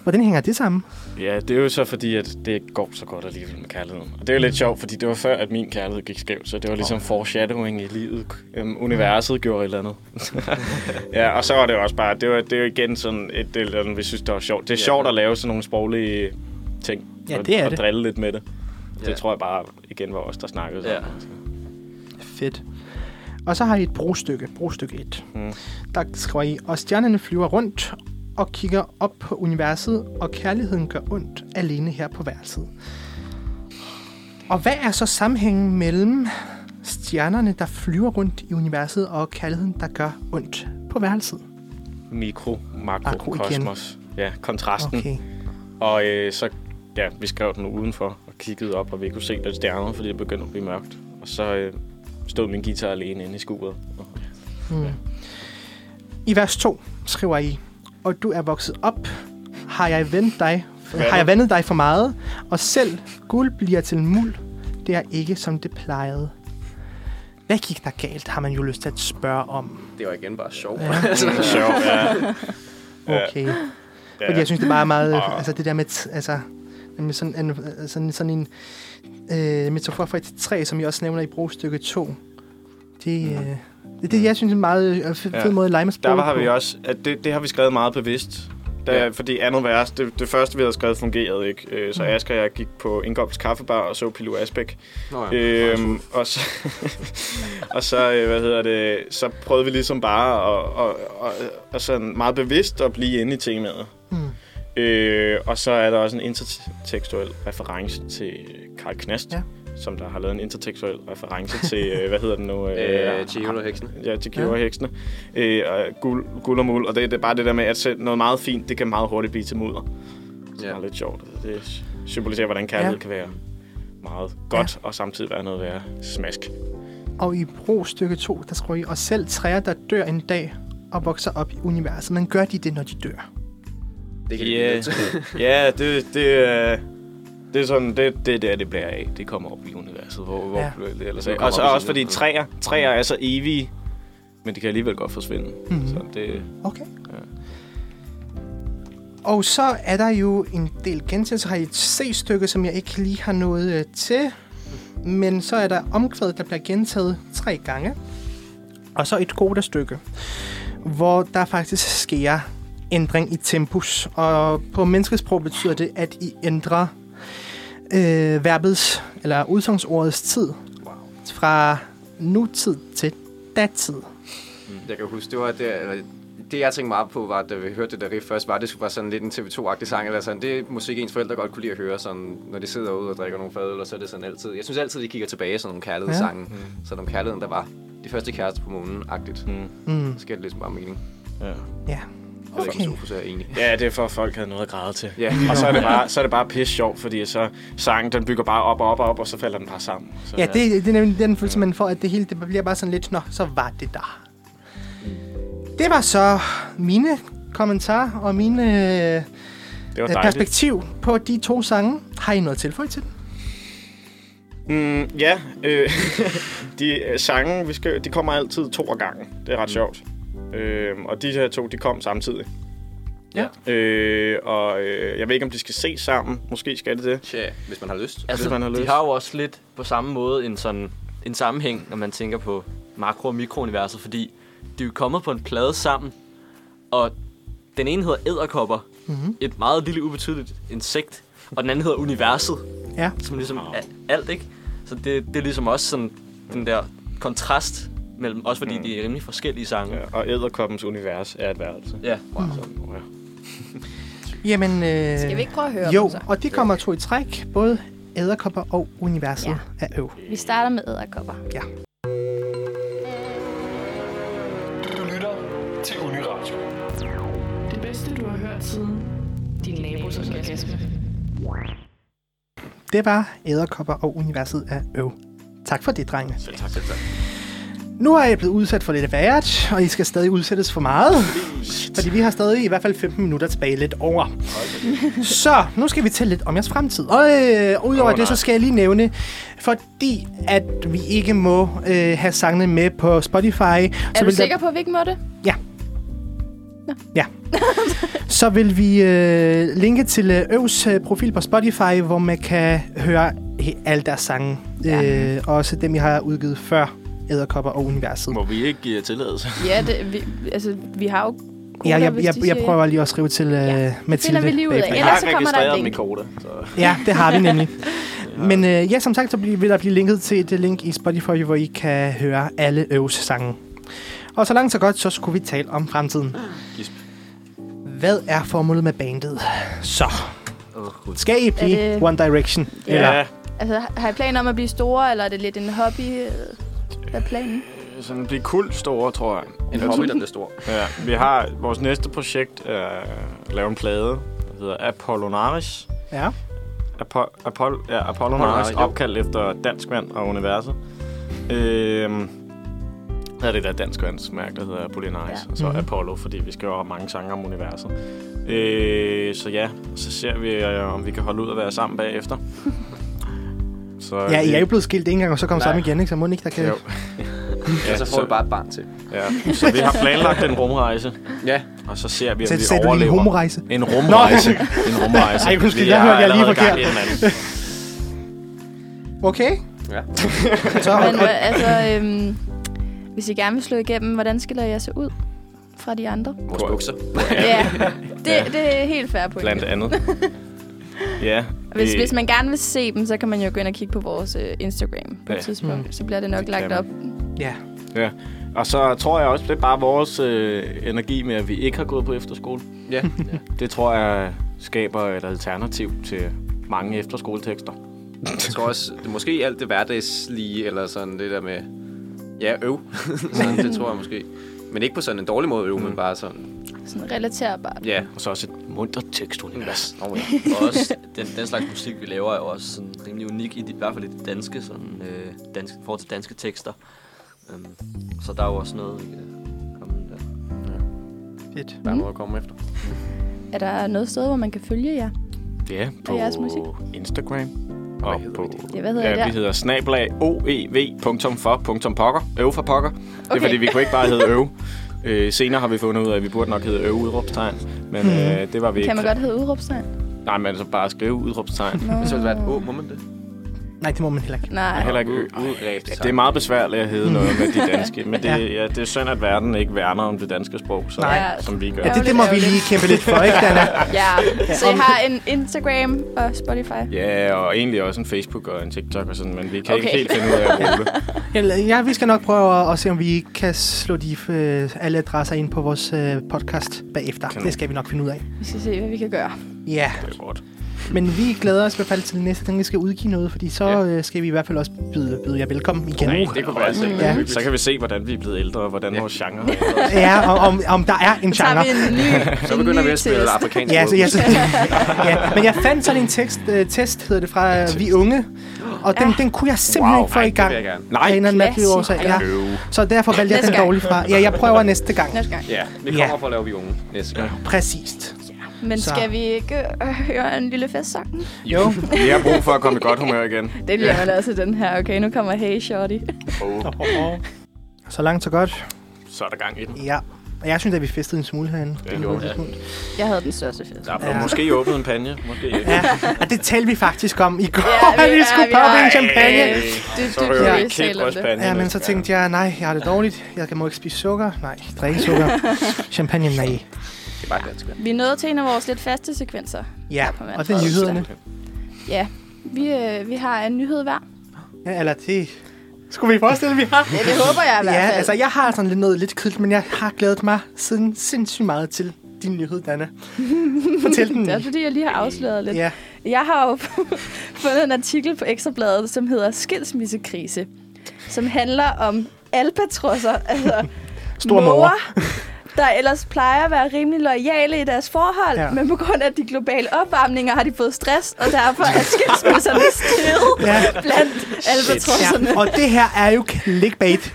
Speaker 5: Hvordan hænger det sammen?
Speaker 7: Ja, det er jo så fordi, at det ikke går så godt alligevel med kærligheden. Og det er jo lidt sjovt, fordi det var før, at min kærlighed gik skævt, så det var ligesom foreshadowing i livet. Øhm, universet gjorde et eller andet. ja, og så var det jo også bare, det, var, det er jo igen sådan et del, af den, vi synes, det var sjovt. Det er sjovt at lave sådan nogle sproglige ting.
Speaker 5: Ja,
Speaker 7: og,
Speaker 5: det er
Speaker 7: og
Speaker 5: det.
Speaker 7: drille lidt med det. Det
Speaker 8: Ja.
Speaker 7: tror jeg bare igen var os, der snakkede.
Speaker 8: Ja.
Speaker 5: Fedt. Og så har I et brostykke, brostykke 1. Mm. Der skriver I, og stjernerne flyver rundt og kigger op på universet, og kærligheden gør ondt alene her på værelset. Og hvad er så sammenhængen mellem stjernerne, der flyver rundt i universet, og kærligheden, der gør ondt på værelset?
Speaker 7: Mikro,
Speaker 5: Makro
Speaker 7: makro,
Speaker 5: igen.
Speaker 7: kosmos. Ja, kontrasten.
Speaker 5: Okay.
Speaker 7: Og øh, så, ja, vi skrev den udenfor og kiggede op, og vi kunne se lidt stjerner, fordi det begyndte at blive mørkt. Og så øh, stod min guitar alene inde i skuret.
Speaker 5: I vers 2 skriver I, og du er vokset op, har jeg vendt dig, har jeg vandet dig for meget, og selv guld bliver til muld, det er ikke som det plejede. Hvad gik der galt, har man jo lyst til at spørge om.
Speaker 9: Det var igen bare sjovt.
Speaker 7: Det er sjovt, ja.
Speaker 5: Okay. Ja. Fordi jeg synes, det er meget, meget...
Speaker 7: Ah.
Speaker 5: Altså, det der med... t- Altså, med sådan en, sådan, sådan en øh, metafor for et træ, som jeg også nævner i brugstykke 2. Det, øh, det, det, jeg synes, er en meget øh, fed,
Speaker 7: Ja.
Speaker 5: fed måde at lege med
Speaker 7: Der
Speaker 5: sproget
Speaker 7: var, har vi
Speaker 5: på.
Speaker 7: også, at det, det har vi skrevet meget bevidst. Da,
Speaker 9: Ja.
Speaker 7: ja. Fordi andet vers, det, det første vi havde skrevet fungerede ikke. Øh, Så Asger og jeg gik på Ingolfs Kaffebar og så Pilu Asbæk.
Speaker 9: Nå ja.
Speaker 7: Øhm, og så, og så, øh, hvad hedder det, så prøvede vi ligesom bare at, at, at, at sådan meget bevidst at blive inde i temaet. Mm. Øh, og så er der også en intertekstuel reference til Karl Knast,
Speaker 5: Ja.
Speaker 7: ja. som der har lavet en intertekstuel reference til, øh, hvad hedder den nu?
Speaker 9: Øh, Chihiro heksene.
Speaker 7: Ja, til giverheksene. Ja. Øh, og guld, guld og mul. Og det, det er bare det der med, at selv noget meget fint, det kan meget hurtigt blive til mudder. Så
Speaker 9: Ja.
Speaker 7: Det er lidt sjovt. Det symboliserer, hvordan kærlighed
Speaker 5: Ja.
Speaker 7: ja. kan være meget godt, ja. og samtidig være noget værre smask.
Speaker 5: Og i brugstykke 2, der skriver I, og selv træer, der dør en dag og vokser op i universet. Men gør de det, når de dør?
Speaker 9: Det kan
Speaker 7: Ja.
Speaker 9: yeah.
Speaker 7: Ja, det, det, øh, det er sådan, det, det er der, det bliver af. Det kommer op i universet, hvor, hvor
Speaker 5: Ja.
Speaker 7: ja. det ellers
Speaker 9: Det
Speaker 7: er.
Speaker 9: kommer
Speaker 7: Og så
Speaker 9: op i
Speaker 7: også fordi
Speaker 9: universet.
Speaker 7: træer, træer er så evige, men de kan alligevel godt forsvinde. Mm-hmm. Så det,
Speaker 5: Okay. Og så er der jo en del gentagelser her i et C-stykke, som jeg ikke lige har nået øh, til. Men så er der omkvædet, der bliver gentaget tre gange. Og så et godt stykke, hvor der faktisk sker ændring i tempus. Og på menneskesprog betyder det, at I ændrer øh, verbets, eller udsagnsordets tid fra nutid til datid.
Speaker 9: Jeg kan huske, det var der, eller det jeg tænkte meget på, var, da vi hørte det der riff først, var, at det skulle være sådan lidt en TV2-agtig sang, eller sådan, det er musik, ens forældre godt kunne lide at høre, sådan, når de sidder ude og drikker nogle fadøl, og så er det sådan altid. Jeg synes altid, de kigger tilbage sådan nogle kærlighedssange, ja. sådan om kærligheden, der var de første kærester på månen-agtigt. Mm.
Speaker 5: Mm,
Speaker 9: Så giver det ligesom bare mening.
Speaker 7: ja.
Speaker 5: ja.
Speaker 9: Jeg ved ikke, om Sofus er enig.
Speaker 7: ja, det er for, at folk havde noget at græde til.
Speaker 9: Ja,
Speaker 7: Og så er det bare, så er det bare pisse sjovt, fordi så sangen, den bygger bare op og op og op, og så falder den bare sammen. Så,
Speaker 5: Ja, det, det er nemlig den følelse, man får, at det hele det bliver bare sådan lidt, nå, så var det der. Det var så mine kommentarer og mine øh,
Speaker 7: det var dejligt.
Speaker 5: perspektiv på de to sange. Har I noget at tilføje til dem?
Speaker 7: Mm, ja, øh, de øh, sange, vi skal, de kommer altid to af gangen. Det er ret mm. sjovt. Øh, og de her to, de kom samtidig. Ja. Øh, og øh, jeg ved ikke, om de skal se sammen. Måske skal det det.
Speaker 9: Tja, hvis man har lyst.
Speaker 7: Hvis
Speaker 8: Altså,
Speaker 7: man har
Speaker 8: de
Speaker 7: lyst.
Speaker 8: har jo også lidt på samme måde en sådan en sammenhæng, når man tænker på makro- og mikrouniverset, fordi de er jo kommet på en plade sammen, og den ene hedder Æderkopper, mm-hmm. et meget lille ubetydeligt insekt, og den anden hedder Universet,
Speaker 5: Ja.
Speaker 8: som ligesom er alt, ikke? Så det, det er ligesom også sådan den der kontrast mellem, også fordi mm. de er rimelig forskellige sange.
Speaker 7: Ja, og æderkoppens univers er et værelse.
Speaker 8: Ja.
Speaker 7: Wow. Så, ja.
Speaker 5: Jamen, øh,
Speaker 6: Skal vi ikke prøve at høre
Speaker 5: jo,
Speaker 6: dem så?
Speaker 5: og de kommer to i træk, både æderkopper og universet ja.
Speaker 6: Ja.
Speaker 5: af øv.
Speaker 6: Vi starter med æderkopper.
Speaker 5: Ja.
Speaker 2: Du lytter til Uniradio.
Speaker 1: Det bedste, du har hørt siden din nabos orgasme.
Speaker 5: Det var æderkopper og universet af øv. Tak for det, drenge. Selv tak. Nu er jeg blevet udsat for lidt af hvert, og I skal stadig udsættes for meget. Fordi vi har stadig i hvert fald 15 minutter tilbage lidt over. Så, nu skal vi tale lidt om jeres fremtid. Og øh, udover oh, det, så skal jeg lige nævne, fordi at vi ikke må øh, have sangene med på Spotify.
Speaker 6: Er
Speaker 5: så vil
Speaker 6: du
Speaker 5: der-
Speaker 6: sikker på, at vi ikke må det?
Speaker 5: Ja. så vil vi øh, linke til øh, Øvs øh, profil på Spotify, hvor man kan høre he- alle deres sange. Ja. Øh, også dem, jeg har udgivet før Æderkopper og Universet.
Speaker 7: Må vi ikke øh, give tilladelse?
Speaker 6: Ja, det, vi, altså, vi har jo cola,
Speaker 5: Ja, jeg,
Speaker 6: hvis
Speaker 5: jeg,
Speaker 6: de
Speaker 5: jeg
Speaker 6: siger-
Speaker 5: prøver lige at skrive til øh, ja. Mathilde.
Speaker 6: finder vi lige ud af.
Speaker 5: bagefter.
Speaker 7: Jeg
Speaker 6: Ellers så
Speaker 7: har
Speaker 6: kommer der et link.
Speaker 7: registreret mit kode, så...
Speaker 5: Ja, det har vi nemlig. Men øh, ja, som sagt, så bliver, vil der blive linket til det link i Spotify, hvor I kan høre alle Øvs sange. Og så langt så godt, så skulle vi tale om fremtiden. Hvad er formålet med bandet? Så. Skal I blive
Speaker 6: det-
Speaker 5: One Direction?
Speaker 6: Ja.
Speaker 5: Eller
Speaker 7: Ja,
Speaker 6: Altså, har har I planer om at blive store, eller er det lidt en hobby? øh, Hvad er planen?
Speaker 7: Øh, sådan blive kul store, tror jeg.
Speaker 9: En hobby, der bliver stor.
Speaker 7: Ja, vi har vores næste projekt er at lave en plade, der hedder Apollonaris.
Speaker 5: Ja.
Speaker 7: Apo- Apollo, ja, Apollo
Speaker 9: Apollonaris,
Speaker 7: Mars,
Speaker 9: jo.
Speaker 7: opkaldt efter dansk vand og universet. Øhm, der er det der dansk vandsmærke, der hedder Apollinaris, ja. og så
Speaker 5: Mhm.
Speaker 7: mm-hmm. Apollo, fordi vi skal jo have mange sange om universet. Øh, så ja, så ser vi, øh, om vi kan holde ud at være sammen bagefter. så,
Speaker 5: ja, I
Speaker 7: vi-
Speaker 5: er jo blevet skilt en gang, og så kom
Speaker 7: Nej.
Speaker 5: sammen igen, ikke? Så må den ikke, der kan...
Speaker 7: Jo.
Speaker 9: Ja, og så
Speaker 3: Altså,
Speaker 9: får
Speaker 7: så-
Speaker 9: du bare et barn til.
Speaker 7: Ja. Så vi har planlagt en rumrejse,
Speaker 9: Ja,
Speaker 7: og så ser vi, om
Speaker 5: Så
Speaker 7: vi
Speaker 5: sagde du lige en
Speaker 7: overlever.
Speaker 5: homorejse.
Speaker 7: En rumrejse. en rumrejse.
Speaker 5: Ej, undskyld,
Speaker 7: Vi
Speaker 5: der
Speaker 7: er
Speaker 5: hørte jeg lige
Speaker 7: allerede i gang
Speaker 5: forkert.
Speaker 7: i en anden.
Speaker 5: Okay.
Speaker 9: Ja.
Speaker 5: Så,
Speaker 6: Men
Speaker 5: og,
Speaker 6: øh, altså, øhm, hvis I gerne vil slå igennem, hvordan skiller jeg så ud fra de andre?
Speaker 9: vores bukser.
Speaker 6: Ja, det, det er helt fair point.
Speaker 7: Blandt andet. Ja.
Speaker 6: Hvis,
Speaker 7: vi-
Speaker 6: hvis man gerne vil se dem, så kan man jo gå ind og kigge på vores øh, Instagram på
Speaker 7: Ja.
Speaker 6: et
Speaker 9: Mm.
Speaker 6: tidspunkt. Så bliver det nok
Speaker 7: Det
Speaker 6: lagt
Speaker 7: kan
Speaker 6: op.
Speaker 5: ja.
Speaker 7: Ja. Og så tror jeg også, det er bare vores øh, energi med, at vi ikke har gået på efterskole.
Speaker 9: Ja. ja.
Speaker 7: Det tror jeg skaber et alternativ til mange efterskoletekster.
Speaker 9: Jeg tror også, det, måske alt det hverdagslige, eller sådan det der med, ja, øv. sådan, det tror jeg måske. Men ikke på sådan en dårlig måde øv, mm. men bare sådan,
Speaker 6: Sådan relaterbart.
Speaker 9: ja.
Speaker 7: Og så også et mundt tekstunivers.
Speaker 9: Oh, ja.
Speaker 8: Og også den, den slags musik, vi laver, er jo også sådan rimelig unik, i, de, i hvert fald i det danske, sådan, øh, danske, i forhold til danske tekster. Um, så der er jo også noget, vi kan komme der.
Speaker 5: Fedt.
Speaker 9: Der er noget at komme efter.
Speaker 6: Er der noget sted, hvor man kan følge jer?
Speaker 7: Ja, på
Speaker 6: Og jeres musik?
Speaker 7: Instagram. Og
Speaker 9: hedder
Speaker 7: på,
Speaker 9: vi
Speaker 6: Ja, hvad hedder I
Speaker 7: ja,
Speaker 6: der?
Speaker 7: vi hedder snablag E oev.for.pokker. Øv for pokker. Det er
Speaker 6: Okay.
Speaker 7: fordi, vi kunne ikke bare hedde øv. Øh, senere har vi fundet ud af, at vi burde nok hedde øv udråbstegn. Men øh, det var
Speaker 6: Hmm.
Speaker 7: vi
Speaker 6: Kan
Speaker 7: ikke.
Speaker 6: man godt hedde udråbstegn?
Speaker 7: Nej, men så bare skrive udråbstegn.
Speaker 9: Så ville det være et å, må man det?
Speaker 5: Nej, det må man heller ikke.
Speaker 6: Nej.
Speaker 7: Heller ikke ø.
Speaker 9: Udræbt.
Speaker 7: Ja, det er meget besværligt at
Speaker 6: Hmm.
Speaker 7: hedde noget med de danske, men det, ja, det er synd, at verden ikke værner om det danske sprog, så,
Speaker 6: Nej.
Speaker 7: som vi gør.
Speaker 5: Ja,
Speaker 7: Ja,
Speaker 5: det, det må vi lige kæmpe lidt for, ikke, Dana?
Speaker 6: Ja, så jeg har en Instagram og Spotify.
Speaker 7: og egentlig også en Facebook og en TikTok og sådan, men vi kan okay.
Speaker 6: Okay.
Speaker 7: ikke helt finde ud af at bruge det.
Speaker 5: Jamen, Ja, vi skal nok prøve at, at se, om vi kan slå de øh, alle adresser ind på vores øh, podcast bagefter.
Speaker 7: Kanon.
Speaker 5: Det skal vi nok finde ud af.
Speaker 6: Vi skal se, hvad vi kan gøre.
Speaker 5: Ja,
Speaker 7: Det er godt.
Speaker 5: men vi glæder os i hvert fald til næste gang, vi skal udgive noget, fordi så øh, skal vi i hvert fald også byde, byde jer velkommen igen.
Speaker 7: Nej, det kunne være altså
Speaker 5: Ja.
Speaker 7: ja. Så kan vi se, hvordan vi er blevet ældre, og hvordan vores genre er ændret sig.
Speaker 5: Ja, og om, om der er en
Speaker 6: Så tager
Speaker 5: genre.
Speaker 6: vi en ny
Speaker 9: Så
Speaker 6: en
Speaker 9: begynder
Speaker 6: ny
Speaker 9: vi at spille
Speaker 6: test.
Speaker 9: afrikansk
Speaker 5: Ja, så,
Speaker 9: ja.
Speaker 5: ja, så, ja, men jeg fandt sådan en tekst, øh, test, hedder det, fra øh, Vi Unge. Og den, den kunne jeg simpelthen
Speaker 7: Wow,
Speaker 5: ikke få i gang.
Speaker 9: vil jeg gerne.
Speaker 5: Nej, en eller anden mærkelig
Speaker 6: Klassiker.
Speaker 5: årsag. Ja.
Speaker 7: Øv.
Speaker 5: Så derfor valgte jeg
Speaker 6: Næste
Speaker 5: den
Speaker 6: gang.
Speaker 5: dårligt fra. Ja, jeg prøver næste gang.
Speaker 6: Næste gang.
Speaker 9: Ja, vi
Speaker 5: Ja.
Speaker 9: kommer for at lave vi unge næste gang.
Speaker 5: Præcist.
Speaker 6: Men
Speaker 5: Så.
Speaker 6: skal vi ikke øh, høre en lille festsang?
Speaker 5: Jo.
Speaker 7: Vi har brug for at komme i godt humør igen.
Speaker 6: Det bliver vel også den her. Okay, nu kommer Hey Shorty.
Speaker 7: Oh,
Speaker 5: Så langt, så godt.
Speaker 7: så er der gang i den.
Speaker 5: Ja. Og jeg synes, at vi festede en smule herinde. Det
Speaker 7: gjorde vi.
Speaker 6: Jeg havde den største fest.
Speaker 7: Der er ja. måske åbnet en panje. Måske ikke.
Speaker 5: Ja, og det talte vi faktisk om i går,
Speaker 6: Ja,
Speaker 5: at
Speaker 6: vi-
Speaker 5: vi skulle
Speaker 6: ja, vi
Speaker 5: poppe
Speaker 6: har-
Speaker 5: en champagne.
Speaker 6: Øh, Du,
Speaker 7: Så
Speaker 6: du, du,
Speaker 7: rører
Speaker 6: du,
Speaker 7: vi
Speaker 6: ikke tale om det.
Speaker 7: kældbrystpande.
Speaker 5: Ja, men så tænkte jeg, nej, jeg har det dårligt. Jeg kan må ikke spise sukker. Nej, drikke sukker. Champagne, nej.
Speaker 9: Det er bare dansk.
Speaker 6: Vi nåede til en af vores lidt faste sekvenser.
Speaker 5: Ja,
Speaker 6: på
Speaker 5: og det er
Speaker 6: mandag.
Speaker 5: nyhederne.
Speaker 6: Ja, vi, øh, vi har en nyhed hver.
Speaker 5: Ja, eller det... Skulle vi forestille, at vi har?
Speaker 6: Ja, det håber jeg i hvert
Speaker 5: Ja,
Speaker 6: fald.
Speaker 5: altså jeg har sådan lidt noget lidt kedeligt, men jeg har glædet mig siden sindssygt meget til din nyhed, Dana. Fortæl den.
Speaker 6: Det er fordi, jeg lige har afsløret lidt.
Speaker 5: Ja.
Speaker 6: Jeg har jo fundet en artikel på Ekstrabladet, som hedder Skilsmissekrise, som handler om albatrosser, altså
Speaker 5: Store måger.
Speaker 6: der ellers plejer at være rimelig lojale i deres forhold,
Speaker 5: Ja.
Speaker 6: ja. men på grund af de globale opvarmninger har de fået stress, og derfor er skilsmisserne steget
Speaker 5: Ja.
Speaker 6: ja. blandt albatrosserne.
Speaker 5: Ja,
Speaker 6: Ja.
Speaker 5: og det her er jo clickbait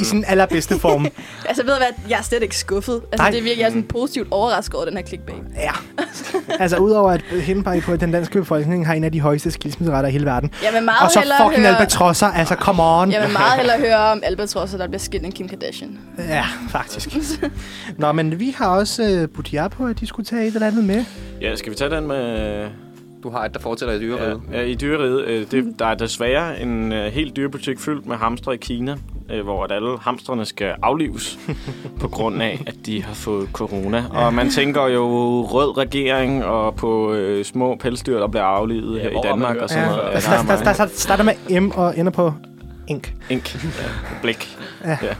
Speaker 5: i sin allerbedste form.
Speaker 6: Altså ved du hvad, jeg er slet ikke skuffet. Altså
Speaker 5: Nej.
Speaker 6: det er virkelig, jeg er sådan positivt overrasket over den her clickbait.
Speaker 5: Ja. Altså udover at henpege på, at den danske befolkning har en af de højeste skilsmisseretter i hele verden.
Speaker 6: Jeg vil meget
Speaker 5: og så
Speaker 6: hellere
Speaker 5: fucking
Speaker 6: høre-
Speaker 5: albatrosser, altså come on.
Speaker 6: Jeg vil meget hellere høre om albatrosser, der bliver skilt end Kim Kardashian.
Speaker 5: Ja, faktisk. Nå, men vi har også uh, budt jer på, at de skulle tage et eller andet med.
Speaker 7: Ja, skal vi tage den med...
Speaker 9: Du har et, der fortæller i
Speaker 7: Ja,
Speaker 9: dyreriget.
Speaker 7: ja, i dyreriet. Øh, det, der er desværre en øh, helt dyrebutik fyldt med hamstre i Kina, øh, hvor at alle hamstrene skal aflives på grund af, at de har fået corona. Og man tænker jo rød regering og på øh, små pelsdyr, der bliver aflivet ja, her
Speaker 8: hvor
Speaker 7: i
Speaker 8: har man
Speaker 7: Danmark
Speaker 8: hørt?
Speaker 7: og sådan noget. Ja,
Speaker 5: der,
Speaker 7: der er
Speaker 5: der, der,
Speaker 7: mange
Speaker 5: der starter med M og ender på ink.
Speaker 7: ink, ja, blik.
Speaker 5: Ja.
Speaker 7: Ja. Ja.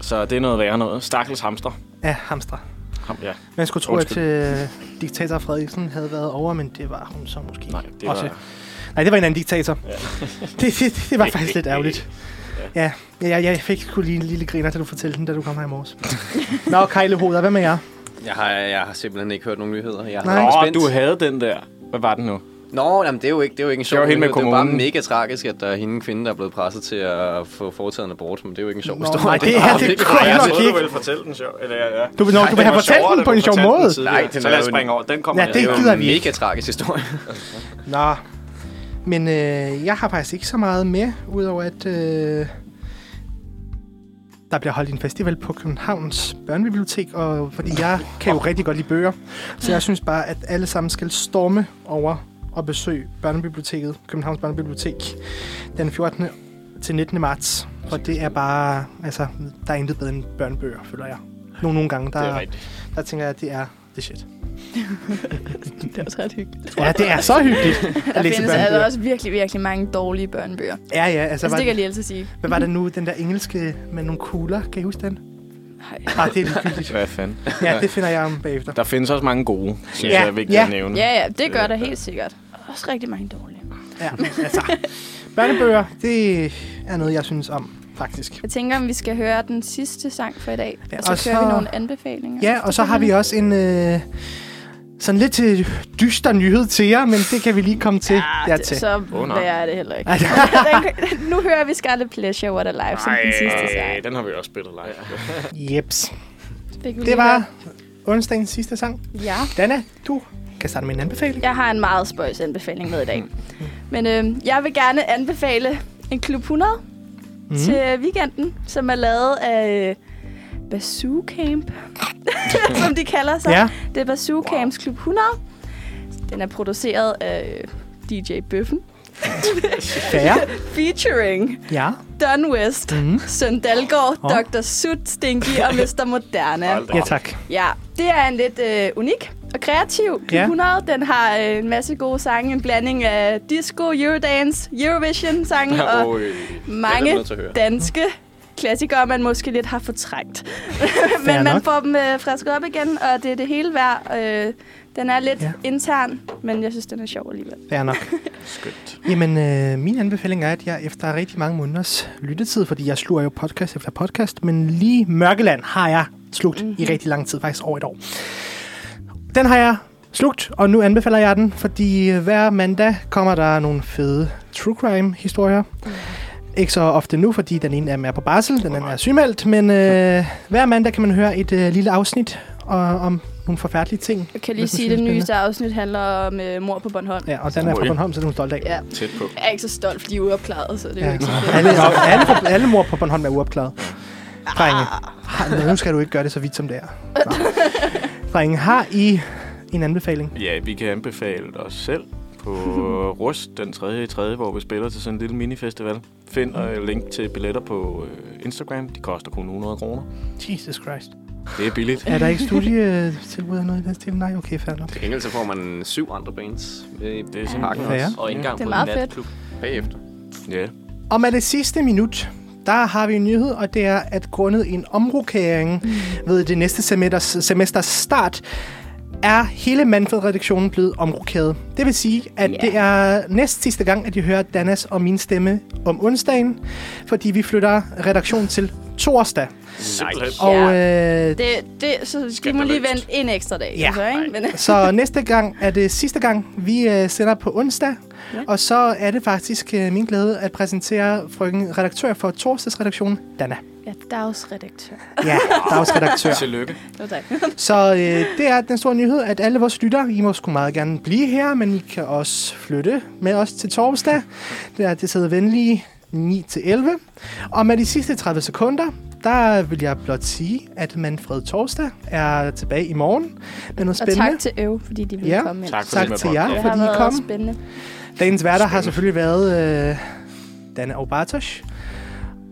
Speaker 7: Så det er noget værre noget. Stakkels hamster.
Speaker 5: Ja, hamstre.
Speaker 7: Ham, ja.
Speaker 5: Man skulle tro,
Speaker 7: Undskyld.
Speaker 5: at øh, diktator Frederiksen havde været over, men det var hun så måske
Speaker 7: Nej, det
Speaker 5: også.
Speaker 7: var,
Speaker 5: Nej, det var en anden diktator. Ja. det, det, det var faktisk lidt ærgerligt. Ja, ja jeg, jeg fik sgu lige en lille griner, da du fortalte den, da du kom her i morges. Nå, Kejle Hoder, hvad med jer?
Speaker 9: Jeg har, jeg har simpelthen ikke hørt nogen nyheder. Jeg
Speaker 5: Nej.
Speaker 9: har
Speaker 7: Nå, du havde den der. Hvad var den nu?
Speaker 9: Nå, jamen, det er jo ikke, det er jo ikke en sjov
Speaker 7: var hende med
Speaker 9: nyhed. Det er bare
Speaker 7: kommunen.
Speaker 9: mega tragisk, at der er hende en kvinde, der er blevet presset til at få foretaget en abort. Men det er jo ikke en sjov
Speaker 5: Nå,
Speaker 9: historie.
Speaker 5: nej, det er det
Speaker 9: kan-
Speaker 5: godt
Speaker 7: Ej, jeg
Speaker 5: nok
Speaker 7: troede, du
Speaker 5: ikke.
Speaker 7: ville fortælle den sjov. Eller, ja.
Speaker 5: Du, nå, du vil have fortalt den på en sjov måde.
Speaker 7: Nej, så lad os springe over. Den kommer
Speaker 5: Ja, det
Speaker 9: jo
Speaker 5: gider
Speaker 9: en
Speaker 5: vi ikke.
Speaker 9: mega tragisk historie.
Speaker 5: Nå, men øh, jeg har faktisk ikke så meget med, udover at øh, Der bliver holdt en festival på Københavns Børnebibliotek, og fordi jeg kan jo rigtig godt lide bøger, så jeg synes bare, at alle sammen skal storme over og besøge Børnebiblioteket, Københavns Børnebibliotek, den 14. til 19. marts. For det er bare, altså, der er intet bedre end børnebøger, føler jeg. Nogle, nogle gange, der,
Speaker 7: Det er rigtigt.
Speaker 5: der tænker jeg, at det er det shit.
Speaker 6: Det er også ret hyggeligt.
Speaker 5: Ja, det er så hyggeligt
Speaker 6: Der
Speaker 5: at læse
Speaker 6: findes altså
Speaker 5: børnebøger.
Speaker 6: også virkelig, virkelig mange dårlige børnebøger. Altså,
Speaker 5: Ja, ja, altså,
Speaker 6: det
Speaker 5: var,
Speaker 6: kan jeg lige altid sige.
Speaker 5: hvad var det nu, den der engelske med nogle kugler? Kan I huske den?
Speaker 6: Nej.
Speaker 5: Ah, det er ligegyldigt.
Speaker 7: Hvad fanden?
Speaker 5: Ja, det finder jeg om bagefter.
Speaker 7: Der findes også mange gode, synes
Speaker 5: Ja,
Speaker 7: jeg er vigtigt
Speaker 5: ja.
Speaker 7: at nævne.
Speaker 6: Ja, ja, det gør der helt sikkert. Også rigtig mange dårlige.
Speaker 5: Ja, men altså, børnebøger, det er noget, jeg synes om, faktisk.
Speaker 6: Jeg tænker, om vi skal høre den sidste sang for i dag.
Speaker 5: Ja,
Speaker 6: Ja, og så
Speaker 5: og
Speaker 6: kører vi
Speaker 5: så-
Speaker 6: nogle anbefalinger.
Speaker 5: Ja, og så har vi også en øh, sådan lidt øh, dyster nyhed til jer, men det kan vi lige komme til
Speaker 6: Ja, det,
Speaker 5: dertil.
Speaker 6: så
Speaker 7: Åh, nej.
Speaker 6: hvad er det heller ikke.
Speaker 5: Ej,
Speaker 6: Den- nu hører vi Scarlet Pleasure What Alive som den sidste
Speaker 7: Ej,
Speaker 6: sang.
Speaker 7: den har vi også spillet live.
Speaker 5: Jeps.
Speaker 6: Fik vi lige
Speaker 5: Det var
Speaker 6: hørt.
Speaker 5: onsdagens sidste sang.
Speaker 6: Ja.
Speaker 5: Dana, du kan starte med en anbefaling.
Speaker 6: Jeg har en meget spøjs anbefaling med i dag. Men øh, jeg vil gerne anbefale en Klub 100 mm. til weekenden, som er lavet af øh, Bazoo Camp, som de kalder sig.
Speaker 5: Ja.
Speaker 6: Det er Bazoo Camps Klub 100. Den er produceret af øh, DJ Bøffen,
Speaker 5: Færre.
Speaker 6: featuring
Speaker 5: Ja.
Speaker 6: Don West, mm. Søren Dalgaard, oh. Dr. Sut, Stinky og Mr. Moderna.
Speaker 5: ja, tak.
Speaker 6: Ja, det er en lidt øh, unik og kreativ klub
Speaker 5: Ja.
Speaker 6: 100. Den har øh, en masse gode sange, en blanding af disco, eurodance, Eurovision-sange og
Speaker 7: Oj.
Speaker 6: mange
Speaker 9: nødt til at høre.
Speaker 6: danske klassikere, man måske lidt har fortrængt.
Speaker 5: Fair
Speaker 6: Men man
Speaker 5: nok.
Speaker 6: får dem øh, frisket op igen, og det er det hele værd. Øh, den er lidt
Speaker 5: Ja.
Speaker 6: ja. intern, men jeg synes, den er sjov alligevel.
Speaker 5: Fair nok.
Speaker 7: Skønt.
Speaker 5: Jamen, øh, min anbefaling er, at jeg efter rigtig mange måneders lyttetid, fordi jeg sluger jo podcast efter podcast, men lige Mørkeland har jeg slugt mm-hmm. i rigtig lang tid, faktisk over et år. Den har jeg slugt, og nu anbefaler jeg den, fordi øh, hver mandag kommer der nogle fede true crime-historier. Ikke så ofte nu, fordi den ene af dem er på barsel, den anden er sygemeldt, men øh, hver mandag kan man høre et øh, lille afsnit og, om nogle forfærdelige ting.
Speaker 6: Jeg kan
Speaker 5: Hvis man
Speaker 6: lige sige,
Speaker 5: synes,
Speaker 6: at det
Speaker 5: er spændende.
Speaker 6: nyeste afsnit handler om øh, mor på Bornholm.
Speaker 5: Ja, og den er fra
Speaker 7: Ui.
Speaker 5: Bornholm, så det er hun stolt af.
Speaker 6: Ja.
Speaker 7: Tæt på.
Speaker 6: Jeg er ikke så stolt, fordi de er uopklaret, så det er jo
Speaker 5: Ja.
Speaker 6: ikke så fedt. Ah.
Speaker 5: alle, alle, for, alle mor på Bornholm er uopklaret. Drenge, har, nu skal du ikke gøre det så vidt som det er. Nå. Drenge, har I en anbefaling?
Speaker 7: Ja, vi kan anbefale os selv på Rust den 3. i 3., hvor vi spiller til sådan en lille minifestival. Find øh, link til billetter på øh, Instagram. De koster kun 100 kroner.
Speaker 5: Jesus Christ.
Speaker 7: Det er billigt.
Speaker 5: Er der ikke studietilbud eller noget i den stil? Nej, okay, fair nok.
Speaker 9: Til gengæld så får man syv andre bands med i
Speaker 7: Det er simpelthen
Speaker 9: pakken
Speaker 5: Fair.
Speaker 9: også.
Speaker 8: Og ikke engang
Speaker 6: Det er
Speaker 8: på
Speaker 6: meget fedt.
Speaker 8: natklub.
Speaker 9: Bagefter.
Speaker 7: Ja.
Speaker 5: Og med det sidste minut, der har vi en nyhed, og det er, at grundet en omrokering ved det næste semesters, semesters start, er hele Manfred-redaktionen blevet omrokeret. Det vil sige, at yeah. det er næst sidste gang, at I hører Danas og min stemme om onsdagen, fordi vi flytter redaktion til torsdag.
Speaker 7: Simpelthen.
Speaker 5: Og øh,
Speaker 6: Det, det, så de må lige vente en ekstra dag.
Speaker 5: Ja.
Speaker 6: Ja. Så, ikke? Men,
Speaker 5: Så næste gang er det sidste gang, vi øh, sender på onsdag. Ja. Og så er det faktisk øh, min glæde at præsentere frøken redaktør for torsdagsredaktionen, Dana.
Speaker 6: ja, dagsredaktør.
Speaker 5: Ja, dagsredaktør.
Speaker 7: Tillykke.
Speaker 6: Jo, tak.
Speaker 5: Så øh, det er den store nyhed, at alle vores lyttere, I må sgu meget gerne blive her, men I kan også flytte med os til torsdag. Det er det sidder venlige 9-11. Og med de sidste 30 sekunder, der vil jeg blot sige, at Manfred Torsdag er tilbage i morgen med noget
Speaker 6: Og tak
Speaker 5: spændende.
Speaker 6: til Øv, fordi de ville
Speaker 5: Ja.
Speaker 6: komme ind.
Speaker 7: Tak for
Speaker 5: tak
Speaker 7: det med
Speaker 5: til jer,
Speaker 6: Det
Speaker 7: podcast.
Speaker 5: fordi
Speaker 6: har
Speaker 5: I
Speaker 6: været
Speaker 5: kom.
Speaker 6: også spændende.
Speaker 5: Dagens værter har selvfølgelig været øh, Danne og Bartosz.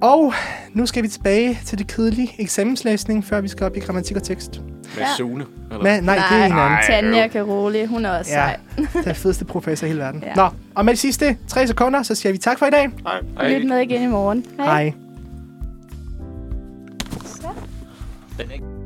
Speaker 5: Og nu skal vi tilbage til det kedelige eksamenslæsning, før vi skal op i grammatik og tekst.
Speaker 7: Med
Speaker 6: Ja.
Speaker 7: Sune. Eller?
Speaker 5: Men, nej, det er en anden.
Speaker 7: Nej,
Speaker 6: Tanja
Speaker 7: Øv.
Speaker 6: Caroli, hun er også ja.
Speaker 5: Ja,
Speaker 6: sej.
Speaker 5: den fedeste professor i hele verden.
Speaker 6: Ja.
Speaker 5: Nå, og med de sidste tre sekunder, så siger vi tak for i dag.
Speaker 6: Lyt med igen i morgen.
Speaker 5: Hej.
Speaker 8: Den er